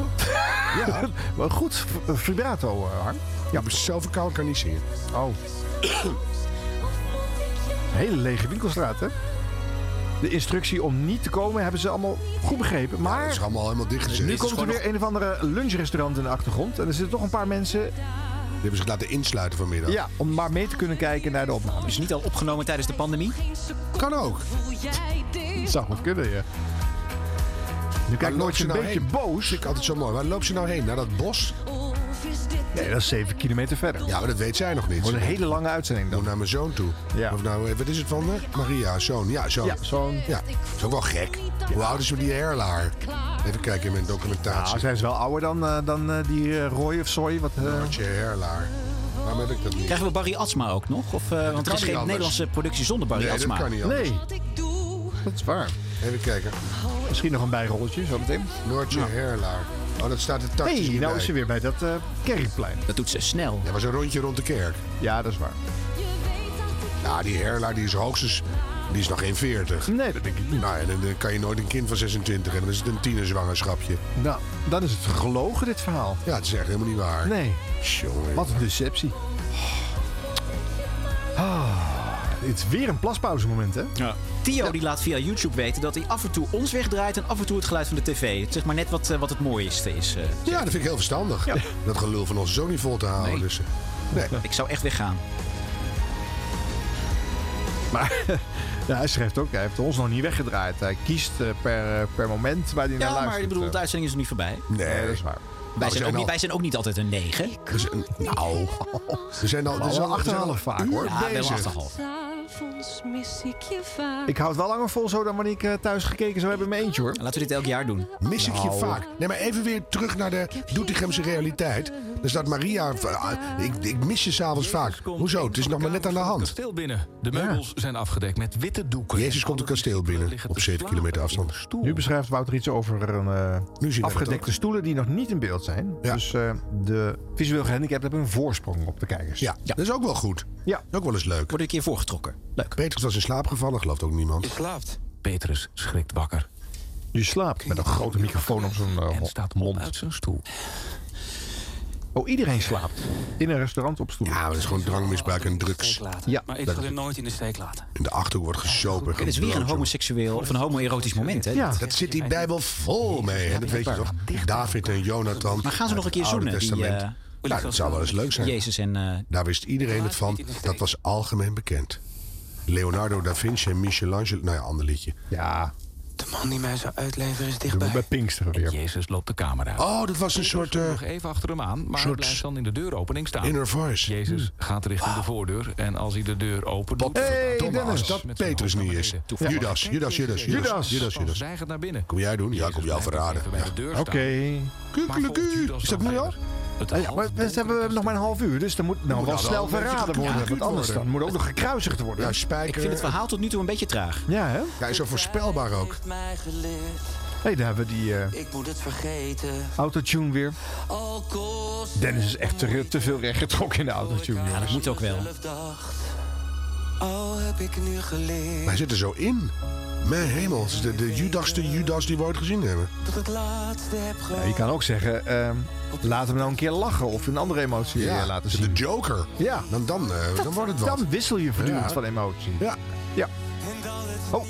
[SPEAKER 4] Ja, maar goed v- eh, vibrato, eh, Harm.
[SPEAKER 2] Ja, maar zo verkouden kan niet zien.
[SPEAKER 4] Oh. Hele lege winkelstraat, hè? De instructie om niet te komen hebben ze allemaal goed begrepen.
[SPEAKER 2] Het
[SPEAKER 4] Maar
[SPEAKER 2] is allemaal helemaal dichtgezet.
[SPEAKER 4] nu komt er weer een of andere lunchrestaurant in de achtergrond. En er zitten toch een paar mensen
[SPEAKER 2] Die hebben zich laten insluiten vanmiddag.
[SPEAKER 4] ja, om maar mee te kunnen kijken naar de opname.
[SPEAKER 8] Is niet al opgenomen tijdens de pandemie?
[SPEAKER 2] Kan ook.
[SPEAKER 13] voel jij dit?
[SPEAKER 4] zou goed kunnen, ja. Nu
[SPEAKER 2] Waar
[SPEAKER 4] kijkt
[SPEAKER 2] loopt
[SPEAKER 4] nooit
[SPEAKER 2] ze
[SPEAKER 4] een
[SPEAKER 2] nou
[SPEAKER 4] beetje
[SPEAKER 2] heen?
[SPEAKER 4] boos.
[SPEAKER 2] Vind ik altijd zo mooi. Waar loopt ze nou heen? Naar dat bos?
[SPEAKER 13] Of is dit
[SPEAKER 4] Nee, dat is 7 kilometer verder.
[SPEAKER 2] Ja, maar dat weet zij nog niet.
[SPEAKER 4] Wordt een hele lange uitzending
[SPEAKER 2] Moet
[SPEAKER 4] dan.
[SPEAKER 2] naar mijn zoon toe.
[SPEAKER 4] Ja.
[SPEAKER 2] Of nou, eh, wat is het van me? Maria, zoon. Ja, zoon.
[SPEAKER 4] Ja, zo'n...
[SPEAKER 2] Ja, is ook wel gek. Hoe oud is die herlaar? Even kijken in mijn documentatie.
[SPEAKER 4] Nou, zij is wel ouder dan, eh, dan eh, die eh, Roy of Soy. Wat, eh,
[SPEAKER 2] Noortje herlaar. Waarom heb ik dat niet?
[SPEAKER 8] Krijgen we Barry Atsma ook nog? Of, eh, want
[SPEAKER 2] kan
[SPEAKER 8] er is
[SPEAKER 2] niet
[SPEAKER 8] geen
[SPEAKER 2] anders.
[SPEAKER 8] Nederlandse productie zonder Barry
[SPEAKER 2] Nee, dat
[SPEAKER 8] Atsma.
[SPEAKER 2] kan niet anders.
[SPEAKER 4] nee,
[SPEAKER 13] wat ik doe?
[SPEAKER 4] dat is waar.
[SPEAKER 2] Even kijken.
[SPEAKER 4] Misschien nog een bijrolletje, zo meteen. Nou.
[SPEAKER 2] Noortje herlaar. Oh, dat staat er tactisch
[SPEAKER 4] hey,
[SPEAKER 2] niet
[SPEAKER 4] nou
[SPEAKER 2] bij.
[SPEAKER 4] is ze weer bij dat eh kerkplein.
[SPEAKER 8] Dat doet ze snel.
[SPEAKER 2] Dat was een rondje rond de kerk.
[SPEAKER 4] Ja, dat is waar.
[SPEAKER 13] Je weet dat
[SPEAKER 2] Ja, die Herlaar die is hoogstens... Die is nog geen 40.
[SPEAKER 4] Nee,
[SPEAKER 2] dat denk ik niet. Nou ja, dan, dan kan je nooit een kind van 26 en dan is het een tienerzwangerschapje.
[SPEAKER 4] Nou, dan is het gelogen, dit verhaal.
[SPEAKER 2] Ja, het is echt helemaal niet waar.
[SPEAKER 4] Nee.
[SPEAKER 2] Jongen.
[SPEAKER 4] Wat een deceptie. Ah, het is weer een plaspauzemoment, hè?
[SPEAKER 8] Ja. Theo die laat via YouTube weten dat hij af en toe ons wegdraait en af en toe het geluid van de tv. Zeg maar net wat, eh, wat het mooiste is. eh.
[SPEAKER 2] Ja, dat vind ik heel verstandig. Dat gelul van ons zo niet vol te houden. Dus, eh, nee.
[SPEAKER 8] Ik zou echt weggaan.
[SPEAKER 4] Maar ja, hij schrijft ook, hij heeft ons nog niet weggedraaid. Hij kiest eh, per, eh, per moment waar hij naar
[SPEAKER 8] Ja,
[SPEAKER 4] luistert. eh.
[SPEAKER 8] maar ik bedoel, de uitzending is nog niet voorbij.
[SPEAKER 2] Nee,
[SPEAKER 4] dat is waar.
[SPEAKER 8] Wij zijn,
[SPEAKER 2] zijn
[SPEAKER 8] ook niet,
[SPEAKER 2] al-
[SPEAKER 8] wij zijn ook niet altijd een 9.
[SPEAKER 2] nou, we zijn al,
[SPEAKER 4] Maar
[SPEAKER 2] we zijn
[SPEAKER 4] wel
[SPEAKER 2] al- we zijn al
[SPEAKER 4] 8,5 vaak,
[SPEAKER 2] een uur
[SPEAKER 4] hoor.
[SPEAKER 8] Ja, we hebben
[SPEAKER 2] bezig.
[SPEAKER 8] 8,5.
[SPEAKER 13] S'avonds mis ik je vaak.
[SPEAKER 4] Ik hou het wel langer vol zo dan wanneer ik eh, thuis gekeken zou hebben in mijn eentje, hoor.
[SPEAKER 8] Laten we dit elk jaar doen.
[SPEAKER 2] Mis ik je
[SPEAKER 4] Nou.
[SPEAKER 2] vaak. Nee, maar even weer terug naar de Doetinchemse realiteit. Dus dat Maria... ah, Ik, ik mis je s'avonds vaak. Hoezo? Het is nog maar net aan de hand.
[SPEAKER 7] Kasteel binnen. De meubels zijn afgedekt met witte doeken.
[SPEAKER 2] Jezus komt een kasteel binnen op 7 kilometer afstand.
[SPEAKER 4] Nu beschrijft Wouter iets over een, eh,
[SPEAKER 2] Nu zien we
[SPEAKER 4] afgedekte stoelen die nog niet in beeld zijn. Dus eh, de visueel gehandicapten hebben een voorsprong op de kijkers.
[SPEAKER 2] Ja, dat is ook wel goed.
[SPEAKER 4] Ja.
[SPEAKER 2] Ook wel eens leuk.
[SPEAKER 8] Word ik hier voorgetrokken. Leuk.
[SPEAKER 2] Petrus was in slaap gevallen, gelooft ook niemand.
[SPEAKER 15] slaapt.
[SPEAKER 7] Petrus schrikt wakker.
[SPEAKER 4] Je slaapt met een grote microfoon op zijn eh,
[SPEAKER 7] En staat op uit zijn stoel.
[SPEAKER 4] Oh, iedereen slaapt. In een restaurant op stoelen.
[SPEAKER 2] Ja, maar dat is gewoon drankmisbruik en drugs.
[SPEAKER 4] Ja.
[SPEAKER 15] Maar ik
[SPEAKER 2] Dat
[SPEAKER 15] zal
[SPEAKER 2] is-
[SPEAKER 15] hem nooit in de steek laten.
[SPEAKER 2] In de achterhoek wordt gesopen.
[SPEAKER 8] Het is weer een homoseksueel of een homoerotisch moment. Hè?
[SPEAKER 2] Ja,
[SPEAKER 8] Dit.
[SPEAKER 2] dat zit die Bijbel vol mee. Hè? Dat weet je toch? David en Jonathan.
[SPEAKER 8] Maar gaan ze nog een keer
[SPEAKER 2] uit het Oude
[SPEAKER 8] zoenen, die,
[SPEAKER 2] Testament.
[SPEAKER 8] eh,
[SPEAKER 2] nou, dat zou wel eens leuk zijn.
[SPEAKER 8] Jezus en... eh,
[SPEAKER 2] Daar wist iedereen het van. Dat was algemeen bekend. Leonardo da Vinci en Michelangelo. Nou ja, ander liedje.
[SPEAKER 4] Ja.
[SPEAKER 15] De man die mij zou uitleveren is
[SPEAKER 4] Doen we bij
[SPEAKER 15] dichtbij.
[SPEAKER 4] Pinksteren
[SPEAKER 7] En
[SPEAKER 4] weer.
[SPEAKER 7] Jezus loopt de kamer uit.
[SPEAKER 2] Oh, dat was een soort eh,
[SPEAKER 7] Nog even achter hem aan, maar
[SPEAKER 2] soort
[SPEAKER 7] blijft dan in de deuropening staan.
[SPEAKER 2] inner voice. Hmm. Ah.
[SPEAKER 7] Jezus gaat richting de voordeur en als hij de deur opent... doet,
[SPEAKER 4] Hey,
[SPEAKER 2] Thomas,
[SPEAKER 4] Dennis.
[SPEAKER 2] dat Petrus niet is.
[SPEAKER 7] Toevallig.
[SPEAKER 2] Judas, Judas, Judas,
[SPEAKER 4] Judas.
[SPEAKER 2] Judas, Judas,
[SPEAKER 7] Paul
[SPEAKER 2] Judas.
[SPEAKER 7] zwijgend naar binnen.
[SPEAKER 2] Kom jij doen? Ja, ik kom jou verraden.
[SPEAKER 7] Even bij de deur
[SPEAKER 4] Oké.
[SPEAKER 7] staan. Maar volgt
[SPEAKER 2] Kukkeleku.
[SPEAKER 7] Judas
[SPEAKER 2] Is dat
[SPEAKER 7] dan
[SPEAKER 2] nu al?
[SPEAKER 7] verder? Het
[SPEAKER 4] Ja, maar we
[SPEAKER 7] halfdronken
[SPEAKER 4] hebben nog maar een half uur, dus er moet nou
[SPEAKER 2] Moet
[SPEAKER 4] wel
[SPEAKER 2] nou
[SPEAKER 4] snel
[SPEAKER 2] wel een beetje
[SPEAKER 4] verraden worden. Want
[SPEAKER 2] gekruid
[SPEAKER 4] anders dan
[SPEAKER 2] worden.
[SPEAKER 4] moet ook nog gekruisigd worden.
[SPEAKER 2] Ja,
[SPEAKER 8] ik vind het
[SPEAKER 2] Spijker.
[SPEAKER 8] verhaal tot nu toe een beetje traag.
[SPEAKER 4] Ja, hè?
[SPEAKER 2] Hij is zo voorspelbaar ook.
[SPEAKER 20] heeft mij geleerd.
[SPEAKER 4] hey, daar hebben we die eh,
[SPEAKER 20] Ik moet het vergeten.
[SPEAKER 4] autotune weer.
[SPEAKER 20] Al kost
[SPEAKER 4] Dennis is echt te, te veel rechtgetrokken in de autotune.
[SPEAKER 8] Ja, dat moet ook wel.
[SPEAKER 20] zelf dacht. Al heb ik nu geleerd.
[SPEAKER 2] Hij zit er zo in. Mijn hemel, het is de, de Judaste Judas die we ooit gezien hebben.
[SPEAKER 20] Tot het laatste heb
[SPEAKER 4] Ja, je
[SPEAKER 20] gehad.
[SPEAKER 4] kan ook zeggen, ehm, laat hem nou een keer lachen of een andere emotie eh, laten
[SPEAKER 2] de
[SPEAKER 4] zien.
[SPEAKER 2] Joker.
[SPEAKER 4] Ja,
[SPEAKER 2] Dan, dan, eh, dan wordt het wat.
[SPEAKER 4] dan wissel je voortdurend
[SPEAKER 2] Ja.
[SPEAKER 4] van emotie.
[SPEAKER 2] Ja.
[SPEAKER 4] Ja. Oh,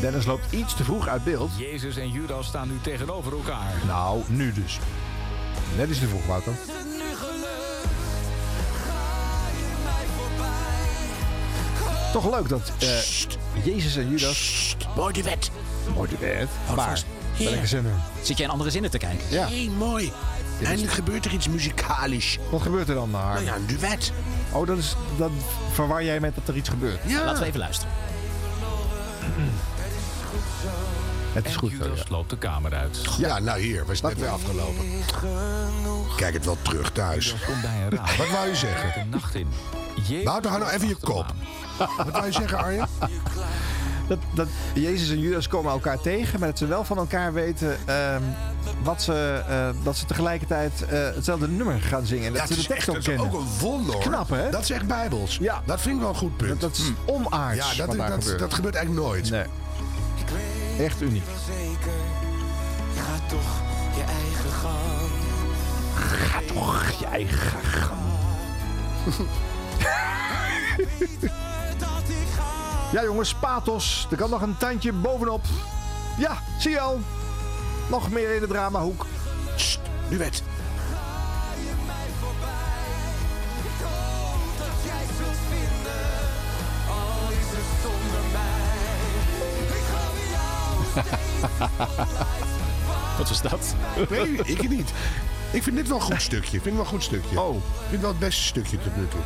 [SPEAKER 4] Dennis loopt iets te vroeg uit beeld.
[SPEAKER 7] Jezus en Judas staan nu tegenover elkaar.
[SPEAKER 4] Nou, nu dus. Net is te vroeg, Wouter. Toch leuk dat eh, Jezus en Judas...
[SPEAKER 1] Mooi duet.
[SPEAKER 4] Mooi duet. Maar,
[SPEAKER 1] vast.
[SPEAKER 4] welke zin doen.
[SPEAKER 8] Zit jij in andere zinnen te kijken?
[SPEAKER 4] Ja.
[SPEAKER 1] Hé, mooi. En gebeurt er iets muzikalisch.
[SPEAKER 4] Wat gebeurt er dan, haar?
[SPEAKER 1] Nou ja, een duet.
[SPEAKER 4] Oh, dat, is, dat verwar jij met dat er iets gebeurt.
[SPEAKER 8] Laten we even luisteren.
[SPEAKER 4] Het is
[SPEAKER 7] En
[SPEAKER 4] goed. zo,
[SPEAKER 7] Judas
[SPEAKER 4] ja.
[SPEAKER 7] loopt de kamer uit.
[SPEAKER 2] Ja, nou hier, was net weer afgelopen. Kijk het wel terug thuis.
[SPEAKER 7] Judas komt bij een raam.
[SPEAKER 2] Wat wou je zeggen?
[SPEAKER 7] De nacht in. Jezus
[SPEAKER 2] Wouter, hou nou even je kop. Wat wou je zeggen, Arjen?
[SPEAKER 4] Dat, dat Jezus en Judas Dus komen elkaar tegen, maar dat ze wel van elkaar weten ehm, wat ze, eh, dat ze tegelijkertijd eh, hetzelfde nummer gaan zingen. En dat
[SPEAKER 2] Ja,
[SPEAKER 4] ze
[SPEAKER 2] het
[SPEAKER 4] de
[SPEAKER 2] is
[SPEAKER 4] tekst
[SPEAKER 2] echt
[SPEAKER 4] ook
[SPEAKER 2] dat is
[SPEAKER 4] kennen.
[SPEAKER 2] ook een wonder. hoor.
[SPEAKER 4] Knap, hè?
[SPEAKER 2] Dat is echt bijbels.
[SPEAKER 4] Ja.
[SPEAKER 2] Dat vind ik wel een goed
[SPEAKER 4] Dat,
[SPEAKER 2] punt. Hm.
[SPEAKER 4] dat is onaards
[SPEAKER 2] ja, dat,
[SPEAKER 4] wat daar
[SPEAKER 2] dat,
[SPEAKER 4] gebeurt.
[SPEAKER 2] dat gebeurt eigenlijk nooit.
[SPEAKER 4] Nee. Echt uniek.
[SPEAKER 20] Zeker. Je gaat toch je eigen gang.
[SPEAKER 4] Ga toch je eigen gang. ja, jongens, pathos. Er kan nog een tandje bovenop. Ja, zie je al. Nog meer in de dramahoek.
[SPEAKER 2] Sst, duet.
[SPEAKER 8] Wat was dat?
[SPEAKER 2] Nee, ik niet. Ik vind dit wel een goed stukje. Ik vind het wel een goed stukje.
[SPEAKER 4] Oh.
[SPEAKER 2] Ik vind het wel het beste stukje tot nu toe.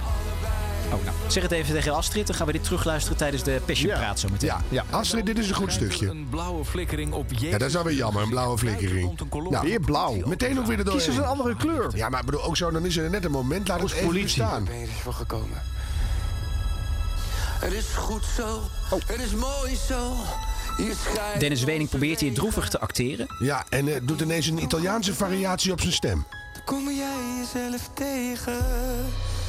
[SPEAKER 8] Oh, nou. Zeg het even tegen Astrid, dan gaan we dit terugluisteren tijdens de Passion
[SPEAKER 4] Ja.
[SPEAKER 8] Praat zometeen.
[SPEAKER 2] Ja, ja. Astrid, dit is een goed
[SPEAKER 7] schijnt er
[SPEAKER 2] stukje.
[SPEAKER 7] Een blauwe flikkering op Jezus.
[SPEAKER 2] Ja, dat is wel weer jammer, een blauwe
[SPEAKER 7] Komt
[SPEAKER 2] flikkering.
[SPEAKER 7] een kolom.
[SPEAKER 2] Nou,
[SPEAKER 4] Weer blauw.
[SPEAKER 2] meteen ook weer er
[SPEAKER 4] Kies eens een
[SPEAKER 2] doorheen.
[SPEAKER 4] andere kleur.
[SPEAKER 2] Ja, maar ik bedoel, ook zo, dan is er net een moment, laat het
[SPEAKER 4] Kost
[SPEAKER 2] even
[SPEAKER 4] politie.
[SPEAKER 2] staan.
[SPEAKER 15] Ben je er voor gekomen? Het is goed zo.
[SPEAKER 4] Oh.
[SPEAKER 15] Het is mooi zo. Je schijnt...
[SPEAKER 8] Dennis Wening probeert hier droevig te acteren.
[SPEAKER 2] Ja, en eh, doet ineens een Italiaanse variatie op zijn stem.
[SPEAKER 15] Kom jij jezelf tegen?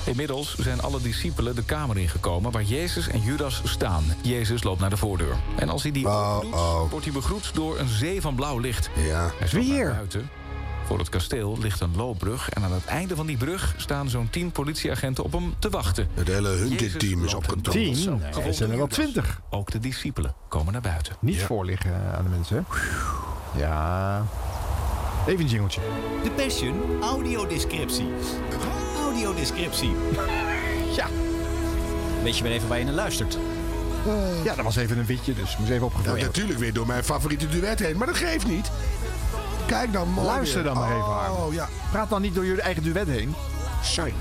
[SPEAKER 7] Inmiddels zijn alle discipelen de kamer ingekomen waar Jezus en Judas staan. Jezus loopt naar de voordeur. En als hij die
[SPEAKER 2] Oh,
[SPEAKER 7] open doet, wordt hij begroet door een zee van blauw licht. Ja. Hij stapt naar buiten. Voor het kasteel ligt een loopbrug en aan het einde van die brug staan zo'n tien politieagenten op hem te wachten.
[SPEAKER 2] Het hele Hunted-team Eh, is op controle.
[SPEAKER 4] Tien? Nee, er zijn er wel twintig.
[SPEAKER 7] Ook de discipelen komen naar buiten.
[SPEAKER 4] Niet voorliggen eh, aan de mensen. hè? Ja. Even een jingeltje.
[SPEAKER 1] De Passion audiodescriptie. Audiodescriptie.
[SPEAKER 4] Ja.
[SPEAKER 8] Weet je weer even waar je naar luistert.
[SPEAKER 4] Ja, dat was even een witje, dus moest even opgevuld
[SPEAKER 2] Ja,
[SPEAKER 4] worden.
[SPEAKER 2] Eh. Nou, natuurlijk weer door mijn favoriete duet heen, maar dat geeft niet. Kijk dan mooi.
[SPEAKER 4] Luister dan maar even, Harm.
[SPEAKER 2] Oh ja.
[SPEAKER 4] Praat dan niet door je eigen duet heen.
[SPEAKER 2] Shine.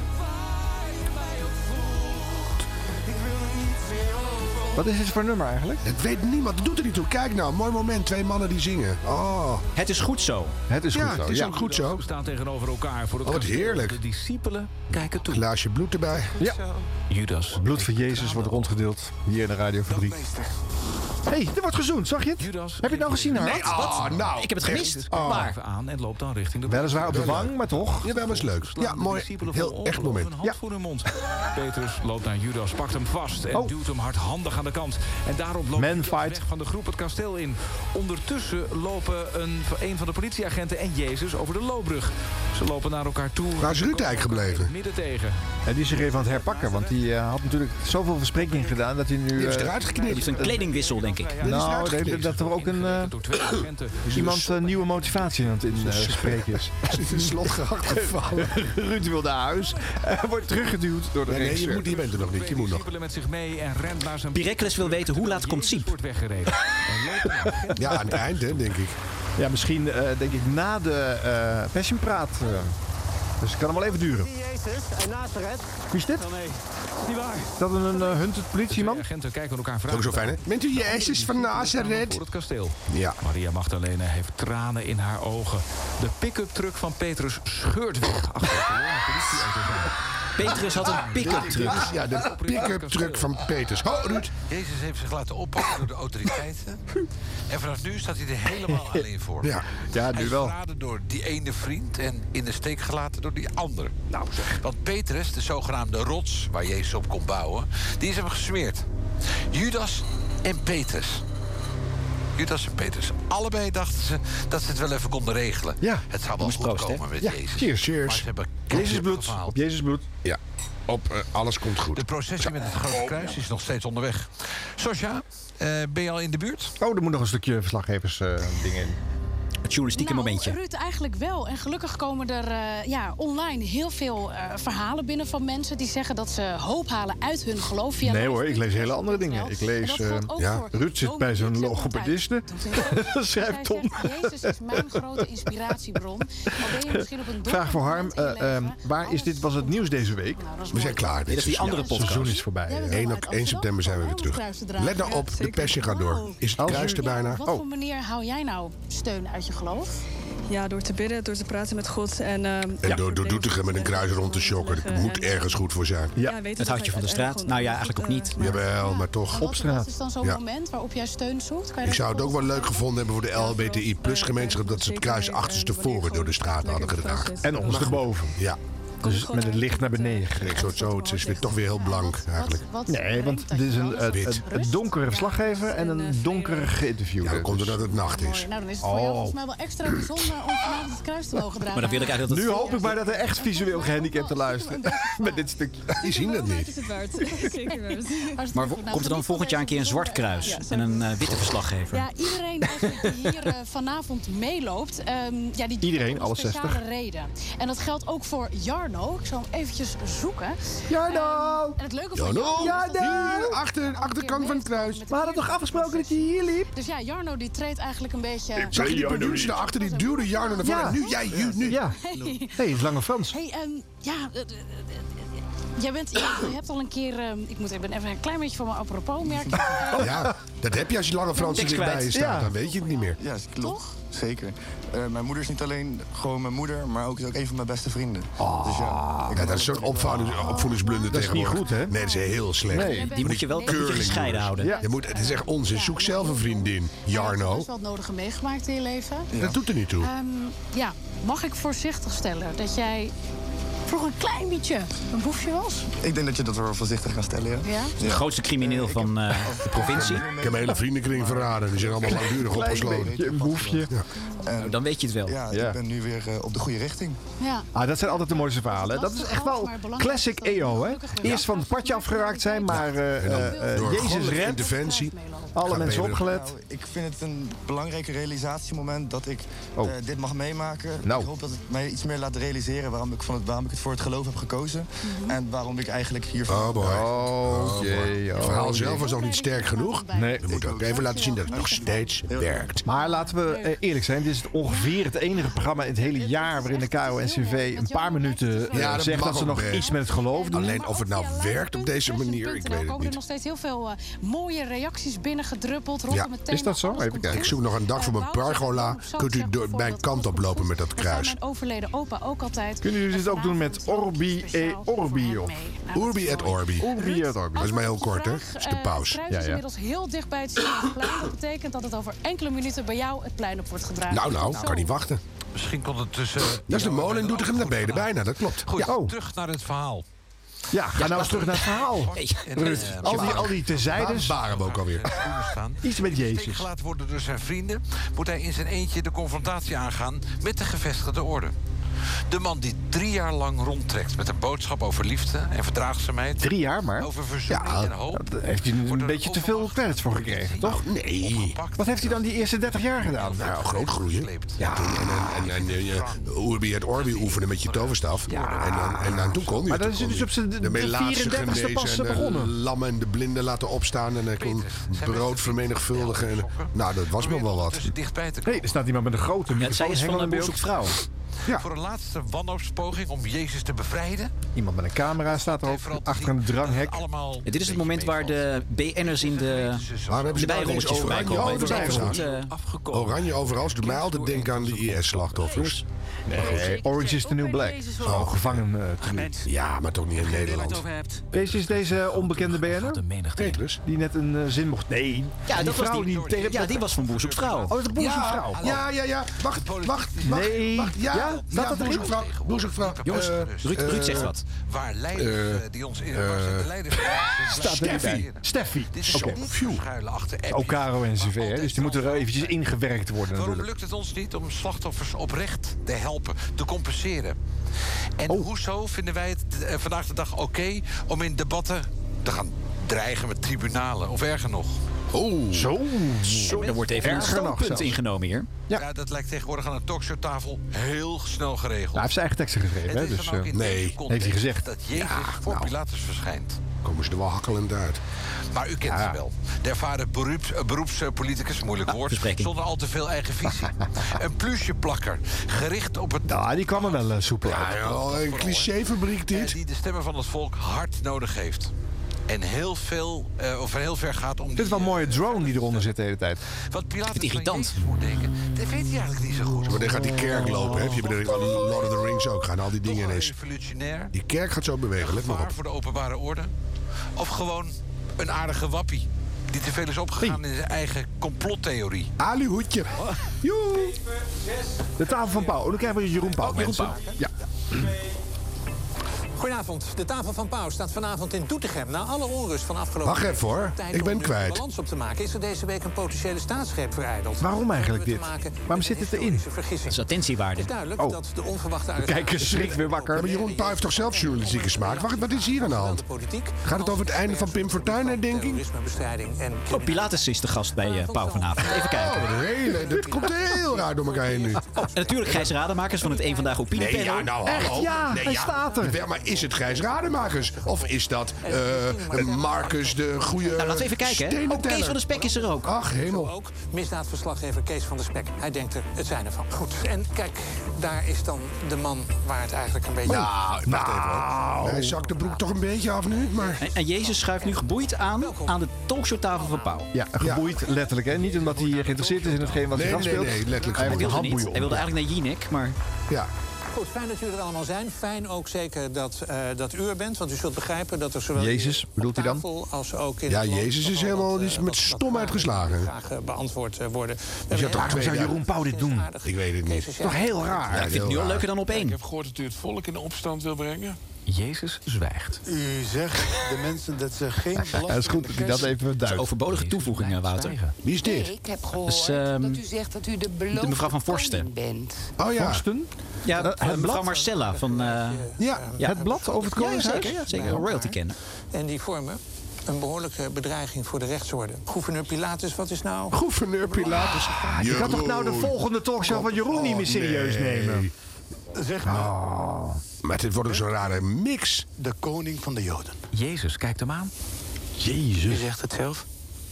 [SPEAKER 4] Wat is dit voor nummer eigenlijk?
[SPEAKER 2] Het weet niemand, dat doet er niet toe. Kijk nou, mooi moment, twee mannen die zingen. Oh.
[SPEAKER 8] Het is goed zo.
[SPEAKER 4] Het is
[SPEAKER 2] ja,
[SPEAKER 4] goed zo,
[SPEAKER 2] Het is
[SPEAKER 4] ja.
[SPEAKER 2] ook goed zo.
[SPEAKER 7] Ze staan tegenover elkaar voor het
[SPEAKER 2] Oh, wat
[SPEAKER 7] kasteel.
[SPEAKER 2] heerlijk.
[SPEAKER 7] De discipelen kijken toe.
[SPEAKER 2] Glaasje bloed erbij.
[SPEAKER 4] Ja.
[SPEAKER 7] Judas.
[SPEAKER 4] Bloed van Jezus wordt rondgedeeld hier in de Radio Fabriek. Hé, hey, er wordt gezoend, zag je het? Heb je het nou gezien, Harm?
[SPEAKER 2] Nee, oh, nou.
[SPEAKER 8] Ik heb het gemist.
[SPEAKER 2] Oh.
[SPEAKER 8] Maar
[SPEAKER 7] Even aan en loopt dan richting de
[SPEAKER 4] Weliswaar op de wang, maar toch.
[SPEAKER 2] Ja, dat was leuk. Ja, mooi. Heel echt moment.
[SPEAKER 7] Een hand voor hun mond. Petrus loopt naar Judas, pakt hem vast en
[SPEAKER 4] Oh.
[SPEAKER 7] duwt hem hardhandig aan de kant. En daarop loopt
[SPEAKER 4] Man
[SPEAKER 7] Judas
[SPEAKER 4] fight.
[SPEAKER 7] weg van de groep het kasteel in. Ondertussen lopen een, een van de politieagenten en Jezus over de loopbrug. Ze lopen naar elkaar toe.
[SPEAKER 2] Waar is Ruud eigenlijk gebleven?
[SPEAKER 7] Midden tegen.
[SPEAKER 4] En die is zich even aan het herpakken, want die eh, had natuurlijk zoveel verspreking gedaan dat hij nu...
[SPEAKER 2] Die heeft
[SPEAKER 4] eh,
[SPEAKER 2] eruit geknipt.
[SPEAKER 8] het is een kledingwissel, denk ik.
[SPEAKER 2] Dit is
[SPEAKER 4] nou,
[SPEAKER 2] eruit
[SPEAKER 4] dat-
[SPEAKER 2] geknipt.
[SPEAKER 4] dat er ook een, eh,
[SPEAKER 7] Door twee agenten.
[SPEAKER 4] iemand eh, nieuwe motivatie aan het inspreken is.
[SPEAKER 2] Er is een slot gehakt gevallen.
[SPEAKER 4] Ruud wil naar huis. Eh, wordt teruggeduwd door de
[SPEAKER 2] Nee, nee, je,
[SPEAKER 4] regisseur.
[SPEAKER 2] moet, je bent er nog niet. Je moet nog.
[SPEAKER 7] Discipelen met zich mee en rent naar zijn...
[SPEAKER 8] Pirekles wil weten hoe laat komt
[SPEAKER 7] Jezus
[SPEAKER 8] Siep.
[SPEAKER 7] wordt weggereden. En loopt een agent
[SPEAKER 2] Ja, aan het eind, hè, denk ik.
[SPEAKER 4] Ja, misschien eh, denk ik na de eh Passion Praat. eh. dus het kan hem wel even duren.
[SPEAKER 20] Jezus en Nazareth.
[SPEAKER 4] Wie is dit?
[SPEAKER 20] Oh, nee, niet waar.
[SPEAKER 4] Is dat een eh, hunted politieman?
[SPEAKER 7] Agenten kijken elkaar
[SPEAKER 2] Dat is ook
[SPEAKER 7] vragen.
[SPEAKER 2] zo fijn, hè? Bent u Jezus van
[SPEAKER 7] Voor
[SPEAKER 2] Nazareth?
[SPEAKER 7] het kasteel.
[SPEAKER 2] Ja.
[SPEAKER 7] Maria Magdalena heeft tranen in haar ogen. De pick-up truck van Petrus scheurt weg achter de kolonne politieauto's aan.
[SPEAKER 8] Petrus had een pick-up truck.
[SPEAKER 2] Ja, de pick-up truck van Peters. Ho, Ruud.
[SPEAKER 9] Jezus heeft zich laten oppakken door de autoriteiten. En vanaf nu staat hij er helemaal alleen voor.
[SPEAKER 2] Ja.
[SPEAKER 4] Ja,
[SPEAKER 9] hij
[SPEAKER 4] nu
[SPEAKER 9] is
[SPEAKER 4] wel.
[SPEAKER 9] verraden door die ene vriend en in de steek gelaten door die ander. Nou, Want Petrus, de zogenaamde rots waar Jezus op kon bouwen, die is hem gesmeerd. Judas en Petrus. Judas en Petrus. Allebei dachten ze dat ze het wel even konden regelen.
[SPEAKER 4] Ja.
[SPEAKER 9] Het zou wel goed
[SPEAKER 8] proosten,
[SPEAKER 9] komen met
[SPEAKER 4] Ja,
[SPEAKER 9] Jezus.
[SPEAKER 4] cheers.
[SPEAKER 9] Maar
[SPEAKER 2] Cheers.
[SPEAKER 9] ze hebben
[SPEAKER 4] Jezus
[SPEAKER 9] keihard
[SPEAKER 4] bloed.
[SPEAKER 9] gefaald.
[SPEAKER 4] Op Jezus bloed.
[SPEAKER 2] Ja, op eh, alles komt goed.
[SPEAKER 9] De processie met het grote kruis is nog steeds onderweg. Sosja, eh, ben je al in de buurt?
[SPEAKER 4] Oh, er moet nog een stukje verslaggevers eh, dingen in.
[SPEAKER 8] Het journalistieke
[SPEAKER 11] nou,
[SPEAKER 8] momentje.
[SPEAKER 11] Ruud, eigenlijk wel. En gelukkig komen er eh, ja, online heel veel eh, verhalen binnen van mensen... die zeggen dat ze hoop halen uit hun geloof. Via
[SPEAKER 4] Nee hoor, ik lees hele andere dingen.
[SPEAKER 11] Ja.
[SPEAKER 4] Ik
[SPEAKER 11] En dat
[SPEAKER 4] lees... eh,
[SPEAKER 11] geldt ook
[SPEAKER 2] ja,
[SPEAKER 11] voor
[SPEAKER 4] Ruud zit bij zo'n
[SPEAKER 11] dominees en
[SPEAKER 4] logopediste.
[SPEAKER 11] altijd.
[SPEAKER 4] Dat schrijft
[SPEAKER 11] Zij
[SPEAKER 4] Tom.
[SPEAKER 11] zegt, Jezus is mijn grote inspiratiebron. Al ben je misschien op een donker
[SPEAKER 4] Vraag voor Harm.
[SPEAKER 11] moment in je
[SPEAKER 4] eh, ehm,
[SPEAKER 11] leven,
[SPEAKER 4] waar is
[SPEAKER 11] alles
[SPEAKER 4] dit was het nieuws deze week?
[SPEAKER 11] Nou, dat is
[SPEAKER 2] We zijn
[SPEAKER 11] mooi.
[SPEAKER 2] klaar.
[SPEAKER 8] Dit is die andere
[SPEAKER 4] Het seizoen
[SPEAKER 8] podcast.
[SPEAKER 4] is voorbij. eh.
[SPEAKER 2] 1, op, 1 september zijn we weer terug. Let nou op, de persje gaat door. Is het
[SPEAKER 4] Als u-
[SPEAKER 2] kruis er
[SPEAKER 11] Oh. Ja,
[SPEAKER 2] bijna?
[SPEAKER 11] op
[SPEAKER 2] Oh.
[SPEAKER 4] Oh.
[SPEAKER 11] wat voor manier hou jij nou steun uit je geloof?
[SPEAKER 6] Ja, door te bidden, door te praten met God. En, ehm,
[SPEAKER 2] En door, door Doetinchem met een kruis rond te shocken.
[SPEAKER 11] eh,
[SPEAKER 2] Dat moet ergens goed voor zijn.
[SPEAKER 4] Ja,
[SPEAKER 6] weten
[SPEAKER 8] Het
[SPEAKER 6] dat
[SPEAKER 8] houdt je
[SPEAKER 6] hij
[SPEAKER 8] van de straat.
[SPEAKER 6] uiteindelijk
[SPEAKER 8] Nou ja,
[SPEAKER 6] gewoon
[SPEAKER 8] eigenlijk ook
[SPEAKER 6] goed,
[SPEAKER 8] niet.
[SPEAKER 6] eh,
[SPEAKER 2] Jawel, maar toch.
[SPEAKER 11] Wat-
[SPEAKER 4] straat.
[SPEAKER 11] Wat is dan eh, zo'n
[SPEAKER 2] Ja.
[SPEAKER 11] moment waarop jij steun zoekt? Kan je
[SPEAKER 2] Ik
[SPEAKER 11] dat
[SPEAKER 2] zou het ook wel leuk gevonden hebben voor de
[SPEAKER 11] eh,
[SPEAKER 2] LBTI plus gemeenschap... dat ze het kruis achterstevoren door de straat hadden gedragen.
[SPEAKER 4] En ondersteboven.
[SPEAKER 2] Ja,
[SPEAKER 4] Dus met het licht naar
[SPEAKER 11] eh,
[SPEAKER 4] beneden.
[SPEAKER 2] ik zou het zo, het is weer toch weer heel blank eigenlijk.
[SPEAKER 11] Wat-
[SPEAKER 4] Nee, want dit is een, een, een- een donkere verslaggever en een donkere geïnterviewde.
[SPEAKER 2] Ja, dat komt omdat het nacht is.
[SPEAKER 11] eh, Mooi. Nou, dan is het voor
[SPEAKER 4] Oh.
[SPEAKER 11] jou volgens mij wel extra bijzonder om vanavond het kruis te mogen dragen.
[SPEAKER 8] Maar dan wil ik eigenlijk dat het...
[SPEAKER 4] Nu hoop ik maar dat er echt visueel gehandicapten luisteren. Met dit stukje.
[SPEAKER 2] Die zien dat niet.
[SPEAKER 6] Het is het waard. Zeker waard.
[SPEAKER 11] Hartstikke
[SPEAKER 8] Maar
[SPEAKER 11] goed.
[SPEAKER 8] wo-
[SPEAKER 11] Nou,
[SPEAKER 8] komt er dan
[SPEAKER 11] geniet
[SPEAKER 8] volgend jaar een keer een
[SPEAKER 11] van deze
[SPEAKER 8] zwart kruis
[SPEAKER 11] bijzondere-
[SPEAKER 8] en een eh, witte verslaggever?
[SPEAKER 11] Ja, iedereen eigenlijk die hier eh, vanavond meeloopt, ehm, ja, die doet
[SPEAKER 4] Iedereen,
[SPEAKER 11] het om
[SPEAKER 4] alle
[SPEAKER 11] een speciale
[SPEAKER 4] 60.
[SPEAKER 11] reden. En dat geldt ook voor Jarno. Ik zal hem eventjes zoeken.
[SPEAKER 4] Jarno!
[SPEAKER 11] Ehm, en het leuke van
[SPEAKER 2] Jarno!
[SPEAKER 11] Jarno is dat hij
[SPEAKER 2] Hier, achter, achterkant van het kruis.
[SPEAKER 11] met de
[SPEAKER 4] We hadden toch afgesproken dat je hier liep?
[SPEAKER 11] Dus ja, Jarno die treedt eigenlijk een beetje...
[SPEAKER 2] Zag je die producer daarachter? Die duwde Jarno naar voren.
[SPEAKER 4] Ja.
[SPEAKER 2] Nu jij, nu, nu.
[SPEAKER 4] Ja. Hé, hey, het is Lange Frans.
[SPEAKER 11] Hey, ehm, ja, eh, eh, eh, eh, jij bent, je hebt al een keer, ehm, ik moet even, even een klein beetje van mijn apropos Eh, merken.
[SPEAKER 4] Oh.
[SPEAKER 2] Ja, dat heb je als je lange Frans er
[SPEAKER 8] Tekst
[SPEAKER 2] niet
[SPEAKER 8] kwijt.
[SPEAKER 2] bij je staat.
[SPEAKER 4] Ja.
[SPEAKER 2] Dan weet je het niet meer.
[SPEAKER 21] Ja, klopt. Zeker. Eh, mijn moeder is niet alleen gewoon mijn moeder, maar ook, is ook een van mijn beste vrienden.
[SPEAKER 10] Ah.
[SPEAKER 21] Dus ja, ik
[SPEAKER 2] Ja,
[SPEAKER 21] heb
[SPEAKER 2] dat is zo'n opvoedings, opvoedingsblunder
[SPEAKER 4] Ah. Dat is niet
[SPEAKER 2] tegenwoordig.
[SPEAKER 4] goed, hè?
[SPEAKER 2] Nee, dat is heel slecht.
[SPEAKER 4] Nee. Die
[SPEAKER 2] Want
[SPEAKER 8] moet je wel een beetje
[SPEAKER 2] curling
[SPEAKER 8] gescheiden
[SPEAKER 2] jongens.
[SPEAKER 8] houden.
[SPEAKER 4] Ja.
[SPEAKER 2] Je moet, het is echt onzin. Zoek zelf een vriendin,
[SPEAKER 11] Je hebt
[SPEAKER 2] Jarno.
[SPEAKER 11] best wel het nodige meegemaakt in je leven.
[SPEAKER 2] Dat doet er niet toe.
[SPEAKER 11] Ehm, ja, mag ik voorzichtig stellen dat jij vroeger een klein beetje een boefje was.
[SPEAKER 21] Ik denk dat je dat wel voorzichtig kan stellen, ja.
[SPEAKER 11] Ja?
[SPEAKER 8] De grootste crimineel van eh, de provincie.
[SPEAKER 2] Ik heb mijn hele vriendenkring verraden. Die zijn allemaal langdurig opgesloten.
[SPEAKER 4] Een boefje.
[SPEAKER 8] Nou, dan weet je het wel.
[SPEAKER 21] Ja, ik ben nu weer eh, op de goede richting.
[SPEAKER 11] Ja.
[SPEAKER 4] Ah, dat zijn altijd de mooiste verhalen. Dat is echt wel classic EO, hè? Eerst van het padje afgeraakt zijn, maar eh, eh, eh, Jezus redt.
[SPEAKER 2] interventie.
[SPEAKER 4] Alle mensen opgelet.
[SPEAKER 21] Nou, ik vind het een belangrijk realisatiemoment dat ik
[SPEAKER 4] Oh.
[SPEAKER 21] eh, dit mag meemaken.
[SPEAKER 4] Nou.
[SPEAKER 21] Ik hoop dat het mij iets meer laat realiseren waarom ik, van het, waarom ik het voor het geloof heb gekozen.
[SPEAKER 22] Mhm.
[SPEAKER 21] En waarom ik eigenlijk hiervoor...
[SPEAKER 2] Oh boy. Oh,
[SPEAKER 21] boy.
[SPEAKER 2] jee, Het verhaal zelf was nog niet sterk genoeg.
[SPEAKER 4] Nee.
[SPEAKER 2] We moeten ook even laten zien dat het nog steeds werkt.
[SPEAKER 4] Maar laten we eh, eerlijk zijn, dit is ongeveer het enige programma in het hele jaar waarin de KONCV een paar minuten eh,
[SPEAKER 2] Ja, dat
[SPEAKER 4] zegt
[SPEAKER 2] mag
[SPEAKER 4] dat ze
[SPEAKER 2] ook
[SPEAKER 4] nog
[SPEAKER 2] best.
[SPEAKER 4] iets met het geloof doen.
[SPEAKER 2] Alleen of het nou werkt op deze manier, ik
[SPEAKER 11] Er
[SPEAKER 2] weet het
[SPEAKER 11] komen er
[SPEAKER 2] niet.
[SPEAKER 11] nog steeds heel veel eh, mooie reacties binnengedruppeld rondom het thema. Alles komt
[SPEAKER 2] Ik zoek nog een dak voor mijn pergola. Kunt u door mijn kant op lopen met dat
[SPEAKER 11] Zei
[SPEAKER 2] kruis?
[SPEAKER 11] mijn overleden opa ook altijd.
[SPEAKER 4] Kunnen jullie dit ook doen met Orbi e Orbi? Of?
[SPEAKER 2] Urbi et Orbi.
[SPEAKER 4] Urbi et Orbi.
[SPEAKER 2] Dat is maar heel kort, hè? Dat is de paus.
[SPEAKER 11] Eh, Het kruis is inmiddels heel dicht bij het Sint-Plein. Dat betekent dat het over enkele minuten bij jou het plein op wordt gedragen.
[SPEAKER 2] Nou, nou, kan niet wachten.
[SPEAKER 9] Misschien komt het tussen... oh,
[SPEAKER 2] Dat is de molen in Doetinchem naar beneden, bijna, dat klopt.
[SPEAKER 9] Goed,
[SPEAKER 4] Oh.
[SPEAKER 2] Ja.
[SPEAKER 9] terug naar het verhaal.
[SPEAKER 4] Ja, ga nou eens terug naar het verhaal. Ruud,
[SPEAKER 9] eh,
[SPEAKER 4] al die, al die tezijdes.
[SPEAKER 2] Waar waren we ook alweer?
[SPEAKER 9] staan.
[SPEAKER 4] Iets met Jezus.
[SPEAKER 9] Teruggelaten worden door zijn vrienden, moet hij in zijn eentje de confrontatie aangaan met de gevestigde orde. De man die drie jaar lang rondtrekt met een boodschap over liefde en verdraagzaamheid.
[SPEAKER 4] Drie jaar maar?
[SPEAKER 9] Over verzoening en hoop.
[SPEAKER 4] Daar heeft hij een beetje te veel credits voor gekregen, toch?
[SPEAKER 2] Nee.
[SPEAKER 4] Wat heeft hij dan die eerste 30 jaar gedaan?
[SPEAKER 2] Nou, groot groeien. Ja. En, en, en, en eh, Urbi et Orbi oefenen met je toverstaf. En, dan- en, dan toen kon hij.
[SPEAKER 4] Maar
[SPEAKER 2] toen
[SPEAKER 4] dat is
[SPEAKER 2] kon
[SPEAKER 4] dus
[SPEAKER 2] hij.
[SPEAKER 4] op zijn
[SPEAKER 2] De melaatse
[SPEAKER 4] 34ste pas eh,
[SPEAKER 2] genezen en de
[SPEAKER 4] begonnen.
[SPEAKER 2] lammen en de blinden laten opstaan. En hij kon brood vermenigvuldigen. En, nou, dat was me wel wat.
[SPEAKER 9] dichtbij te
[SPEAKER 4] Nee, er staat iemand met een grote
[SPEAKER 9] zij
[SPEAKER 4] microfoon
[SPEAKER 9] is van
[SPEAKER 4] hengel
[SPEAKER 9] een
[SPEAKER 4] in beeld.
[SPEAKER 9] boezekvrouw. Voor een laatste wanhoopspoging om Jezus te bevrijden.
[SPEAKER 4] Iemand met een camera staat er ook achter een dranghek.
[SPEAKER 9] Allemaal
[SPEAKER 8] Ja, dit is het moment waar de BN'ers in de,
[SPEAKER 2] hebben
[SPEAKER 8] de
[SPEAKER 2] ze nou
[SPEAKER 8] bijrolletjes
[SPEAKER 2] ineens
[SPEAKER 8] voorbij
[SPEAKER 2] oranje
[SPEAKER 4] Oh,
[SPEAKER 8] komen.
[SPEAKER 2] over de
[SPEAKER 8] Het is
[SPEAKER 2] bijrolletjes?
[SPEAKER 8] even goed, eh,
[SPEAKER 2] Oranje overal. Ze doet mij altijd denken aan de IS-slachtoffers.
[SPEAKER 4] Nee, Orange is the New Black. Zo gevangen. eh, te doen.
[SPEAKER 2] Ja, maar toch niet in Nederland.
[SPEAKER 4] Deze is deze onbekende BN'er?
[SPEAKER 2] Petrus.
[SPEAKER 4] Die net een eh, zin mocht. Nee.
[SPEAKER 8] Ja,
[SPEAKER 4] die
[SPEAKER 8] dat was
[SPEAKER 4] vrouw
[SPEAKER 8] die,
[SPEAKER 4] die tegen...
[SPEAKER 8] ja, die was van Boerzoek Vrouw.
[SPEAKER 4] Oh, de boezemvrouw.
[SPEAKER 2] Ja, ja, ja, ja. Wacht, wacht, wacht.
[SPEAKER 4] Nee.
[SPEAKER 2] wacht. Ja,
[SPEAKER 4] Ja? Staat
[SPEAKER 2] ja,
[SPEAKER 4] dat erin?
[SPEAKER 2] boezemvrouw, boezemvrouw.
[SPEAKER 8] Jongens,
[SPEAKER 2] Eh,
[SPEAKER 8] Ruud,
[SPEAKER 2] eh,
[SPEAKER 8] Ruud zegt wat.
[SPEAKER 9] Waar leiders eh, die ons in de leiders
[SPEAKER 4] Staat er niet bij. Steffi.
[SPEAKER 9] Dit is
[SPEAKER 4] Oké.
[SPEAKER 9] zo verschuilen achter appjes.
[SPEAKER 4] Ook Caro en CV, hè? dus die moeten er eventjes ingewerkt worden
[SPEAKER 9] Waarom
[SPEAKER 4] natuurlijk.
[SPEAKER 9] lukt het ons niet om slachtoffers oprecht te helpen, te compenseren? En
[SPEAKER 4] Oh.
[SPEAKER 9] hoezo vinden wij het eh, vandaag de dag oké om in debatten te gaan dreigen met tribunalen of erger nog?
[SPEAKER 2] Oh.
[SPEAKER 4] Zo.
[SPEAKER 8] Er wordt even een
[SPEAKER 4] Erger nog
[SPEAKER 8] standpunt
[SPEAKER 4] zelfs.
[SPEAKER 8] ingenomen hier.
[SPEAKER 9] Ja. dat lijkt tegenwoordig aan een talkshowtafel heel snel geregeld.
[SPEAKER 4] Nou, hij heeft zijn eigen teksten geschreven, hè?
[SPEAKER 9] het is
[SPEAKER 4] Dus,
[SPEAKER 9] dan ook
[SPEAKER 4] eh,
[SPEAKER 9] in deze
[SPEAKER 4] nee.
[SPEAKER 9] context
[SPEAKER 4] Heeft hij gezegd. nou.
[SPEAKER 9] dat Jezus voor Pilatus verschijnt.
[SPEAKER 2] Komen ze er wel hakkelend uit.
[SPEAKER 9] Maar u kent ze wel. De ervaren beroeps, eh, beroepspoliticus, moeilijk
[SPEAKER 7] Ah,
[SPEAKER 9] woord, zonder al te veel eigen visie. een plusjeplakker, gericht op het...
[SPEAKER 4] Nou, die kwam er wel eh, soepel uit.
[SPEAKER 2] Oh, een clichéfabriek
[SPEAKER 9] eh,
[SPEAKER 2] dit.
[SPEAKER 9] die de stemmen van het volk hard nodig heeft. En heel veel, eh, of heel ver gaat om...
[SPEAKER 4] Dit is wel een mooie drone die eronder zit de hele tijd.
[SPEAKER 9] Wat Pilatus irritant. moet denken, dat weet hij eigenlijk niet zo goed.
[SPEAKER 2] Maar dan gaat die kerk lopen. Heb je bedenkt aan Lord of the Rings ook. Gaan al die dingen ineens.
[SPEAKER 9] Revolutionair,
[SPEAKER 2] Die kerk gaat zo bewegen, let maar op.
[SPEAKER 9] gevaar voor de openbare orde. Of gewoon een aardige wappie. Die te veel is opgegaan in zijn eigen complottheorie.
[SPEAKER 2] Aluhoedje. Joe.
[SPEAKER 4] De tafel van Pauw. Oh, dan krijgen we Jeroen Pauw. mensen. Ja.
[SPEAKER 2] eh.
[SPEAKER 23] Goedenavond. De tafel van Pauw staat vanavond in Doetinchem. Na alle onrust van afgelopen
[SPEAKER 2] Wacht even, hoor.
[SPEAKER 23] Tijd
[SPEAKER 2] Ik
[SPEAKER 23] om
[SPEAKER 2] ben
[SPEAKER 23] nu een
[SPEAKER 2] kwijt.
[SPEAKER 23] balans op te maken is er deze week een potentiële staatsgreep vereideld.
[SPEAKER 4] Waarom eigenlijk dit?
[SPEAKER 23] Te maken
[SPEAKER 4] Waarom zit het erin?
[SPEAKER 8] Dat is attentiewaarde.
[SPEAKER 23] is duidelijk
[SPEAKER 4] Oh.
[SPEAKER 23] dat de onverwachte
[SPEAKER 4] Kijk,
[SPEAKER 23] arrestatie-
[SPEAKER 4] schrikt weer wakker.
[SPEAKER 2] Maar Jeroen Pauw heeft toch zelf journalistieke smaak? Wacht, wat is hier aan de hand? Gaat het over het einde van Pim Fortuyn, hè, denk ik?
[SPEAKER 23] terrorismebestrijding en
[SPEAKER 8] Oh, Pilatus is de gast bij eh, Pauw vanavond. Even kijken.
[SPEAKER 2] Oh, de hele, dit komt heel raar door elkaar heen nu.
[SPEAKER 4] Oh.
[SPEAKER 8] En natuurlijk Gijs Rademakers van het Eén Vandaag Opinie
[SPEAKER 2] Nee, ja, nou, hallo. nee, ja.
[SPEAKER 4] er.
[SPEAKER 2] Ja, maar is het Gijs Rademakers? Of is dat eh, Marcus de goede
[SPEAKER 8] Nou, laten we even kijken. hè. Oh, Kees van de Spek is er ook.
[SPEAKER 2] Ach, hemel.
[SPEAKER 23] Ook misdaadverslaggever Kees van der Spek. Hij denkt er, het zijn ervan. Goed, en kijk, daar is dan de man waar het eigenlijk een beetje...
[SPEAKER 4] Oh.
[SPEAKER 2] Nou, wacht even. hoor. Hij zakt de broek toch een beetje af nu, maar...
[SPEAKER 8] En, en Jezus schuift nu geboeid aan aan de talkshowtafel van Pauw.
[SPEAKER 4] Ja, geboeid letterlijk. Hè? Niet omdat hij eh, geïnteresseerd is in hetgeen wat
[SPEAKER 2] Nee,
[SPEAKER 4] zich
[SPEAKER 2] nee,
[SPEAKER 4] afspeelt.
[SPEAKER 2] nee, letterlijk
[SPEAKER 4] Hij
[SPEAKER 8] Hij
[SPEAKER 4] heeft een
[SPEAKER 8] wilde, niet.
[SPEAKER 4] handboeien om.
[SPEAKER 8] Hij wilde eigenlijk naar Jinek, maar
[SPEAKER 2] Ja.
[SPEAKER 23] Goed, fijn dat jullie er allemaal zijn. Fijn ook zeker dat, eh, dat u er bent. Want u zult begrijpen dat er zowel
[SPEAKER 2] Jezus,
[SPEAKER 23] hier op
[SPEAKER 2] bedoelt hij dan?
[SPEAKER 23] tafel als ook in
[SPEAKER 2] Ja,
[SPEAKER 23] het land
[SPEAKER 2] Jezus is helemaal die is met stom uitgeslagen.
[SPEAKER 23] vragen beantwoord eh, worden.
[SPEAKER 2] Dus ja, waarom zou Jeroen
[SPEAKER 23] Pauw dit doen?
[SPEAKER 2] Ik weet het niet.
[SPEAKER 23] Toch heel raar.
[SPEAKER 2] Ja,
[SPEAKER 23] Ja, ik vind het nu al
[SPEAKER 2] heel
[SPEAKER 23] leuker dan op één.
[SPEAKER 3] Ik heb gehoord dat u het volk in de opstand wil brengen.
[SPEAKER 7] Jezus zwijgt.
[SPEAKER 3] U zegt de mensen dat ze geen
[SPEAKER 8] Ja, is goed dat hij dat even duidt. Overbodige toevoegingen, Wouter. Wie is
[SPEAKER 22] Nee, ik heb gehoord
[SPEAKER 8] Dus, ehm,
[SPEAKER 22] dat u zegt dat u de beloofde
[SPEAKER 8] de mevrouw van Forsten.
[SPEAKER 22] koning bent.
[SPEAKER 8] Forsten? Ja,
[SPEAKER 22] Dat-
[SPEAKER 8] eh,
[SPEAKER 22] het
[SPEAKER 8] mevrouw
[SPEAKER 22] blad?
[SPEAKER 8] Marcella van...
[SPEAKER 23] ja,
[SPEAKER 8] het blad over
[SPEAKER 23] het Koningshuis?
[SPEAKER 8] zeker, ja, zeker.
[SPEAKER 23] Ja.
[SPEAKER 8] royalty kennen.
[SPEAKER 23] En die vormen een behoorlijke bedreiging voor de rechtsorde. Gouverneur Pilatus, wat is nou...
[SPEAKER 2] Gouverneur Pilatus.
[SPEAKER 4] Je kan toch nou de volgende talkshow van Jeroen Oh,
[SPEAKER 2] Oh,
[SPEAKER 4] niet meer serieus nemen? Ah.
[SPEAKER 3] Zeg maar.
[SPEAKER 2] Maar dit wordt ook zo'n rare mix.
[SPEAKER 3] De koning van de Joden.
[SPEAKER 7] Jezus, kijkt hem aan.
[SPEAKER 2] Jezus. Je
[SPEAKER 3] zegt het zelf.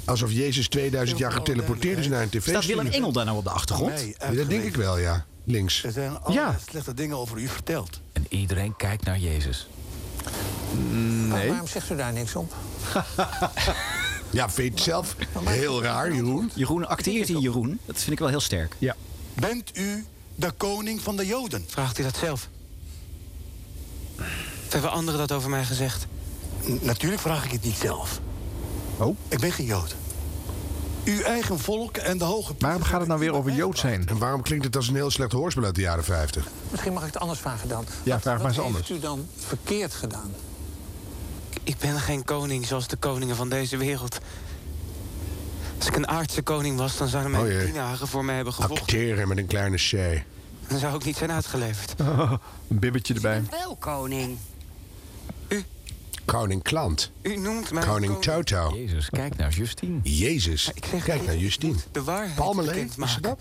[SPEAKER 2] Alsof Jezus 2000 jaar geteleporteerd is naar een tv
[SPEAKER 3] Staat Willem Engel daar nou op de achtergrond? Nee,
[SPEAKER 2] Ja, dat denk ik wel, ja. Links.
[SPEAKER 3] Er zijn allerlei slechte dingen over u verteld.
[SPEAKER 7] En iedereen kijkt naar Jezus.
[SPEAKER 23] Nee. Waarom zegt u daar niks op?
[SPEAKER 2] Ja, vind het zelf heel raar, Jeroen.
[SPEAKER 8] Jeroen acteert in Jeroen. Dat vind ik wel heel sterk.
[SPEAKER 4] Ja.
[SPEAKER 3] Bent u de koning van de Joden?
[SPEAKER 15] Vraagt hij dat zelf? Of hebben anderen dat over mij gezegd?
[SPEAKER 3] natuurlijk vraag ik het niet zelf. Oh? Ik ben geen Jood. Uw eigen volk en de hoge...
[SPEAKER 2] Waarom gaat het nou weer over Jood zijn? En waarom klinkt het als een heel slecht hoorspel uit de jaren 50?
[SPEAKER 23] Misschien mag ik het anders vragen dan.
[SPEAKER 2] Ja, vraag
[SPEAKER 23] Wat heeft u dan verkeerd gedaan?
[SPEAKER 15] Ik ben geen koning zoals de koningen van deze wereld. Als ik een aardse koning was, dan zouden mijn
[SPEAKER 2] Oh jee.
[SPEAKER 15] dienaren voor mij hebben gevochten.
[SPEAKER 2] Acteren met een kleine shay.
[SPEAKER 15] Dan zou ik niet zijn uitgeleverd.
[SPEAKER 2] een bibbetje erbij.
[SPEAKER 22] Wel koning.
[SPEAKER 2] Koning Klant.
[SPEAKER 15] U noemt mij
[SPEAKER 2] Koning Toto.
[SPEAKER 7] Jezus, kijk naar Justine.
[SPEAKER 2] Jezus, kijk naar Justine.
[SPEAKER 15] De waarheid
[SPEAKER 2] Palmelee, is ze dat?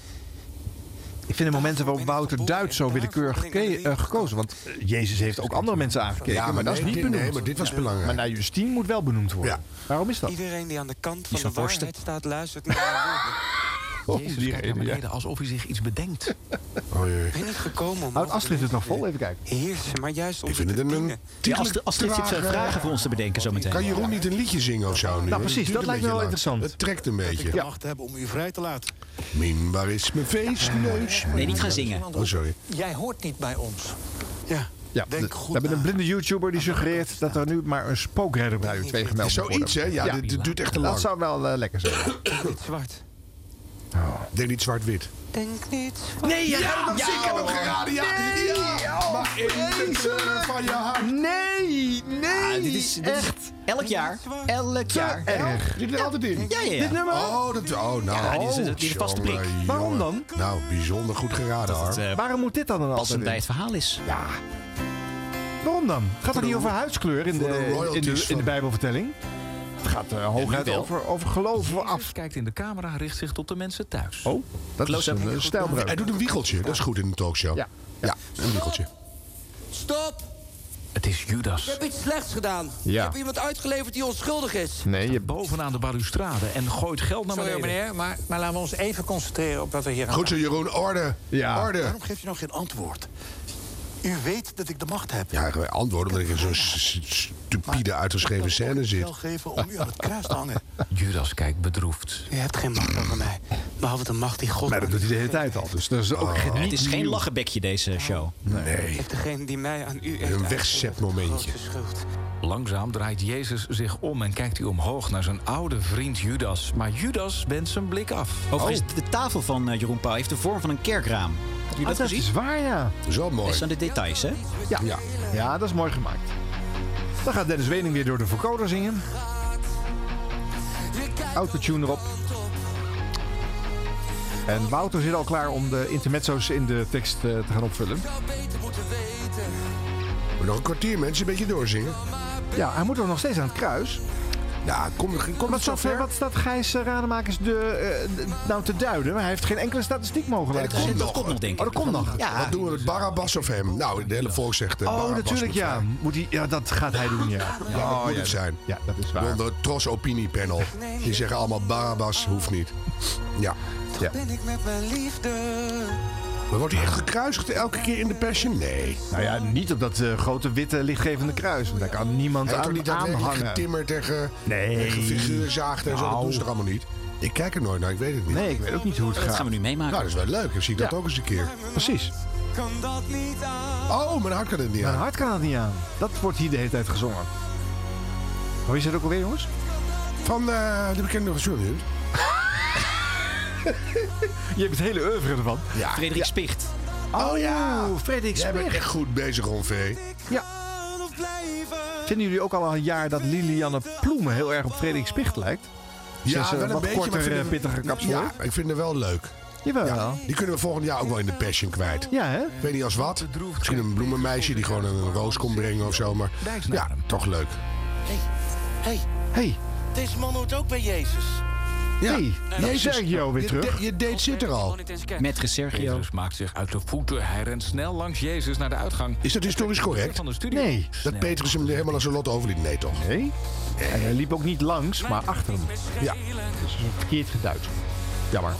[SPEAKER 4] Ik vind de momenten waarop Wouter Duits zo willekeurig geke- eh, gekozen. Want eh, Jezus heeft ook andere mensen aangekeken.
[SPEAKER 2] Ja,
[SPEAKER 4] maar,
[SPEAKER 2] maar
[SPEAKER 4] dat is
[SPEAKER 2] nee,
[SPEAKER 4] niet
[SPEAKER 2] dit-
[SPEAKER 4] benoemd.
[SPEAKER 2] nee, maar dit was belangrijk.
[SPEAKER 4] Maar naar Justine moet wel benoemd worden. Waarom is dat?
[SPEAKER 15] Iedereen die aan de kant van
[SPEAKER 4] Is van
[SPEAKER 15] de waarheid
[SPEAKER 4] Forsten.
[SPEAKER 15] staat, luistert naar mijn woorden.
[SPEAKER 2] Oh,
[SPEAKER 7] Jezus kijkt naar beneden alsof hij zich iets bedenkt.
[SPEAKER 15] Ik ben niet gekomen om...
[SPEAKER 4] Houdt Astrid het nog vol? Even kijken.
[SPEAKER 15] Heersen, maar juist om
[SPEAKER 2] Ik vind het een- een...
[SPEAKER 8] Ja, als, als dit zit zijn vragen voor ons te bedenken zometeen.
[SPEAKER 2] Kan Jeroen niet een liedje zingen of zo? Nu?
[SPEAKER 8] Nou, precies,
[SPEAKER 2] duurt
[SPEAKER 8] dat
[SPEAKER 2] een
[SPEAKER 8] lijkt
[SPEAKER 2] beetje
[SPEAKER 8] me wel
[SPEAKER 2] lang.
[SPEAKER 8] interessant.
[SPEAKER 2] Het trekt een beetje.
[SPEAKER 3] Ik macht hebben om u vrij te laten.
[SPEAKER 2] Min, waar is mijn feestneus?
[SPEAKER 8] Nee, niet gaan zingen.
[SPEAKER 2] Oh, sorry.
[SPEAKER 23] Jij hoort niet bij ons.
[SPEAKER 3] Ja.
[SPEAKER 4] Ja, de- we hebben een blinde YouTuber die suggereert dat er nu maar een spookredder bij u twee gemeld moet worden.
[SPEAKER 2] Zoiets, hè? Ja, dit- dit duurt echt te lang.
[SPEAKER 4] Dat zou wel eh, lekker zijn.
[SPEAKER 15] zwart.
[SPEAKER 2] Denk niet zwart-wit.
[SPEAKER 15] Denk niet...
[SPEAKER 2] Nee, jij gaat hem zingen, ik heb hem geraden, ja. Ja, maar in de
[SPEAKER 4] eh.
[SPEAKER 2] kleuren van je hart.
[SPEAKER 4] Nee, nee,
[SPEAKER 8] dit is, dit is elk jaar. Elk jaar.
[SPEAKER 2] erg. Dit er altijd in.
[SPEAKER 8] Ja, ja, ja.
[SPEAKER 2] Dit nummer? Oh, dat, oh nou.
[SPEAKER 8] Ja, dit is- dit is vaste prik.
[SPEAKER 2] jongen,
[SPEAKER 8] Waarom
[SPEAKER 2] jongen. Nou, bijzonder goed geraden, Harm.
[SPEAKER 4] Eh, Waarom moet dit dan dan altijd
[SPEAKER 8] passend bij
[SPEAKER 4] in?
[SPEAKER 8] het verhaal is.
[SPEAKER 4] Ja. Waarom dan? Gaat het niet over huidskleur in de,
[SPEAKER 8] de
[SPEAKER 4] in de, in de,
[SPEAKER 8] royalties van-
[SPEAKER 4] Bijbelvertelling? Het gaat eh, hooguit
[SPEAKER 7] wel.
[SPEAKER 4] over, over geloof af.
[SPEAKER 7] kijkt in de camera, richt zich tot de mensen thuis.
[SPEAKER 4] Oh, dat is
[SPEAKER 7] Close-up.
[SPEAKER 4] een eh, stijlbreuk.
[SPEAKER 2] Hij doet een wiegeltje, dat is goed in een talkshow. Ja, een wiegeltje.
[SPEAKER 24] Stop!
[SPEAKER 7] Het is Judas.
[SPEAKER 24] Ik heb iets slechts gedaan.
[SPEAKER 7] Ja.
[SPEAKER 24] Ik heb iemand uitgeleverd die onschuldig is.
[SPEAKER 4] Nee, je...
[SPEAKER 7] Bovenaan de balustrade en gooit geld naar
[SPEAKER 23] Sorry
[SPEAKER 7] beneden.
[SPEAKER 23] hoor, meneer, maar, maar laten we ons even concentreren op wat we hier aan doen.
[SPEAKER 2] Jeroen, orde.
[SPEAKER 4] Ja.
[SPEAKER 2] Orde.
[SPEAKER 3] Waarom geeft u nog geen antwoord? U weet dat ik de macht heb.
[SPEAKER 2] Ja, wij antwoorden omdat ik in zo'n s- s- stupide uitgeschreven scène
[SPEAKER 3] Ik
[SPEAKER 2] zit.
[SPEAKER 3] wil geven om u aan het kruis te hangen.
[SPEAKER 7] Judas kijkt bedroefd.
[SPEAKER 15] U hebt geen macht over mij. Behalve de macht die God...
[SPEAKER 4] Maar dat doet hij de hele tijd al. Dus dat is ook geen
[SPEAKER 8] Het is geen
[SPEAKER 4] nieuw.
[SPEAKER 8] lachenbekje deze show.
[SPEAKER 2] Nee.
[SPEAKER 15] heeft degene die mij aan u heeft
[SPEAKER 7] Een
[SPEAKER 15] wegzetmomentje. schuld.
[SPEAKER 7] Langzaam draait Jezus zich om en kijkt hij omhoog naar zijn oude vriend Judas. Maar Judas wendt zijn blik af.
[SPEAKER 2] Oh.
[SPEAKER 8] Overigens,
[SPEAKER 4] Oh.
[SPEAKER 8] de tafel van eh, Jeroen Pauw heeft de vorm van een kerkraam. Heb je
[SPEAKER 4] Ah,
[SPEAKER 8] dat
[SPEAKER 4] dat
[SPEAKER 8] gezien?
[SPEAKER 4] is waar, ja.
[SPEAKER 2] Zo
[SPEAKER 8] Dat zijn de details, hè?
[SPEAKER 4] Ja. ja. dat is mooi gemaakt. Dan gaat Dennis Wening weer door de vocoder zingen. Autotune erop. En Wouter zit al klaar om de intermezzo's in de tekst eh, te gaan opvullen.
[SPEAKER 2] Maar nog een kwartier, mensen, een beetje doorzingen.
[SPEAKER 4] Ja, hij moet toch nog steeds aan het kruis?
[SPEAKER 2] Ja, kom, kom
[SPEAKER 4] Wat staat,
[SPEAKER 2] zover.
[SPEAKER 4] wat staat Gijs eh, Rademakers de, eh, d- nou te duiden? Maar hij heeft geen enkele statistiek mogen
[SPEAKER 2] Nee,
[SPEAKER 4] laten zien. Oh, dat komt nog.
[SPEAKER 2] Wat doen we met Barabbas of hem? Nou, de hele volk zegt eh,
[SPEAKER 4] Oh,
[SPEAKER 2] Barabbas
[SPEAKER 4] natuurlijk
[SPEAKER 2] moet
[SPEAKER 4] ja.
[SPEAKER 2] vrij.
[SPEAKER 4] Moet hij, ja. Dat gaat hij doen, ja.
[SPEAKER 2] Ja, dat
[SPEAKER 4] Oh,
[SPEAKER 2] moet
[SPEAKER 4] ja,
[SPEAKER 2] het zijn.
[SPEAKER 4] Ja, dat is waar.
[SPEAKER 2] Onder het Tros opiniepanel. Die zeggen allemaal Barabbas hoeft niet. Ja. ja.
[SPEAKER 15] Ben ik met mijn liefde...
[SPEAKER 2] Maar wordt hij echt gekruisigd elke keer in de Passion? Nee.
[SPEAKER 4] Nou ja, niet op dat eh, grote witte lichtgevende kruis. Want daar kan niemand
[SPEAKER 2] Hij heeft
[SPEAKER 4] aan,
[SPEAKER 2] toch niet daadwerkelijk
[SPEAKER 4] aanhangen.
[SPEAKER 2] getimmerd tegen
[SPEAKER 4] Nee.
[SPEAKER 2] figuurzaagd eh, en zo. Dat
[SPEAKER 4] Nou.
[SPEAKER 2] doen ze toch allemaal niet? Ik kijk er nooit naar, ik weet het niet.
[SPEAKER 4] Nee, ik weet ook niet hoe het
[SPEAKER 8] Dat
[SPEAKER 4] gaat.
[SPEAKER 8] gaan we nu meemaken.
[SPEAKER 2] Nou, dat is wel leuk. Dan zie ik dat ook eens een keer.
[SPEAKER 4] Precies.
[SPEAKER 20] kan dat niet aan.
[SPEAKER 2] Oh, mijn hart kan het niet
[SPEAKER 4] aan. Mijn hart kan het niet aan. Dat wordt hier de hele tijd gezongen. Hoe is dat ook alweer, jongens?
[SPEAKER 2] Van de bekende Sorry.
[SPEAKER 4] Je hebt het hele oeuvre ervan.
[SPEAKER 2] Ja.
[SPEAKER 8] Frederik
[SPEAKER 2] Ja.
[SPEAKER 8] Spicht.
[SPEAKER 2] Oh ja,
[SPEAKER 4] Frederik
[SPEAKER 2] Jij bent echt goed bezig, Onvee.
[SPEAKER 4] Ja. Vinden jullie ook al een jaar dat Lilianne Ploemen heel erg op Frederik Spicht lijkt? Ze is, eh,
[SPEAKER 2] wel een
[SPEAKER 4] wat
[SPEAKER 2] beetje, maar ik
[SPEAKER 4] korter,
[SPEAKER 2] vind
[SPEAKER 4] eh,
[SPEAKER 2] hem-
[SPEAKER 4] pittiger kapsel.
[SPEAKER 2] Ja, ik vind hem wel leuk.
[SPEAKER 4] Jawel.
[SPEAKER 2] Ja, die kunnen we volgend jaar ook wel in de passion kwijt.
[SPEAKER 4] Ja, hè?
[SPEAKER 2] Ik weet niet als wat. Misschien een bloemenmeisje die gewoon een roos komt brengen of zo. Maar ja, toch leuk.
[SPEAKER 24] Hé,
[SPEAKER 4] hey,
[SPEAKER 24] deze man hoort ook bij Jezus.
[SPEAKER 2] Ja,
[SPEAKER 24] Hey,
[SPEAKER 2] Nou, Jezus,
[SPEAKER 24] daar is Sergio weer
[SPEAKER 2] je
[SPEAKER 24] terug.
[SPEAKER 2] de- je date zit er al.
[SPEAKER 8] Met Sergio.
[SPEAKER 7] Petrus maakt zich uit de voeten. Hij rent snel langs Jezus naar de uitgang.
[SPEAKER 2] Is dat historisch correct?
[SPEAKER 7] Van de studio.
[SPEAKER 2] Dat Petrus hem helemaal aan zijn lot overliet. Nee, toch?
[SPEAKER 4] Nee. En hij liep ook niet langs, maar achter hem.
[SPEAKER 2] Ja.
[SPEAKER 4] Dus verkeerd geduid. Jammer.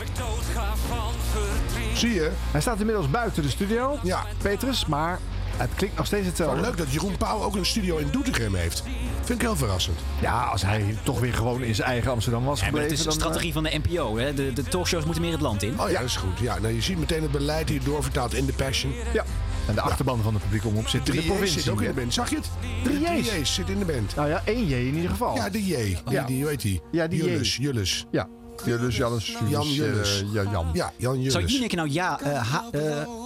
[SPEAKER 2] Zie je?
[SPEAKER 4] Hij staat inmiddels buiten de studio.
[SPEAKER 2] Ja.
[SPEAKER 4] Petrus, maar het klinkt nog steeds hetzelfde.
[SPEAKER 2] Wel leuk dat Jeroen Pauw ook een studio in Doetinchem heeft. Vind ik heel verrassend.
[SPEAKER 4] Ja, als hij toch weer gewoon in zijn eigen Amsterdam was
[SPEAKER 8] Ja, maar
[SPEAKER 4] gebleven.
[SPEAKER 8] het is
[SPEAKER 4] dan,
[SPEAKER 8] de
[SPEAKER 4] eh,
[SPEAKER 8] strategie van de NPO. Hè? De, de talkshows moeten meer het land in.
[SPEAKER 2] Oh ja, dat is goed. Ja, nou, je ziet meteen het beleid hier doorvertaald in de passion.
[SPEAKER 4] Ja. En de achterban van de publiek omroep zit in de
[SPEAKER 2] 3
[SPEAKER 4] provincie.
[SPEAKER 2] zit ook in de
[SPEAKER 4] hè?
[SPEAKER 2] band. Zag je het?
[SPEAKER 4] Drie
[SPEAKER 2] De
[SPEAKER 4] J's.
[SPEAKER 2] J's zit in de band.
[SPEAKER 4] Nou ja, één J in ieder geval.
[SPEAKER 2] Ja, de J. Die,
[SPEAKER 4] Ja.
[SPEAKER 2] die, hoe heet die?
[SPEAKER 4] Ja, die J.
[SPEAKER 2] Jullus. Jullus.
[SPEAKER 4] Ja. Jullus, Jannes,
[SPEAKER 2] Jan
[SPEAKER 4] Jullus,
[SPEAKER 2] Jullus.
[SPEAKER 4] eh, ja, Jan.
[SPEAKER 2] Ja, Jan
[SPEAKER 8] Zou
[SPEAKER 2] Jullus.
[SPEAKER 8] Jinek nou ja, eh, ha- eh,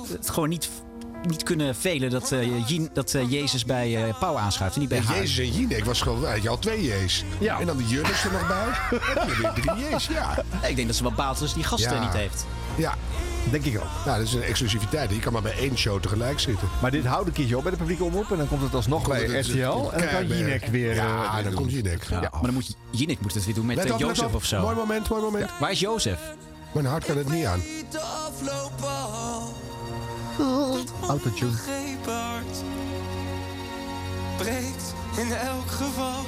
[SPEAKER 8] het gewoon niet, niet kunnen velen dat, eh, Jin, dat eh, Jezus bij eh Pauw aanschuift en niet bij
[SPEAKER 2] En
[SPEAKER 8] haar?
[SPEAKER 2] Jezus en Jinek was gewoon, had je al twee J's.
[SPEAKER 8] Ja.
[SPEAKER 2] En dan de Jullus er nog bij. Dan heb je weer drie J's, ja.
[SPEAKER 8] Ik denk dat ze wel baat is als die gasten
[SPEAKER 2] Ja.
[SPEAKER 8] niet heeft.
[SPEAKER 2] Ja.
[SPEAKER 4] Denk ik ook.
[SPEAKER 2] Nou, dat is een exclusiviteit. Je kan maar bij één show tegelijk zitten.
[SPEAKER 4] Maar dit houdt een keertje op bij de publieke omroep. En dan komt het alsnog
[SPEAKER 2] Dan komt
[SPEAKER 4] bij
[SPEAKER 2] het-
[SPEAKER 4] RTL.
[SPEAKER 2] het-
[SPEAKER 4] en dan kan
[SPEAKER 2] Keiberg.
[SPEAKER 4] Jinek weer... eh,
[SPEAKER 2] Ja,
[SPEAKER 4] weer
[SPEAKER 2] dan
[SPEAKER 4] doen.
[SPEAKER 2] komt Jinek.
[SPEAKER 8] Ja, Maar dan moet Jinek moet het weer doen met
[SPEAKER 2] Let
[SPEAKER 8] eh,
[SPEAKER 2] op, let
[SPEAKER 8] Jozef
[SPEAKER 2] op.
[SPEAKER 8] of zo.
[SPEAKER 2] Mooi moment, mooi moment.
[SPEAKER 8] Waar is Jozef?
[SPEAKER 2] Mijn hart kan het niet aan.
[SPEAKER 4] Autotune.
[SPEAKER 20] Begrepen hart breekt in elk geval.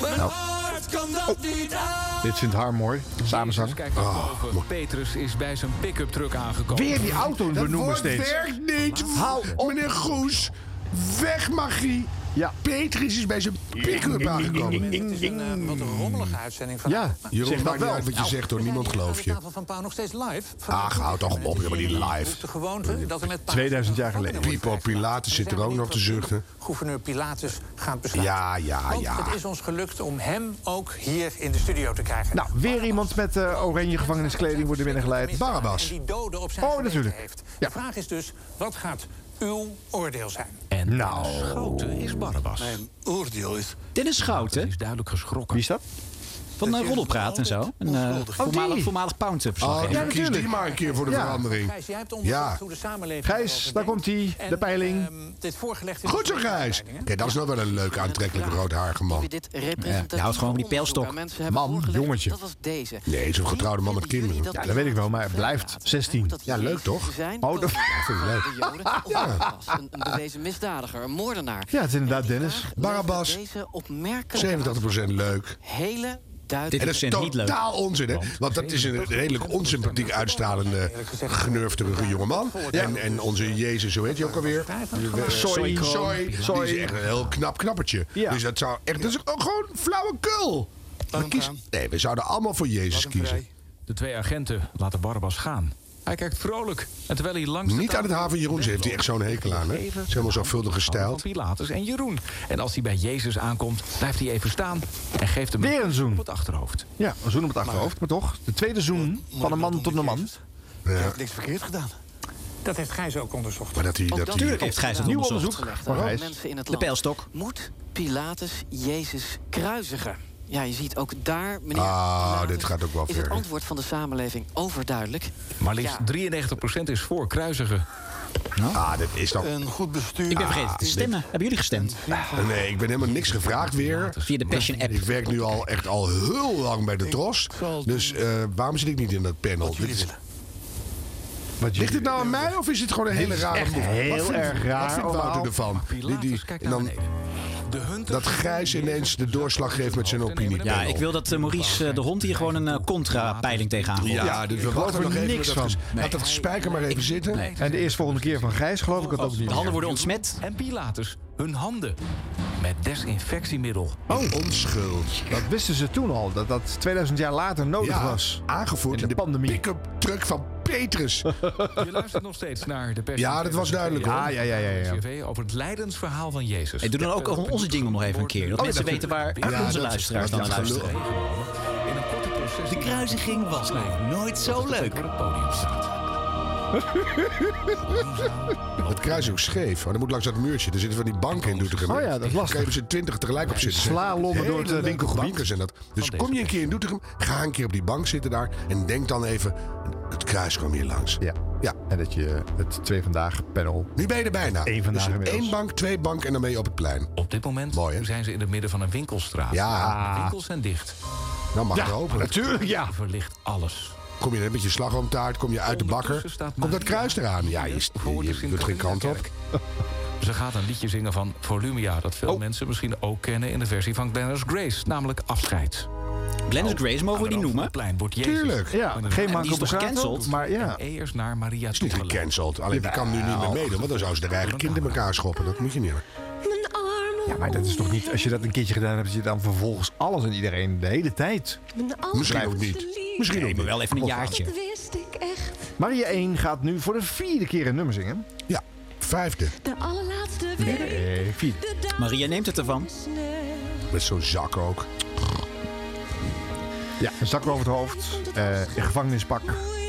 [SPEAKER 20] Mijn
[SPEAKER 4] Nou.
[SPEAKER 20] hart kan
[SPEAKER 2] Oh.
[SPEAKER 20] dat niet aan.
[SPEAKER 4] Dit vindt haar mooi. Samenzang.
[SPEAKER 7] Kijk naar
[SPEAKER 2] Ah,
[SPEAKER 7] boven. Petrus is bij zijn pick-up truck aangekomen.
[SPEAKER 4] Weer die auto
[SPEAKER 2] Dat
[SPEAKER 4] benoemen
[SPEAKER 2] woord
[SPEAKER 4] steeds.
[SPEAKER 2] werkt niet.
[SPEAKER 4] Hou op.
[SPEAKER 2] Meneer Goes, weg magie.
[SPEAKER 4] Ja.
[SPEAKER 2] Petrus is bij zijn pick-up aangekomen.
[SPEAKER 23] Het is een, eh, wat een rommelige uitzending van
[SPEAKER 2] Ja, Jeroen,
[SPEAKER 23] Zeg
[SPEAKER 2] maakt
[SPEAKER 23] dat
[SPEAKER 2] niet
[SPEAKER 23] wel.
[SPEAKER 2] uit wat je
[SPEAKER 23] Nou,
[SPEAKER 2] zegt hoor. Niemand gelooft je.
[SPEAKER 23] tafel van Pauw nog steeds live.
[SPEAKER 2] Ach, hou toch op. Helemaal niet live.
[SPEAKER 23] De gewoonte dat er met Pauw...
[SPEAKER 2] 2000 jaar geleden. Pipo Pilatus zit er ook nog te zuchten.
[SPEAKER 23] Gouverneur Pilatus gaat besluiten.
[SPEAKER 2] Ja, ja,
[SPEAKER 23] Want
[SPEAKER 2] ja.
[SPEAKER 23] het is ons gelukt om hem ook hier in de studio te krijgen.
[SPEAKER 4] Nou, weer iemand met eh, oranje gevangeniskleding wordt er binnengeleid.
[SPEAKER 23] En
[SPEAKER 4] Barabbas.
[SPEAKER 23] die doden op zijn
[SPEAKER 4] Oh,
[SPEAKER 23] geweten
[SPEAKER 4] natuurlijk.
[SPEAKER 23] heeft. De vraag is dus, wat gaat uw oordeel zijn?
[SPEAKER 7] En nou. Schouten is Barabbas.
[SPEAKER 24] Oordeel is...
[SPEAKER 8] Dennis Schouten.
[SPEAKER 7] is duidelijk geschrokken.
[SPEAKER 4] Wie is dat?
[SPEAKER 8] Van eh Roddelpraat en zo. Een eh, voormalig, voormalig Pound-up.
[SPEAKER 2] Oh, ja, kies die maar een keer voor de
[SPEAKER 4] Ja.
[SPEAKER 2] verandering.
[SPEAKER 23] Gijs, jij hebt onderzocht
[SPEAKER 2] Ja.
[SPEAKER 23] hoe de samenleving... ehm,
[SPEAKER 4] Gijs, daar komt hij. De peiling.
[SPEAKER 23] Dit
[SPEAKER 4] eh,
[SPEAKER 23] voorgelegd is...
[SPEAKER 2] Goed zo, Gijs. Kijk, dat is nou wel een leuke, aantrekkelijke, roodharige man.
[SPEAKER 24] Dit representatieve
[SPEAKER 2] die houdt nou, gewoon van die pijlstok.
[SPEAKER 24] onderzoek aan mensen hebben
[SPEAKER 2] Man,
[SPEAKER 24] voorgelegd.
[SPEAKER 2] jongetje.
[SPEAKER 24] Dat eh, was deze.
[SPEAKER 2] Nee, zo'n getrouwde man met kinderen.
[SPEAKER 4] Ja, dat weet ik wel, maar hij blijft 16.
[SPEAKER 2] Ja, leuk toch?
[SPEAKER 24] Zijn
[SPEAKER 4] Oh, dat
[SPEAKER 2] Ja, vind ik leuk.
[SPEAKER 24] de Joden of Barabbas, een, een bewezen misdadiger, een moordenaar.
[SPEAKER 4] Ja, het is inderdaad Dennis.
[SPEAKER 2] Barabbas,
[SPEAKER 24] Deze opmerkelijke,
[SPEAKER 2] 87% leuk.
[SPEAKER 24] hele
[SPEAKER 2] En
[SPEAKER 24] duidelijke...
[SPEAKER 2] dat is totaal onzin, hè? Want dat is een redelijk onsympathiek uitstralende, genurfterige jongeman. En, en onze Jezus, zo heet hij ook alweer?
[SPEAKER 4] Soy.
[SPEAKER 2] Soy. Die is
[SPEAKER 4] Soy.
[SPEAKER 2] echt een heel knap knappertje.
[SPEAKER 4] Ja.
[SPEAKER 2] Dus dat zou echt... Dat is ook gewoon flauwekul. We kiezen- nee, we zouden allemaal voor Jezus kiezen.
[SPEAKER 7] De twee agenten laten Barabbas gaan. Hij kijkt vrolijk. En terwijl hij langs
[SPEAKER 2] Niet aan het haven Jeroen, ze heeft hij echt zo'n hekel aan, hè? Ze is helemaal zorgvuldig
[SPEAKER 7] van
[SPEAKER 2] gestyled.
[SPEAKER 7] Pilatus en Jeroen. En als hij bij Jezus aankomt, blijft hij even staan en geeft hem
[SPEAKER 4] Weer een zoen.
[SPEAKER 7] op het achterhoofd.
[SPEAKER 4] Ja, een zoen op het achterhoofd, maar toch. De tweede zoen van een man tot een man.
[SPEAKER 24] Ik heb niks verkeerd gedaan.
[SPEAKER 23] Dat heeft Gijs ook onderzocht.
[SPEAKER 2] Maar dat hij...
[SPEAKER 24] Ook
[SPEAKER 2] Dat
[SPEAKER 24] dat
[SPEAKER 2] hij
[SPEAKER 8] heeft Gijs het
[SPEAKER 24] Nieuw
[SPEAKER 8] onderzocht.
[SPEAKER 24] Gelegd
[SPEAKER 4] Maar
[SPEAKER 24] aan
[SPEAKER 4] Gijs,
[SPEAKER 24] mensen in het
[SPEAKER 8] De
[SPEAKER 24] land.
[SPEAKER 8] pijlstok.
[SPEAKER 24] Moet Pilatus Jezus kruisigen? Ja, je ziet ook daar, meneer
[SPEAKER 2] Ah,
[SPEAKER 24] Pilatus,
[SPEAKER 2] dit gaat ook wel
[SPEAKER 24] is het
[SPEAKER 2] ver.
[SPEAKER 24] antwoord van de samenleving overduidelijk.
[SPEAKER 7] Maar liefst
[SPEAKER 24] Ja.
[SPEAKER 7] 93% is voor kruisigen.
[SPEAKER 4] Nou?
[SPEAKER 2] Ah, dit is dan...
[SPEAKER 24] Een goed bestuur.
[SPEAKER 8] Ik ben vergeten
[SPEAKER 24] Ah,
[SPEAKER 8] te stemmen. Hebben jullie gestemd?
[SPEAKER 2] Nee, ik ben helemaal niks gevraagd weer.
[SPEAKER 8] Via de Passion app.
[SPEAKER 2] Ik werk nu al echt al heel lang bij de Tros. Dus eh, waarom zit ik niet in dat panel? Dit is- Ligt het nou aan mij of is het gewoon een hele
[SPEAKER 4] Dit is
[SPEAKER 2] rare
[SPEAKER 4] echt
[SPEAKER 2] move?
[SPEAKER 4] heel
[SPEAKER 2] wat vindt,
[SPEAKER 4] erg
[SPEAKER 2] Wat
[SPEAKER 4] raar
[SPEAKER 2] vindt
[SPEAKER 4] allemaal.
[SPEAKER 2] Wouter ervan? Die, die, en dan, dat Grijs ineens de doorslag geeft met zijn opinie.
[SPEAKER 8] Ja, ik wil dat eh, Maurice eh, de Hond hier gewoon een eh, contra-peiling tegenaan gooit.
[SPEAKER 2] Ja, dus we wachten nog even dat ges- Laat dat spijker maar even zitten.
[SPEAKER 4] En de eerstvolgende keer van Gijs geloof ik het ook niet.
[SPEAKER 8] De handen worden ontsmet.
[SPEAKER 7] En Pilatus, hun handen. Met desinfectiemiddel.
[SPEAKER 2] Oh, onschuld.
[SPEAKER 4] Dat wisten ze toen al, dat dat 2000 jaar later nodig
[SPEAKER 2] Ja,
[SPEAKER 4] was.
[SPEAKER 2] aangevoerd
[SPEAKER 4] In
[SPEAKER 2] in
[SPEAKER 4] de
[SPEAKER 2] de
[SPEAKER 4] pandemie.
[SPEAKER 2] pick-up truck van Petrus.
[SPEAKER 7] Je luistert nog steeds naar de pers.
[SPEAKER 2] Ja, dat was duidelijk, hoor.
[SPEAKER 7] Ah, ja, ja, ja,
[SPEAKER 2] ja.
[SPEAKER 7] Over het lijdensverhaal van Jezus.
[SPEAKER 8] Hey, doe dan ook onze jingle nog even een keer.
[SPEAKER 2] Oh,
[SPEAKER 8] Dat mensen weten waar onze luisteraars dan naar luisteren.
[SPEAKER 1] De kruisiging was nog nooit zo leuk.
[SPEAKER 2] Het kruis is ook scheef. Maar dat moet langs dat muurtje. Er zitten van die banken in Doetinchem.
[SPEAKER 4] Oh ja, dat is lastig.
[SPEAKER 2] Daar ze twintig tegelijk op zitten.
[SPEAKER 4] Sla Londen door het, eh,
[SPEAKER 2] Hele leuke
[SPEAKER 4] winkelgebied.
[SPEAKER 2] banken zijn dat. Dus kom je een keer in Doetinchem, ga een keer op die bank zitten daar... en denk dan even, het kruis kwam hier langs. Ja, ja.
[SPEAKER 4] En dat je het twee vandaag panel...
[SPEAKER 2] Nu ben je er bijna.
[SPEAKER 4] Eén vandaag
[SPEAKER 2] dus
[SPEAKER 4] inmiddels.
[SPEAKER 2] één bank, twee bank en dan ben je op het plein.
[SPEAKER 7] Op dit moment zijn ze in het midden van een winkelstraat.
[SPEAKER 2] Ja.
[SPEAKER 7] De winkels zijn dicht.
[SPEAKER 2] Nou mag
[SPEAKER 7] Ja,
[SPEAKER 2] het hopen.
[SPEAKER 7] natuurlijk, ja.
[SPEAKER 2] Verlicht alles. Kom je met je slagroomtaart, kom je uit de bakker... komt dat kruis eraan. Ja, je, je, je doet geen kant op.
[SPEAKER 7] Ze gaat een liedje zingen van Volumia... dat
[SPEAKER 8] Oh.
[SPEAKER 7] veel mensen misschien ook kennen in de versie van Glennis Grace. Namelijk Afscheid. Oh.
[SPEAKER 8] Glennis Grace mogen we die noemen?
[SPEAKER 7] Plein wordt Jezus.
[SPEAKER 8] Tuurlijk, ja.
[SPEAKER 7] Met een-
[SPEAKER 8] Geen
[SPEAKER 7] en
[SPEAKER 8] Marco
[SPEAKER 7] die is toch
[SPEAKER 8] Borsato, maar ja.
[SPEAKER 7] En eerst naar Maria
[SPEAKER 2] Het is niet gecanceld. Alleen die kan nu niet meer
[SPEAKER 4] Jawel.
[SPEAKER 2] meedoen, want dan zou ze de eigen kind in elkaar schoppen. Dat moet je niet meer.
[SPEAKER 4] Ja, maar dat is toch niet... Als je dat een keertje gedaan hebt, dat je dan vervolgens alles en iedereen de hele tijd...
[SPEAKER 2] Misschien ook niet.
[SPEAKER 4] Misschien
[SPEAKER 8] Nee,
[SPEAKER 4] ook
[SPEAKER 8] maar
[SPEAKER 4] niet.
[SPEAKER 8] wel even een
[SPEAKER 4] Of-
[SPEAKER 8] jaartje.
[SPEAKER 13] Wist ik echt
[SPEAKER 4] Maria 1 gaat nu voor de vierde keer een nummer zingen.
[SPEAKER 2] Ja, vijfde.
[SPEAKER 13] de allerlaatste week.
[SPEAKER 4] Nee, vierde.
[SPEAKER 8] Maria neemt het ervan.
[SPEAKER 2] Met zo'n zak ook.
[SPEAKER 4] Ja, een zak over het hoofd, eh in gevangenispak,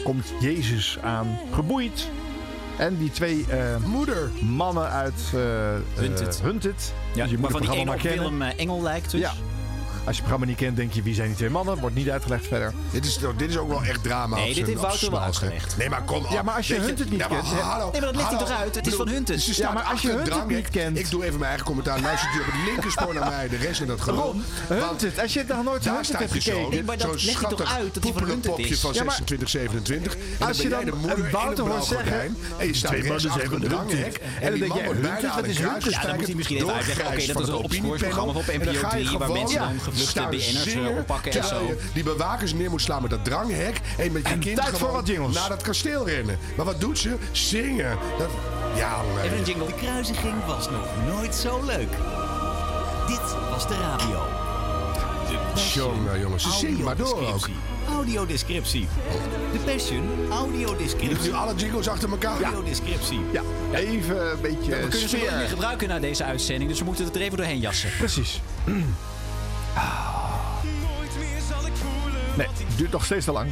[SPEAKER 4] komt Jezus aan, geboeid. En die twee eh, mannen uit eh, eh,
[SPEAKER 8] Hunted.
[SPEAKER 4] Hunted.
[SPEAKER 8] Ja,
[SPEAKER 4] Dus je moet
[SPEAKER 8] waarvan
[SPEAKER 4] het programma
[SPEAKER 8] die ene
[SPEAKER 4] maar
[SPEAKER 8] op
[SPEAKER 4] kennen.
[SPEAKER 8] Willem eh, Engel lijkt dus.
[SPEAKER 4] Ja. Als je het programma niet kent, denk je wie zijn die twee mannen? Wordt niet uitgelegd verder.
[SPEAKER 2] Dit is, dit is ook wel echt drama.
[SPEAKER 4] Nee,
[SPEAKER 2] op
[SPEAKER 4] dit
[SPEAKER 2] zijn-
[SPEAKER 4] heeft
[SPEAKER 2] op
[SPEAKER 4] Wouter
[SPEAKER 2] zijn
[SPEAKER 4] wel
[SPEAKER 2] smalste.
[SPEAKER 4] uitgelegd.
[SPEAKER 2] Nee, maar kom op.
[SPEAKER 4] Ja, maar als je
[SPEAKER 2] Weet
[SPEAKER 4] Hunted niet
[SPEAKER 2] Ja, maar
[SPEAKER 4] kent, hè?
[SPEAKER 2] hallo,
[SPEAKER 4] Nee, maar dat legt hij
[SPEAKER 2] hallo.
[SPEAKER 4] toch uit? Het is
[SPEAKER 2] Bedoel,
[SPEAKER 4] van Hunted.
[SPEAKER 2] ze
[SPEAKER 4] Ja,
[SPEAKER 2] staan
[SPEAKER 4] maar als je
[SPEAKER 2] achter
[SPEAKER 4] Hunted
[SPEAKER 2] drang.
[SPEAKER 4] niet kent-
[SPEAKER 2] Ik doe even mijn eigen commentaar. Luistert u op het linkerspoor naar mij. De rest in dat geloof.
[SPEAKER 4] Ron, Hunted. Als je het nog nooit
[SPEAKER 2] Daar
[SPEAKER 4] Hunted
[SPEAKER 2] staat
[SPEAKER 4] hebt
[SPEAKER 2] je zo.
[SPEAKER 4] gekeken. Nee, maar dat legt
[SPEAKER 2] zo'n
[SPEAKER 4] hij toch
[SPEAKER 2] schattig
[SPEAKER 4] uit dat hij van
[SPEAKER 2] poepelend
[SPEAKER 4] Hunted
[SPEAKER 2] popje
[SPEAKER 4] is?
[SPEAKER 2] van
[SPEAKER 4] Ja, maar-
[SPEAKER 2] 26, 27. En
[SPEAKER 4] Als je dan
[SPEAKER 2] ben jij de moeder
[SPEAKER 4] een Wouter
[SPEAKER 2] in een
[SPEAKER 4] hoort
[SPEAKER 2] blauw
[SPEAKER 4] zeggen...
[SPEAKER 2] gordijn. En je staat
[SPEAKER 4] Twee
[SPEAKER 2] rechts
[SPEAKER 4] mannen
[SPEAKER 2] achter
[SPEAKER 4] zijn
[SPEAKER 2] een
[SPEAKER 4] van Hunted.
[SPEAKER 2] dranghek.
[SPEAKER 4] En
[SPEAKER 2] En
[SPEAKER 4] dan
[SPEAKER 2] die
[SPEAKER 4] denk
[SPEAKER 2] man
[SPEAKER 4] jij,
[SPEAKER 2] wordt
[SPEAKER 4] Hunted,
[SPEAKER 2] bijna
[SPEAKER 4] wat
[SPEAKER 2] aan een
[SPEAKER 4] is Hunted?
[SPEAKER 2] kruis
[SPEAKER 4] Ja, dan moet hij misschien even
[SPEAKER 2] gesteld.
[SPEAKER 4] uitleggen, oké,
[SPEAKER 2] Doorgrijs
[SPEAKER 4] dat is
[SPEAKER 2] van
[SPEAKER 4] een
[SPEAKER 2] het
[SPEAKER 4] opsporingsprogramma op
[SPEAKER 2] opiniepanel.
[SPEAKER 4] NPO
[SPEAKER 2] En dan ga je
[SPEAKER 4] 3, waar
[SPEAKER 2] gewoon-
[SPEAKER 4] mensen dan
[SPEAKER 2] Ja.
[SPEAKER 4] gevluchte
[SPEAKER 2] Staan
[SPEAKER 4] BN'ers, eh,
[SPEAKER 2] zeer,
[SPEAKER 4] oppakken en
[SPEAKER 2] terwijl
[SPEAKER 4] zo.
[SPEAKER 2] je Die bewakers neer moet slaan met dat dranghek. En met je kind
[SPEAKER 4] tijd voor
[SPEAKER 2] gewoon
[SPEAKER 4] wat jingles.
[SPEAKER 2] naar dat kasteel rennen. Maar wat doet ze? Zingen. Dat... Ja, nee.
[SPEAKER 1] Even een jingle. De kruisiging was nog nooit zo leuk. Dit was de radio. De
[SPEAKER 2] Jongen, jongen, ze zingen maar door ook.
[SPEAKER 1] Audiodescriptie. De Passion, audiodescriptie.
[SPEAKER 2] Je doet nu alle jingles achter elkaar.
[SPEAKER 1] Audiodescriptie.
[SPEAKER 4] Ja, even een beetje
[SPEAKER 8] We kunnen ze
[SPEAKER 4] eh, sfeer.
[SPEAKER 8] wel dus meer gebruiken na deze uitzending, dus we moeten het er even doorheen jassen. Ah.
[SPEAKER 4] Precies. Nee, het duurt nog steeds te lang.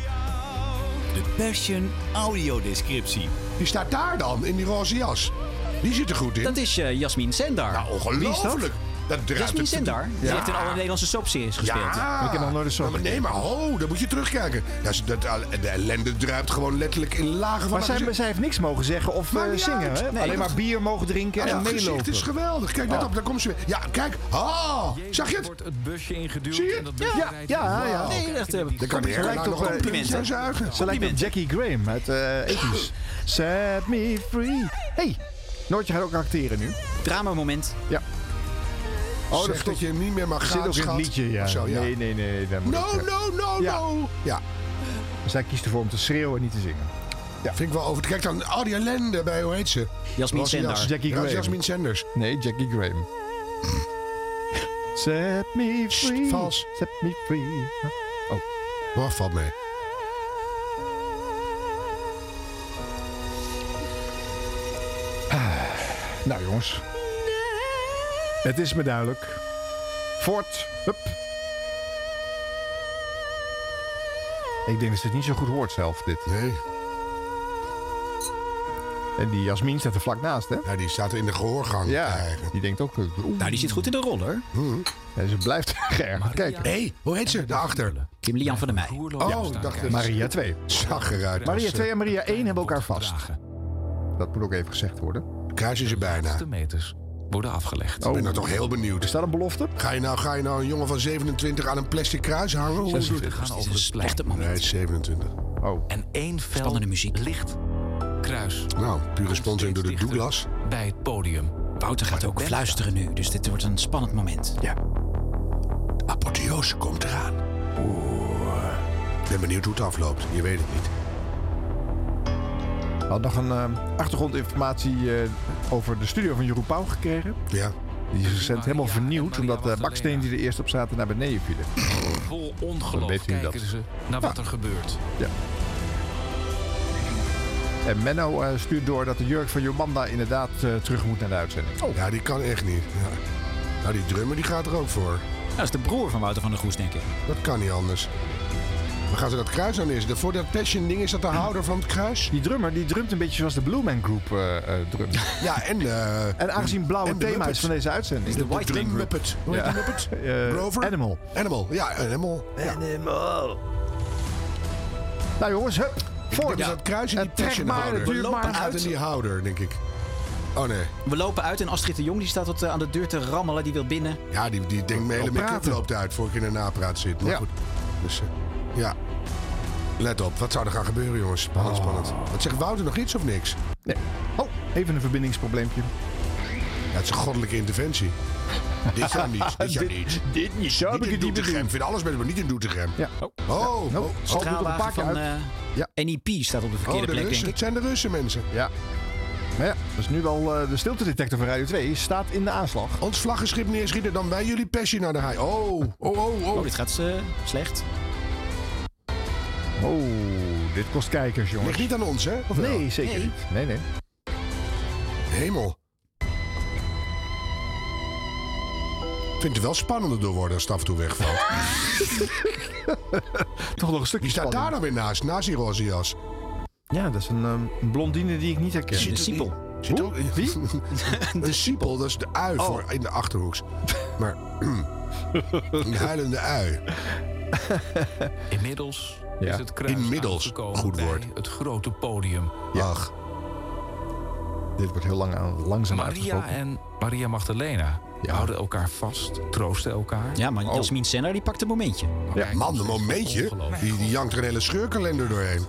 [SPEAKER 1] De Passion, audiodescriptie.
[SPEAKER 2] Die staat daar dan, in die roze jas. Die zit er goed in.
[SPEAKER 8] Dat is eh, Jasmin Sendar. Nou,
[SPEAKER 2] Ongelooflijk. Dat draait
[SPEAKER 8] Jasmin
[SPEAKER 2] het-
[SPEAKER 8] Sendar. Die
[SPEAKER 2] Ja.
[SPEAKER 8] heeft in alle Nederlandse soapseries gespeeld.
[SPEAKER 2] Ja. Nou, maar nee, maar ho, dan moet je terugkijken. Dat is, dat, de ellende druipt gewoon letterlijk in lagen van
[SPEAKER 4] Maar
[SPEAKER 2] haar
[SPEAKER 4] zij,
[SPEAKER 2] gezicht.
[SPEAKER 4] zij heeft niks mogen zeggen of
[SPEAKER 2] Maakt
[SPEAKER 4] eh,
[SPEAKER 2] niet
[SPEAKER 4] zingen.
[SPEAKER 2] uit.
[SPEAKER 4] Hè?
[SPEAKER 2] Nee,
[SPEAKER 4] Alleen
[SPEAKER 2] dat-
[SPEAKER 4] maar bier mogen drinken
[SPEAKER 2] Ah,
[SPEAKER 4] en
[SPEAKER 2] dat gezicht
[SPEAKER 4] meelopen.
[SPEAKER 2] is geweldig. Kijk, net
[SPEAKER 4] Oh.
[SPEAKER 2] op, daar komt ze weer. Ja, kijk. Oh, zag je het?
[SPEAKER 7] wordt het busje ingeduwd.
[SPEAKER 2] Zie je
[SPEAKER 7] En dat
[SPEAKER 2] het?
[SPEAKER 7] busje
[SPEAKER 2] Ja,
[SPEAKER 7] rijdt
[SPEAKER 4] ja,
[SPEAKER 7] in de-
[SPEAKER 4] ja.
[SPEAKER 7] Wauw.
[SPEAKER 4] Nee,
[SPEAKER 8] echt, eh,
[SPEAKER 2] Daar kan
[SPEAKER 4] Ze
[SPEAKER 2] de
[SPEAKER 4] lijkt
[SPEAKER 2] airline nog
[SPEAKER 4] op, eh,
[SPEAKER 2] een puntje aan zuigen.
[SPEAKER 4] Ze lijkt op Jackie Graham uit eh 80's. Set me free. hey, Noortje gaat ook acteren nu.
[SPEAKER 8] Dramamoment.
[SPEAKER 4] Ja.
[SPEAKER 2] Oh, dat, dat je hem niet meer mag gaan,
[SPEAKER 4] Zit ook in
[SPEAKER 2] schat.
[SPEAKER 4] het liedje, ja.
[SPEAKER 2] Of zo, ja.
[SPEAKER 4] Nee, nee, nee. dan moet
[SPEAKER 2] No,
[SPEAKER 4] ik, eh,
[SPEAKER 2] no, no,
[SPEAKER 4] Ja.
[SPEAKER 2] no. Ja.
[SPEAKER 4] Zij kiest ervoor om te schreeuwen en niet te zingen.
[SPEAKER 2] Ja. Vind ik wel over. Kijk dan, al die ellende bij, hoe heet ze?
[SPEAKER 8] Jasmin
[SPEAKER 2] Rosie
[SPEAKER 8] Sendar.
[SPEAKER 2] Jas-
[SPEAKER 4] Jackie
[SPEAKER 2] Ja,
[SPEAKER 4] Graham.
[SPEAKER 2] Jasmin Senders.
[SPEAKER 4] Nee, Jackie Graham. Set me free.
[SPEAKER 2] vals.
[SPEAKER 4] Set me free.
[SPEAKER 2] Oh. Wat valt mee?
[SPEAKER 4] Nou jongens. Het is me duidelijk. Voort. Hup. Ik denk dat ze het niet zo goed hoort zelf, dit.
[SPEAKER 2] Nee.
[SPEAKER 4] En die Jasmin staat er vlak naast, hè?
[SPEAKER 2] Ja, die staat in de gehoorgang. Mhm.
[SPEAKER 4] Ja, die denkt ook... eh,
[SPEAKER 8] Nou, die zit goed in de rol, hoor.
[SPEAKER 4] Ja, ze blijft geërgerd kijken.
[SPEAKER 2] Hé, hey, hoe heet ze? Daarachter.
[SPEAKER 8] Kim Lian van der Meij.
[SPEAKER 2] Oh, ik dacht
[SPEAKER 4] Maria 2.
[SPEAKER 2] Zag eruit. eh,
[SPEAKER 4] Maria 2 en Maria 1 hebben elkaar vast. Dat moet ook even gezegd worden. Oh.
[SPEAKER 2] Kruis is er bijna.
[SPEAKER 7] De meters worden afgelegd.
[SPEAKER 2] Ik ben nou toch heel benieuwd.
[SPEAKER 4] Is dat een belofte?
[SPEAKER 2] Ga je nou, ga je nou een jongen van 27 aan een plastic kruis hangen? Hoe doet
[SPEAKER 7] We gaan over het plein.
[SPEAKER 8] Echt een
[SPEAKER 2] Nee, het is 27.
[SPEAKER 4] Oh.
[SPEAKER 7] En één fel
[SPEAKER 8] Spannende muziek.
[SPEAKER 7] licht kruis
[SPEAKER 2] Nou, pure sponsoring door de Douglas.
[SPEAKER 7] bij het podium.
[SPEAKER 8] Wouter gaat ook fluisteren nu, dus dit wordt een spannend moment.
[SPEAKER 4] Ja.
[SPEAKER 2] Apotheose komt eraan. Ik ben benieuwd hoe het afloopt. Je weet het niet.
[SPEAKER 4] We hadden nog een eh, achtergrondinformatie eh, over de studio van Jeroen Pauw gekregen.
[SPEAKER 2] Ja.
[SPEAKER 4] Die is recent helemaal vernieuwd, omdat de bakstenen die er eerst op zaten naar beneden vielen.
[SPEAKER 7] Vol
[SPEAKER 4] Dan
[SPEAKER 7] ongeloof
[SPEAKER 4] weet u
[SPEAKER 7] kijken
[SPEAKER 4] dat.
[SPEAKER 7] ze naar wat er gebeurt.
[SPEAKER 4] Ja.
[SPEAKER 10] En Menno eh, stuurt door dat de jurk van Jomanda inderdaad eh, terug moet naar de uitzending.
[SPEAKER 2] Oh. Ja, die kan echt niet. Ja. Nou, die drummer die gaat er ook voor.
[SPEAKER 8] Dat is de broer van Wouter van der Goes, denk ik.
[SPEAKER 2] Dat kan niet anders. Maar gaan ze dat kruis aan is? Voor dat passion ding is dat de houder van het kruis?
[SPEAKER 10] Die drummer die drumt een beetje zoals de Blue Man Group eh eh, drumt.
[SPEAKER 2] Ja, en... eh,
[SPEAKER 10] en aangezien blauw
[SPEAKER 2] en
[SPEAKER 10] het
[SPEAKER 2] de
[SPEAKER 10] thema
[SPEAKER 2] Muppets.
[SPEAKER 10] is van deze uitzending.
[SPEAKER 2] Is de White Man Group. Muppet. Hoe heet die Muppet?
[SPEAKER 10] Eh,
[SPEAKER 2] Grover?
[SPEAKER 10] Animal.
[SPEAKER 2] Animal, ja, Animal.
[SPEAKER 10] Animal. Nou jongens, hup. Voor.
[SPEAKER 2] Voor dus dat kruis in die
[SPEAKER 10] trek maar,
[SPEAKER 2] passionhouder.
[SPEAKER 10] het duurt maar
[SPEAKER 2] uit in die houder, denk ik. Oh nee.
[SPEAKER 8] We lopen uit en Astrid de Jong die staat tot, eh, aan de deur te rammelen. Die wil binnen.
[SPEAKER 2] Ja, die, die denkt mijn hele
[SPEAKER 8] Wil
[SPEAKER 2] make-up
[SPEAKER 8] praten.
[SPEAKER 2] loopt uit voor ik in een napraat zit. Maar
[SPEAKER 8] Ja.
[SPEAKER 2] goed. Dus, eh, ja. Let op, wat zou er gaan gebeuren, jongens? Spannend, spannend. Wat zegt Wouter nog iets of niks?
[SPEAKER 10] Nee. Oh, even een verbindingsprobleempje.
[SPEAKER 2] Ja, het is een goddelijke interventie. dit jaar niet. Dit jaar
[SPEAKER 10] Dit-
[SPEAKER 2] niet.
[SPEAKER 10] dit niet. Zo heb
[SPEAKER 2] niet
[SPEAKER 10] ik
[SPEAKER 2] in
[SPEAKER 10] het niet
[SPEAKER 2] Doetinchem. Ik vind alles best, maar niet in Doetinchem.
[SPEAKER 10] Ja.
[SPEAKER 2] Oh, oh,
[SPEAKER 10] Nou,
[SPEAKER 2] oh,
[SPEAKER 10] straalwagen
[SPEAKER 2] doet er een paar keer
[SPEAKER 10] van,
[SPEAKER 2] uit.
[SPEAKER 8] eh, NEP staat op de
[SPEAKER 2] Oh,
[SPEAKER 8] verkeerde
[SPEAKER 2] de
[SPEAKER 8] plek,
[SPEAKER 2] Russen.
[SPEAKER 8] denk
[SPEAKER 2] Het
[SPEAKER 8] ik.
[SPEAKER 2] zijn de Russen, mensen.
[SPEAKER 10] Ja. Maar ja, dat is nu wel eh, de stiltedetector van Radio 2. Staat in de aanslag.
[SPEAKER 2] Ons Oh, vlaggenschip neerschieten, dan wij jullie passie naar de haai. Oh, oh, oh, oh.
[SPEAKER 8] Oh, dit gaat eh, slecht.
[SPEAKER 10] Oh, dit kost kijkers, jongens.
[SPEAKER 2] Ligt niet aan ons, hè? Of wel?
[SPEAKER 10] Nee, zeker
[SPEAKER 2] Nee.
[SPEAKER 10] niet. Nee, nee.
[SPEAKER 2] Hemel. Ik vind het wel spannender door worden als het af en toe wegvalt.
[SPEAKER 10] Toch nog een stukje
[SPEAKER 2] Wie staat daar dan weer naast? Naast die roze jas.
[SPEAKER 10] Ja, dat is een ehm, blondine die ik niet herken.
[SPEAKER 2] Zit het niet? Zit ook-
[SPEAKER 10] Wie? Oh.
[SPEAKER 2] Een siepel, dat is de ui voor in de achterhoeks. Maar een huilende ui.
[SPEAKER 7] Inmiddels
[SPEAKER 2] Ja.
[SPEAKER 7] is het kruis
[SPEAKER 2] Inmiddels,
[SPEAKER 7] aangekomen
[SPEAKER 2] goed
[SPEAKER 7] bij
[SPEAKER 2] woord.
[SPEAKER 7] het grote podium.
[SPEAKER 2] Ach.
[SPEAKER 10] Dit wordt heel lang aan, langzaam
[SPEAKER 7] Maria
[SPEAKER 10] uitgesproken.
[SPEAKER 7] en Maria Magdalena houden elkaar vast, troosten elkaar.
[SPEAKER 8] Ja,
[SPEAKER 2] Oh.
[SPEAKER 8] maar Jasmin Senner die pakt een momentje.
[SPEAKER 2] Ja, Oh, man, een momentje. Die, die jankt er een hele scheurkalender doorheen.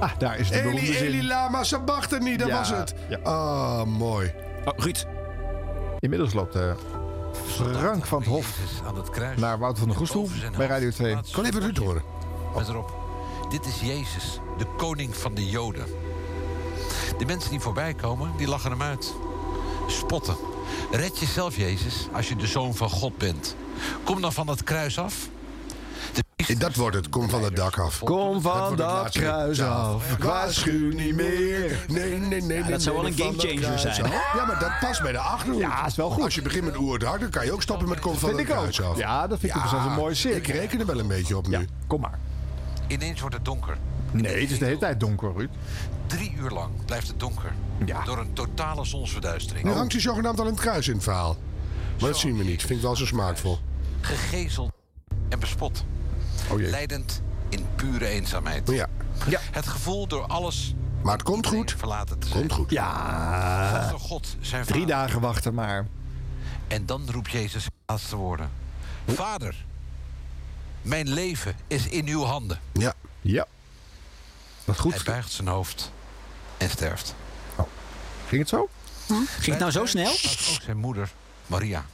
[SPEAKER 10] Ah, daar is de beroemde
[SPEAKER 2] Eli,
[SPEAKER 10] zin.
[SPEAKER 2] Eli, Lama, Sabachthani, dat
[SPEAKER 10] Ja,
[SPEAKER 2] was het.
[SPEAKER 10] ja.
[SPEAKER 2] Ah, mooi.
[SPEAKER 8] Oh, Ruud.
[SPEAKER 10] Inmiddels loopt eh, Frank van het Hof
[SPEAKER 9] Aan het kruis.
[SPEAKER 10] naar Wouter van der Goes toe bij Radio 2.
[SPEAKER 2] Kan even Ruud horen. Oh.
[SPEAKER 9] Met erop. Dit is Jezus, de koning van de Joden. De mensen die voorbij komen, die lachen hem uit. Spotten. Red jezelf, Jezus, als je de zoon van God bent. Kom dan van dat kruis af.
[SPEAKER 2] Dat wordt het. Kom van het dak af.
[SPEAKER 10] Kom van
[SPEAKER 2] wordt het
[SPEAKER 10] dat
[SPEAKER 2] laatste.
[SPEAKER 10] kruis af.
[SPEAKER 2] Waarschuw niet meer. Nee, nee, nee. nee,
[SPEAKER 8] dat zou wel
[SPEAKER 2] nee,
[SPEAKER 8] een
[SPEAKER 2] van dat
[SPEAKER 8] gamechanger
[SPEAKER 2] kruis
[SPEAKER 8] zijn.
[SPEAKER 2] af. Ja, maar dat past bij de achterhoek. Ja, is wel goed. Als je begint met oer het hart, dan kan je ook stoppen met kom van
[SPEAKER 10] Vind
[SPEAKER 2] het
[SPEAKER 10] ik ook.
[SPEAKER 2] kruis af.
[SPEAKER 10] Ja, dat vind ik ook zelfs een mooie
[SPEAKER 2] Ik
[SPEAKER 10] cirkel.
[SPEAKER 2] reken er wel een beetje op nu.
[SPEAKER 10] Kom maar.
[SPEAKER 9] Ineens wordt het donker.
[SPEAKER 10] Nee, het is de hele tijd donker, Ruud.
[SPEAKER 9] Drie uur lang blijft het donker. Door een totale zonsverduistering.
[SPEAKER 2] Nu hangt hij zogenaamd al in het kruis in het verhaal. Maar dat zien we niet. Vind ik wel zo smaakvol.
[SPEAKER 9] gegezeld en bespot.
[SPEAKER 10] Oh
[SPEAKER 9] Leidend in pure eenzaamheid.
[SPEAKER 2] Ja.
[SPEAKER 9] Het gevoel door alles
[SPEAKER 2] Maar het komt goed.
[SPEAKER 9] verlaten te zijn.
[SPEAKER 2] Komt goed.
[SPEAKER 10] Ja.
[SPEAKER 9] Zonder God zijn
[SPEAKER 10] Drie
[SPEAKER 9] vader.
[SPEAKER 10] dagen wachten maar.
[SPEAKER 9] En dan roept Jezus de laatste woorden. Vader, mijn leven is in uw handen.
[SPEAKER 2] Ja.
[SPEAKER 10] Ja. Wat goed. Oh.
[SPEAKER 9] Hij buigt zijn hoofd en sterft.
[SPEAKER 10] Ging het zo?
[SPEAKER 8] Ging het nou zo snel?
[SPEAKER 9] Staat ook zijn moeder, Maria.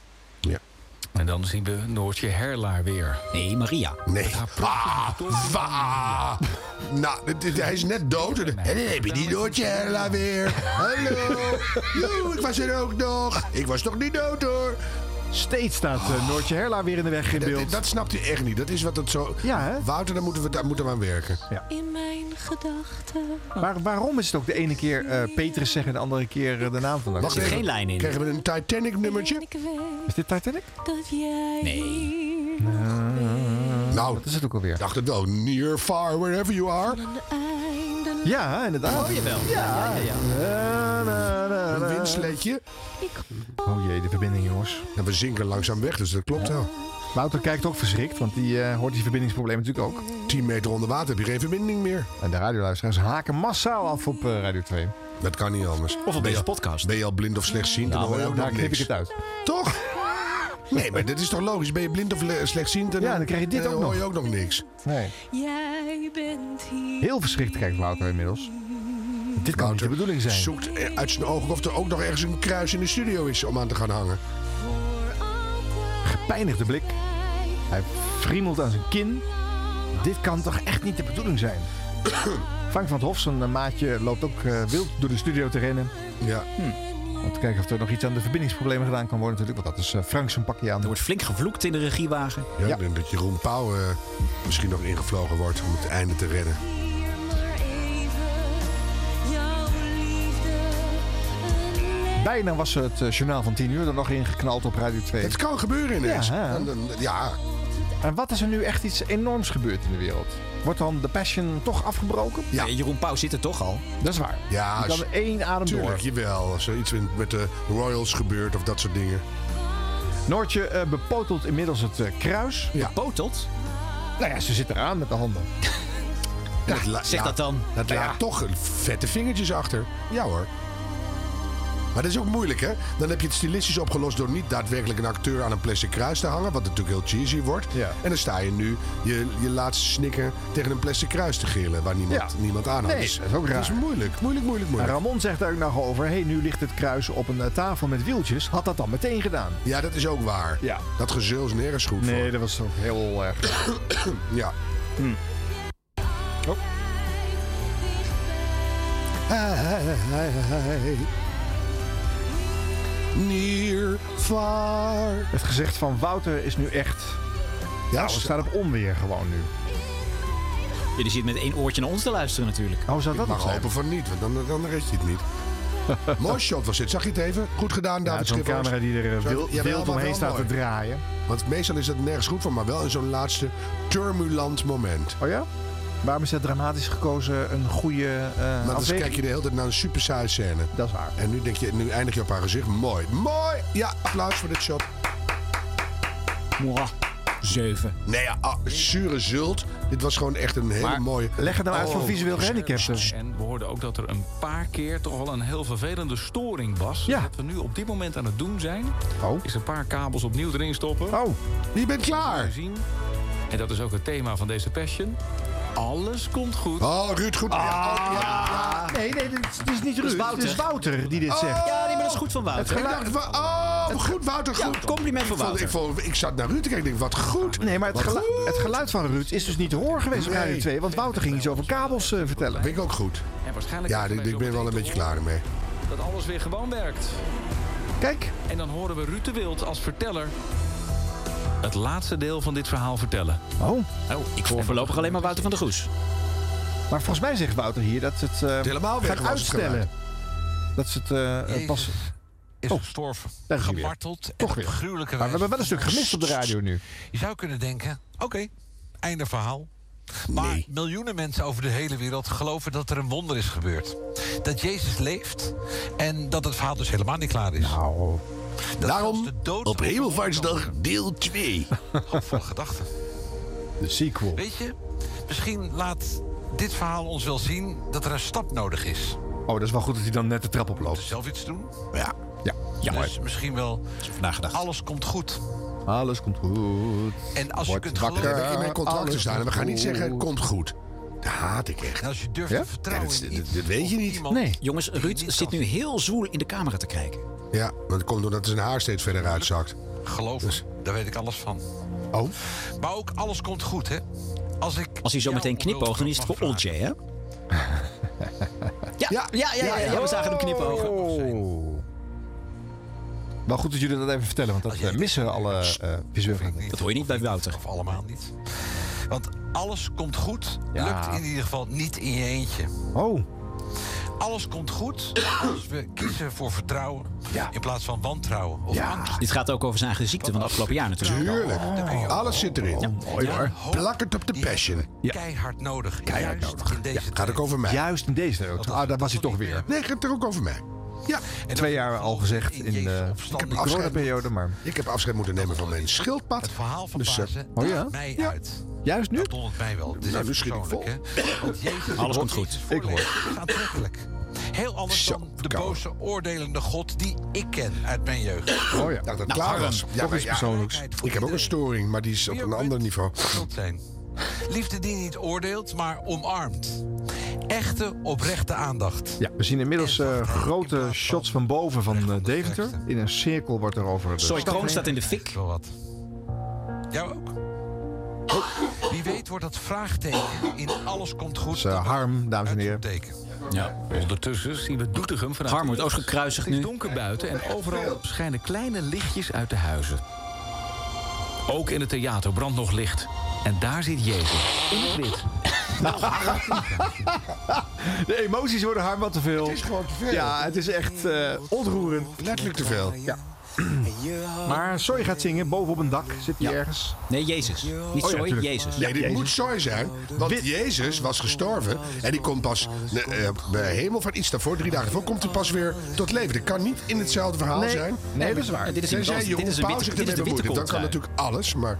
[SPEAKER 7] En dan zien we Noortje Herlaar weer.
[SPEAKER 8] Nee, Maria.
[SPEAKER 2] Nee. Ah, wa. Nou, dit- dit- hij is net dood. En en dan heb je die Noortje Herla weer. Hallo. Joe, ik was er ook nog. Ik was toch niet dood hoor.
[SPEAKER 10] Steeds staat eh, Noortje Herla weer in de weg in
[SPEAKER 2] Dat, dat-
[SPEAKER 10] beeld.
[SPEAKER 2] dat snapt hij echt niet. Dat is wat het zo...
[SPEAKER 10] Ja, hè?
[SPEAKER 2] Wouter, daar moeten we, daar moeten we aan werken.
[SPEAKER 13] In mijn gedachten.
[SPEAKER 10] Maar waarom is het ook de ene keer eh Petrus zeggen en de andere keer eh, de naam van de
[SPEAKER 2] Wacht even. Krijgen we een Titanic nummertje?
[SPEAKER 10] Is dit Titanic?
[SPEAKER 13] Dat jij. Nee.
[SPEAKER 2] Nou,
[SPEAKER 10] dat is het ook alweer.
[SPEAKER 2] Dacht het wel. Near, far, wherever you are.
[SPEAKER 10] Ja, inderdaad.
[SPEAKER 8] Oh, jawel. Ja, ja, ja.
[SPEAKER 10] Na, na, na,
[SPEAKER 2] Een
[SPEAKER 10] na.
[SPEAKER 2] windsleetje.
[SPEAKER 10] Oh jee, de verbinding, jongens.
[SPEAKER 2] En we zinken langzaam weg, dus dat klopt wel.
[SPEAKER 10] Wouter kijkt ook verschrikt, want die eh, hoort die verbindingsproblemen natuurlijk ook.
[SPEAKER 2] 10 meter onder water heb je geen verbinding meer.
[SPEAKER 10] En de radioluisteraars haken massaal af op eh, Radio 2.
[SPEAKER 2] Dat kan niet anders.
[SPEAKER 8] Of op
[SPEAKER 2] Ben je-
[SPEAKER 8] deze podcast.
[SPEAKER 2] Ben je al blind of slechtziend, dan hoor je
[SPEAKER 10] Nou,
[SPEAKER 2] ook
[SPEAKER 10] daar
[SPEAKER 2] nog
[SPEAKER 10] knip ik
[SPEAKER 2] niks.
[SPEAKER 10] het uit.
[SPEAKER 2] Toch? Nee, maar dat is toch logisch? Ben je blind of le- slechtziend, dan,
[SPEAKER 10] Ja, dan krijg je dit
[SPEAKER 2] eh,
[SPEAKER 10] ook
[SPEAKER 2] hoor
[SPEAKER 10] nog.
[SPEAKER 2] je ook nog niks.
[SPEAKER 10] Nee.
[SPEAKER 13] Jij bent hier.
[SPEAKER 10] Heel verschrikt kijkt Wouter inmiddels. Dit kan niet de bedoeling zijn.
[SPEAKER 2] Zoekt eh, uit zijn ogen of er ook nog ergens een kruis in de studio is om aan te gaan hangen.
[SPEAKER 10] Gepijnigde blik. Hij friemelt aan zijn kin. Dit kan toch echt niet de bedoeling zijn? Frank van het Hof, zijn eh, maatje, loopt ook eh, wild door de studio te rennen. Hm.
[SPEAKER 2] Ja.
[SPEAKER 10] Om te kijken of er nog iets aan de verbindingsproblemen gedaan kan worden natuurlijk. Want dat is eh, Frank zijn pakje aan.
[SPEAKER 8] Er wordt flink gevloekt in de regiewagen.
[SPEAKER 2] Ja,
[SPEAKER 10] Ja.
[SPEAKER 2] Ik denk dat Jeroen Pauw eh, misschien nog ingevlogen wordt om het einde te redden.
[SPEAKER 4] Bijna was het eh, journaal van 10 uur er nog ingeknald op Radio 2.
[SPEAKER 2] Het kan gebeuren ineens.
[SPEAKER 4] Ja.
[SPEAKER 2] Dan- dan- ja.
[SPEAKER 4] En wat is er nu echt iets enorms gebeurd in de wereld? Wordt dan de passion toch afgebroken?
[SPEAKER 8] Nee, Jeroen Pauw zit er toch al.
[SPEAKER 4] Dat is waar.
[SPEAKER 2] Ja,
[SPEAKER 4] Je kan
[SPEAKER 2] als-
[SPEAKER 4] één adem
[SPEAKER 2] tuurlijk,
[SPEAKER 4] door.
[SPEAKER 2] jawel. Als er iets met, met de Royals gebeurt of dat soort dingen.
[SPEAKER 4] Noortje eh, bepotelt inmiddels het eh, kruis.
[SPEAKER 8] Bepotelt?
[SPEAKER 4] Nou ja, ze zit eraan met de handen.
[SPEAKER 2] Dat la-
[SPEAKER 4] zeg
[SPEAKER 2] laat-
[SPEAKER 4] dat dan.
[SPEAKER 2] Dat
[SPEAKER 4] Ja.
[SPEAKER 2] laat toch een vette vingertjes achter. Ja hoor. Maar dat is ook moeilijk, hè? Dan heb je het stilistisch opgelost door niet daadwerkelijk een acteur aan een plastic kruis te hangen. Wat natuurlijk heel cheesy wordt. En dan sta je nu je, je laatste snikken tegen een plastic kruis te gillen. Waar niemand,
[SPEAKER 4] Ja.
[SPEAKER 2] niemand aan
[SPEAKER 4] Nee,
[SPEAKER 2] is.
[SPEAKER 4] dat is ook raar.
[SPEAKER 2] Dat is moeilijk, moeilijk, moeilijk,
[SPEAKER 4] En
[SPEAKER 2] moeilijk.
[SPEAKER 4] Ramon zegt daar ook nog over: hey, nu ligt het kruis op een eh, tafel met wieltjes. Had dat dan meteen gedaan?
[SPEAKER 2] Ja, dat is ook waar.
[SPEAKER 4] Ja.
[SPEAKER 2] Dat gezeur is nergens goed voor.
[SPEAKER 4] Nee, dat was toch heel erg. Hmm.
[SPEAKER 2] ja.
[SPEAKER 4] Oh.
[SPEAKER 2] Near, far.
[SPEAKER 4] Het gezicht van Wouter is nu echt. Ja,
[SPEAKER 10] Nou,
[SPEAKER 4] we
[SPEAKER 2] Nou,
[SPEAKER 8] zo.
[SPEAKER 4] staan op onweer gewoon nu.
[SPEAKER 8] Jullie zitten met één oortje naar ons te luisteren natuurlijk.
[SPEAKER 4] Oh, zou dat
[SPEAKER 2] Mag hopen van niet, want dan, dan red je het niet. Mooi shot was dit. Zag je het even? Goed gedaan,
[SPEAKER 4] Ja,
[SPEAKER 2] David
[SPEAKER 4] zo'n
[SPEAKER 2] Schippers.
[SPEAKER 4] camera die er, eh,
[SPEAKER 2] Zo-
[SPEAKER 4] wild-
[SPEAKER 2] Jawel,
[SPEAKER 4] wild
[SPEAKER 2] maar
[SPEAKER 4] omheen
[SPEAKER 2] wel
[SPEAKER 4] staat te
[SPEAKER 2] mooi.
[SPEAKER 4] draaien.
[SPEAKER 2] Want meestal is dat nergens goed voor, maar wel in zo'n laatste turbulent moment.
[SPEAKER 4] Oh ja? Waarom is dat dramatisch gekozen een goede eh
[SPEAKER 2] Maar dan
[SPEAKER 4] afweging?
[SPEAKER 2] kijk je de hele tijd naar een super saaie scène.
[SPEAKER 4] Dat is waar.
[SPEAKER 2] En nu, denk je, nu eindig je op haar gezicht. Mooi, mooi. Ja, applaus voor dit shot.
[SPEAKER 8] Mwah. Zeven.
[SPEAKER 2] Nee, ja, ah, zure zult. Dit was gewoon echt een hele mooie...
[SPEAKER 4] nou
[SPEAKER 2] Oh,
[SPEAKER 7] En we hoorden ook dat er een paar keer toch wel een heel vervelende storing was. Wat we nu op dit moment aan het doen zijn, is een paar kabels opnieuw erin stoppen.
[SPEAKER 4] Oh,
[SPEAKER 2] je bent klaar.
[SPEAKER 7] Zien. En dat is ook het thema van deze passion. Alles komt goed. Ah.
[SPEAKER 2] Oh, Ruud, goed.
[SPEAKER 4] Nee, nee, dit is, dit oh, is niet
[SPEAKER 7] Dat
[SPEAKER 4] Ruud.
[SPEAKER 7] is
[SPEAKER 4] Het
[SPEAKER 7] Wouter.
[SPEAKER 4] is Wouter die dit
[SPEAKER 2] Oh.
[SPEAKER 4] zegt.
[SPEAKER 8] Ja, nee, maar dat is goed van Wouter.
[SPEAKER 2] Ik dacht, wa- oh, goed, Wouter, goed.
[SPEAKER 8] compliment voor
[SPEAKER 2] Ik vond-
[SPEAKER 8] Wouter.
[SPEAKER 2] Ik, vond- ik zat naar Ruud te kijken ik denk, wat goed.
[SPEAKER 4] Nee, maar het,
[SPEAKER 2] Wat
[SPEAKER 4] gelu- het geluid van Ruud is dus niet te horen geweest op
[SPEAKER 2] Nee.
[SPEAKER 4] Radio 2. Want Wouter ging iets over kabels eh, vertellen.
[SPEAKER 2] Vind ik ook goed.
[SPEAKER 7] En waarschijnlijk
[SPEAKER 2] Ja, ik ik ben wel een beetje klaar mee.
[SPEAKER 7] dat alles weer gewoon werkt.
[SPEAKER 4] Kijk.
[SPEAKER 7] En dan horen we Ruud de Wild als verteller het laatste deel van dit verhaal vertellen.
[SPEAKER 4] Oh.
[SPEAKER 8] Ik hoor voorlopig alleen maar Wouter van der Goes.
[SPEAKER 4] Maar volgens mij zegt Wouter hier dat het eh,
[SPEAKER 2] helemaal weg
[SPEAKER 4] gaat
[SPEAKER 2] was, het
[SPEAKER 4] uitstellen. dat ze het eh,
[SPEAKER 9] Jezus
[SPEAKER 4] pas...
[SPEAKER 9] Is
[SPEAKER 4] Oh,
[SPEAKER 9] gestorven,
[SPEAKER 4] daar is hij weer.
[SPEAKER 9] gemarteld en
[SPEAKER 4] Toch
[SPEAKER 9] op
[SPEAKER 4] weer.
[SPEAKER 9] gruwelijke
[SPEAKER 4] Maar we hebben wel een stuk gemist op de radio nu.
[SPEAKER 9] Je zou kunnen denken, oké, einde verhaal. Maar miljoenen mensen over de hele wereld geloven dat er een wonder is gebeurd. Dat Jezus leeft en dat het verhaal dus helemaal niet klaar is.
[SPEAKER 4] Nou.
[SPEAKER 2] Daarom op Hemelvaartsdag deel 2.
[SPEAKER 9] Hoopvolle gedachten.
[SPEAKER 4] De sequel.
[SPEAKER 9] Weet je, misschien laat dit verhaal ons wel zien dat er een stap nodig is.
[SPEAKER 4] Oh, dat is wel goed dat hij dan net de trap oploopt.
[SPEAKER 9] Zelf iets doen.
[SPEAKER 2] Ja.
[SPEAKER 4] Ja.
[SPEAKER 9] Dus misschien wel, alles komt goed.
[SPEAKER 4] Alles komt goed.
[SPEAKER 9] En als je
[SPEAKER 4] Word
[SPEAKER 9] kunt
[SPEAKER 4] wakker,
[SPEAKER 9] geloven-
[SPEAKER 2] Heb ik in mijn contracten
[SPEAKER 4] alles
[SPEAKER 2] staan en we gaan niet
[SPEAKER 4] komt
[SPEAKER 2] zeggen,
[SPEAKER 4] goed.
[SPEAKER 2] komt goed. Dat haat ik echt.
[SPEAKER 9] En als je durft
[SPEAKER 2] Ja?
[SPEAKER 9] te vertrouwen
[SPEAKER 2] Ja, dat-
[SPEAKER 9] in
[SPEAKER 2] dat-
[SPEAKER 9] iets
[SPEAKER 2] dat weet je
[SPEAKER 9] of
[SPEAKER 2] niet.
[SPEAKER 9] iemand
[SPEAKER 2] Nee.
[SPEAKER 8] Jongens, Ruud zit nu heel zwoel in de camera te kijken.
[SPEAKER 2] Ja, want het komt doordat zijn haar steeds verder uitzakt.
[SPEAKER 9] Geloof me,
[SPEAKER 4] Dus-
[SPEAKER 9] daar weet ik alles van.
[SPEAKER 2] Oh?
[SPEAKER 9] Maar ook alles komt goed, hè? Als, ik
[SPEAKER 8] Als hij zo
[SPEAKER 9] jou
[SPEAKER 8] meteen
[SPEAKER 9] om hulp
[SPEAKER 8] knipoogt, dan is het
[SPEAKER 9] mag
[SPEAKER 8] voor Olje, hè? Ja, ja, ja, ja, ja, we zagen hem knipogen.
[SPEAKER 4] Oh. Wel goed dat jullie dat even vertellen, want
[SPEAKER 2] Oh,
[SPEAKER 4] dat eh, missen alle eh visueel.
[SPEAKER 8] Dat hoor je niet bij Wouter.
[SPEAKER 9] Of allemaal niet. Want alles komt goed,
[SPEAKER 4] Ja.
[SPEAKER 9] lukt in ieder geval niet in je eentje.
[SPEAKER 4] Oh.
[SPEAKER 9] Alles komt goed als we kiezen voor vertrouwen in plaats van wantrouwen of angst.
[SPEAKER 8] Dit gaat ook over zijn eigen ziekte van het afgelopen jaar natuurlijk.
[SPEAKER 2] Tuurlijk. Alles zit erin.
[SPEAKER 8] mooi hoor.
[SPEAKER 2] Plak het op de passion.
[SPEAKER 9] Keihard nodig. Juist in deze
[SPEAKER 2] Gaat ook over mij.
[SPEAKER 4] Juist in deze. Ah, daar was hij toch weer.
[SPEAKER 2] Nee, gaat er ook over mij. Ja.
[SPEAKER 4] Twee jaar al gezegd in eh, de coronaperiode, maar...
[SPEAKER 2] Ik heb afscheid moeten nemen van mijn schildpad.
[SPEAKER 9] Het verhaal van
[SPEAKER 2] Dus, eh,
[SPEAKER 9] Pasen
[SPEAKER 4] oh ja?
[SPEAKER 9] daagt mij uit.
[SPEAKER 4] Juist nu?
[SPEAKER 9] Dat dondert mij wel. Dit is
[SPEAKER 2] Nou,
[SPEAKER 9] even
[SPEAKER 2] nu schiet ik
[SPEAKER 9] persoonlijk, hè? Want Jezus
[SPEAKER 8] Alles komt goed.
[SPEAKER 9] Jezus voorleven is aantrekkelijk. Heel anders dan de boze, oordelende God die ik ken uit mijn jeugd.
[SPEAKER 4] Oh ja.
[SPEAKER 2] Nou, Dat het klaar was. Ja, maar ja. Ik heb ook een storing, maar die is op een ander niveau.
[SPEAKER 9] Zult zijn. Liefde die niet oordeelt, maar omarmt. Echte, oprechte aandacht.
[SPEAKER 4] Ja, we zien inmiddels eh, grote shots van boven van eh, Deventer. In een cirkel wordt er over... de
[SPEAKER 8] Soy
[SPEAKER 4] stad
[SPEAKER 8] Kroon
[SPEAKER 4] heen.
[SPEAKER 8] staat in de fik.
[SPEAKER 9] Wel wat. Jou ook?
[SPEAKER 4] Oh.
[SPEAKER 9] Wie weet wordt dat vraagteken in alles komt goed.
[SPEAKER 4] Dus, eh, Harm, dames en heren.
[SPEAKER 8] Ja.
[SPEAKER 7] Ondertussen zien we Doetinchem vanuit...
[SPEAKER 8] Harm wordt ook gekruisigd
[SPEAKER 7] Het is
[SPEAKER 8] nu.
[SPEAKER 7] donker buiten en overal schijnen kleine lichtjes uit de huizen. Ook in het theater brandt nog licht. En daar zit Jezus. In het wit.
[SPEAKER 4] De emoties worden haar wat te veel. Het is
[SPEAKER 2] gewoon te
[SPEAKER 4] veel. Ja, het is echt eh, ontroerend.
[SPEAKER 2] Letterlijk te veel.
[SPEAKER 4] Ja. Maar Soy gaat zingen, boven op een dak. Zit hij ergens?
[SPEAKER 8] Nee, Jezus. Niet
[SPEAKER 2] Oh ja,
[SPEAKER 8] Soy,
[SPEAKER 2] tuurlijk.
[SPEAKER 8] Jezus.
[SPEAKER 2] Nee, dit moet Soy zijn. Want Jezus was gestorven. En die komt pas ne, eh, bij hemelvaart, iets daarvoor, drie dagen voor, komt hij pas weer tot leven. Dit kan niet in hetzelfde verhaal
[SPEAKER 4] Nee.
[SPEAKER 2] zijn.
[SPEAKER 4] Nee, dat is waar.
[SPEAKER 2] Dit is een
[SPEAKER 8] dit is een witte-
[SPEAKER 2] pauze
[SPEAKER 8] dit is
[SPEAKER 2] ermee
[SPEAKER 8] de witte
[SPEAKER 2] bemoeit. Dan kan
[SPEAKER 8] kooltrui.
[SPEAKER 2] natuurlijk alles, maar...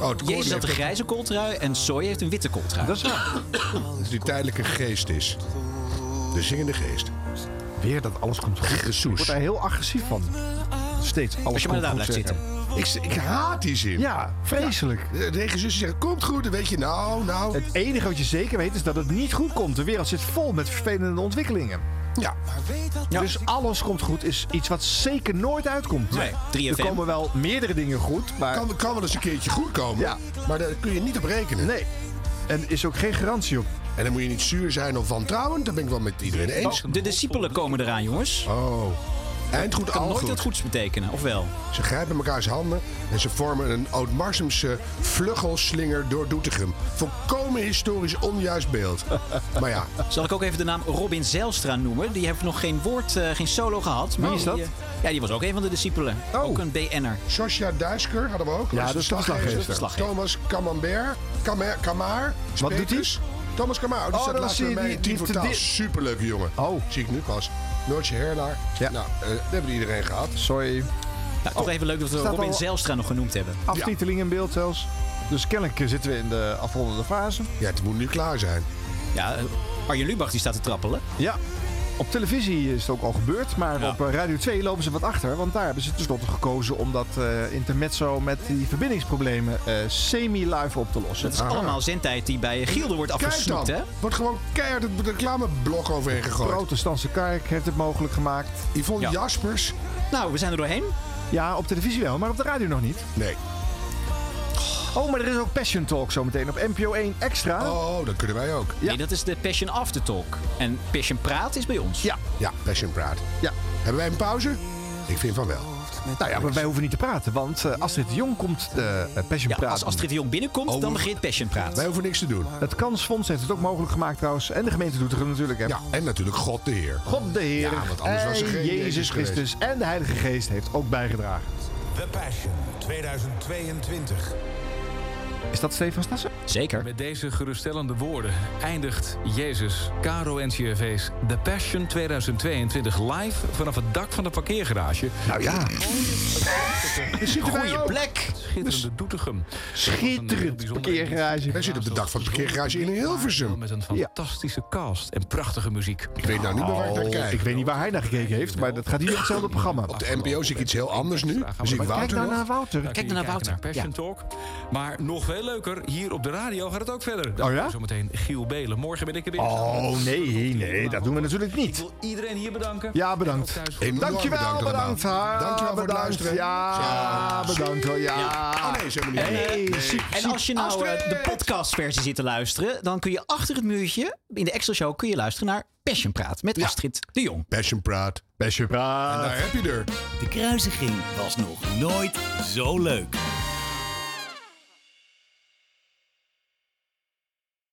[SPEAKER 2] Oh, het
[SPEAKER 8] Jezus had een
[SPEAKER 2] heeft-
[SPEAKER 8] grijze kooltrui en Soy heeft een witte kooltrui.
[SPEAKER 4] Dat is waar.
[SPEAKER 2] die tijdelijke geest is. De zingende geest.
[SPEAKER 4] Weer dat alles komt goed.
[SPEAKER 2] Gesoes.
[SPEAKER 4] Wordt daar heel agressief van. Steeds alles
[SPEAKER 2] Als je maar
[SPEAKER 4] komt
[SPEAKER 2] daar
[SPEAKER 4] goed
[SPEAKER 2] blijft
[SPEAKER 4] zeggen.
[SPEAKER 2] Ik, ik haat die zin.
[SPEAKER 4] Ja, vreselijk.
[SPEAKER 2] De eigen zusje zegt, komt goed, dan weet je, nou, nou.
[SPEAKER 4] Het enige wat je zeker weet is dat het niet goed komt. De wereld zit vol met vervelende ontwikkelingen.
[SPEAKER 2] Ja.
[SPEAKER 4] Dus alles komt goed is iets wat zeker nooit uitkomt.
[SPEAKER 2] Nee, 3FM.
[SPEAKER 4] er komen wel meerdere dingen goed, maar...
[SPEAKER 2] Kan, kan wel eens een keertje goed komen.
[SPEAKER 4] Ja.
[SPEAKER 2] Maar daar kun je niet op rekenen.
[SPEAKER 4] Nee. En er is ook geen garantie op.
[SPEAKER 2] En dan moet je niet zuur zijn of wantrouwend. Dat ben ik wel met iedereen eens.
[SPEAKER 8] Oh, de discipelen komen eraan, jongens.
[SPEAKER 2] Oh. Eindgoed,
[SPEAKER 8] Dat kan
[SPEAKER 2] al
[SPEAKER 8] nooit
[SPEAKER 2] goed.
[SPEAKER 8] dat goeds betekenen, of wel?
[SPEAKER 2] Ze grijpen mekaars handen en ze vormen een Oud-Marsumse vluggelslinger door Doetinchem. Volkomen historisch onjuist beeld. Maar ja,
[SPEAKER 8] Zal ik ook even de naam Robin Zijlstra noemen? Die heeft nog geen woord, eh, geen solo gehad. Maar
[SPEAKER 2] Wie is
[SPEAKER 8] die,
[SPEAKER 2] dat?
[SPEAKER 8] eh, ja, die was ook een van de discipelen.
[SPEAKER 4] Oh.
[SPEAKER 8] Ook een
[SPEAKER 2] Nou,
[SPEAKER 8] BN'er.
[SPEAKER 2] Sosja Duisker hadden we ook.
[SPEAKER 8] Ja,
[SPEAKER 2] Was
[SPEAKER 8] dat is de verslaggever. Verslaggever.
[SPEAKER 2] Thomas Camembert. Kamer, Kamaar.
[SPEAKER 4] Wat doet
[SPEAKER 2] Speters. Thomas Kamaar.
[SPEAKER 4] Oh,
[SPEAKER 2] Die staat
[SPEAKER 4] dan
[SPEAKER 2] laatst
[SPEAKER 4] zie
[SPEAKER 2] bij
[SPEAKER 4] je
[SPEAKER 2] mij
[SPEAKER 4] die-
[SPEAKER 2] in
[SPEAKER 4] die
[SPEAKER 2] Team voor
[SPEAKER 4] heeft de
[SPEAKER 2] Taal.
[SPEAKER 4] di-
[SPEAKER 2] Superleuke jongen.
[SPEAKER 4] Oh.
[SPEAKER 2] Zie ik nu pas. Noortje Herlaar. Ja. Nou, eh, dat hebben we iedereen gehad.
[SPEAKER 4] Sorry. Oh,
[SPEAKER 8] Nou, toch even leuk dat we
[SPEAKER 4] Staat
[SPEAKER 8] Robin
[SPEAKER 4] al-
[SPEAKER 8] Zijlstra nog genoemd hebben.
[SPEAKER 4] Aftiteling in beeld zelfs. Dus kennelijk zitten we in de afrondende fase.
[SPEAKER 2] Ja, het moet nu klaar zijn.
[SPEAKER 8] Ja, eh, Arjen Lubach die staat te trappelen.
[SPEAKER 4] Ja. Op televisie is het ook al gebeurd, maar op eh, Radio 2 lopen ze wat achter. Want daar hebben ze tenslotte gekozen om dat eh, intermezzo met die verbindingsproblemen eh, semi-live op te lossen.
[SPEAKER 8] Dat
[SPEAKER 2] Ah.
[SPEAKER 8] is allemaal zendtijd die bij Gielde wordt
[SPEAKER 2] Kijk dan.
[SPEAKER 8] afgesnoept, hè?
[SPEAKER 2] Wordt gewoon keihard het reclameblok overheen
[SPEAKER 4] De
[SPEAKER 2] gegooid.
[SPEAKER 4] protestantse kerk heeft het mogelijk gemaakt.
[SPEAKER 2] Yvonne Jaspers.
[SPEAKER 8] Nou, we zijn er doorheen.
[SPEAKER 4] Ja, op televisie wel, maar op de radio nog niet.
[SPEAKER 2] Nee.
[SPEAKER 4] Oh, maar er is ook Passion Talk zometeen op NPO 1 Extra.
[SPEAKER 2] Oh, dat kunnen wij ook.
[SPEAKER 8] Nee, dat is de Passion After Talk. En Passion Praat is bij ons.
[SPEAKER 4] Ja.
[SPEAKER 2] Ja, Passion Praat.
[SPEAKER 4] Ja.
[SPEAKER 2] Hebben wij een pauze? Ik vind van wel.
[SPEAKER 4] Nou ja, maar wij hoeven niet te praten, want eh, Astrid de Jong komt eh Passion praten.
[SPEAKER 8] Als Astrid de Jong binnenkomt,
[SPEAKER 4] Oh.
[SPEAKER 8] dan begint Passion Praat.
[SPEAKER 2] Wij hoeven niks te doen.
[SPEAKER 4] Het Kansfonds heeft het ook mogelijk gemaakt trouwens. En de gemeente doet er natuurlijk. Hè.
[SPEAKER 2] Ja, en natuurlijk God de Heer.
[SPEAKER 4] God de Heer
[SPEAKER 2] Ja, want anders was er
[SPEAKER 4] en
[SPEAKER 2] geen
[SPEAKER 4] Jezus,
[SPEAKER 2] Jezus geweest.
[SPEAKER 4] Christus en de Heilige Geest heeft ook bijgedragen.
[SPEAKER 14] The Passion 2022.
[SPEAKER 4] Is dat Stefan Stassen?
[SPEAKER 8] Zeker.
[SPEAKER 7] Met deze geruststellende woorden eindigt Jezus, Caro en CRV's The Passion 2022 live vanaf het dak van de parkeergarage.
[SPEAKER 4] Nou ja.
[SPEAKER 2] Goeie
[SPEAKER 8] plek.
[SPEAKER 7] Schitterende Doetinchem.
[SPEAKER 4] Dus Schitterend parkeergarage.
[SPEAKER 2] Wij zitten op de dag van het parkeergarage in Hilversum.
[SPEAKER 7] Met een fantastische cast en prachtige muziek.
[SPEAKER 2] Ik weet nou niet meer waar ik naar
[SPEAKER 4] Oh,
[SPEAKER 2] kijk.
[SPEAKER 4] Ik weet niet waar hij naar gekeken heeft, maar dat gaat hier op hetzelfde programma.
[SPEAKER 2] Op de NPO zie ik iets heel anders nu. Dan zie ik
[SPEAKER 4] Maar kijk
[SPEAKER 2] Wouter
[SPEAKER 4] nou
[SPEAKER 2] nog.
[SPEAKER 4] naar Wouter.
[SPEAKER 7] Daar kun je kijken naar Passion Talk. Maar nog veel leuker, hier op de radio gaat het ook verder. Daar
[SPEAKER 4] Oh ja?
[SPEAKER 7] Zometeen Giel Belen. Morgen ben ik er weer.
[SPEAKER 4] Oh nee, nee, dat doen we natuurlijk niet.
[SPEAKER 7] Iedereen hier bedanken.
[SPEAKER 4] Ja, bedankt.
[SPEAKER 2] Enorm
[SPEAKER 4] Dankjewel,
[SPEAKER 2] bedankt
[SPEAKER 4] bedankt.
[SPEAKER 2] allemaal.
[SPEAKER 4] Ha,
[SPEAKER 2] Dankjewel voor het
[SPEAKER 4] bedankt.
[SPEAKER 2] luisteren.
[SPEAKER 4] Ja, bedankt hoor. Ja.
[SPEAKER 2] Oh nee, ze hebben niet.
[SPEAKER 4] Hey, ziek,
[SPEAKER 8] En
[SPEAKER 4] ziek.
[SPEAKER 8] als je nou eh, de podcastversie zit te luisteren, dan kun je achter het muurtje in de Extra Show kun je luisteren naar Passion Praat met Astrid de Jong.
[SPEAKER 2] Passion Praat. Passion
[SPEAKER 4] Praat.
[SPEAKER 2] En daar heb je er.
[SPEAKER 1] De kruisiging was nog nooit zo leuk.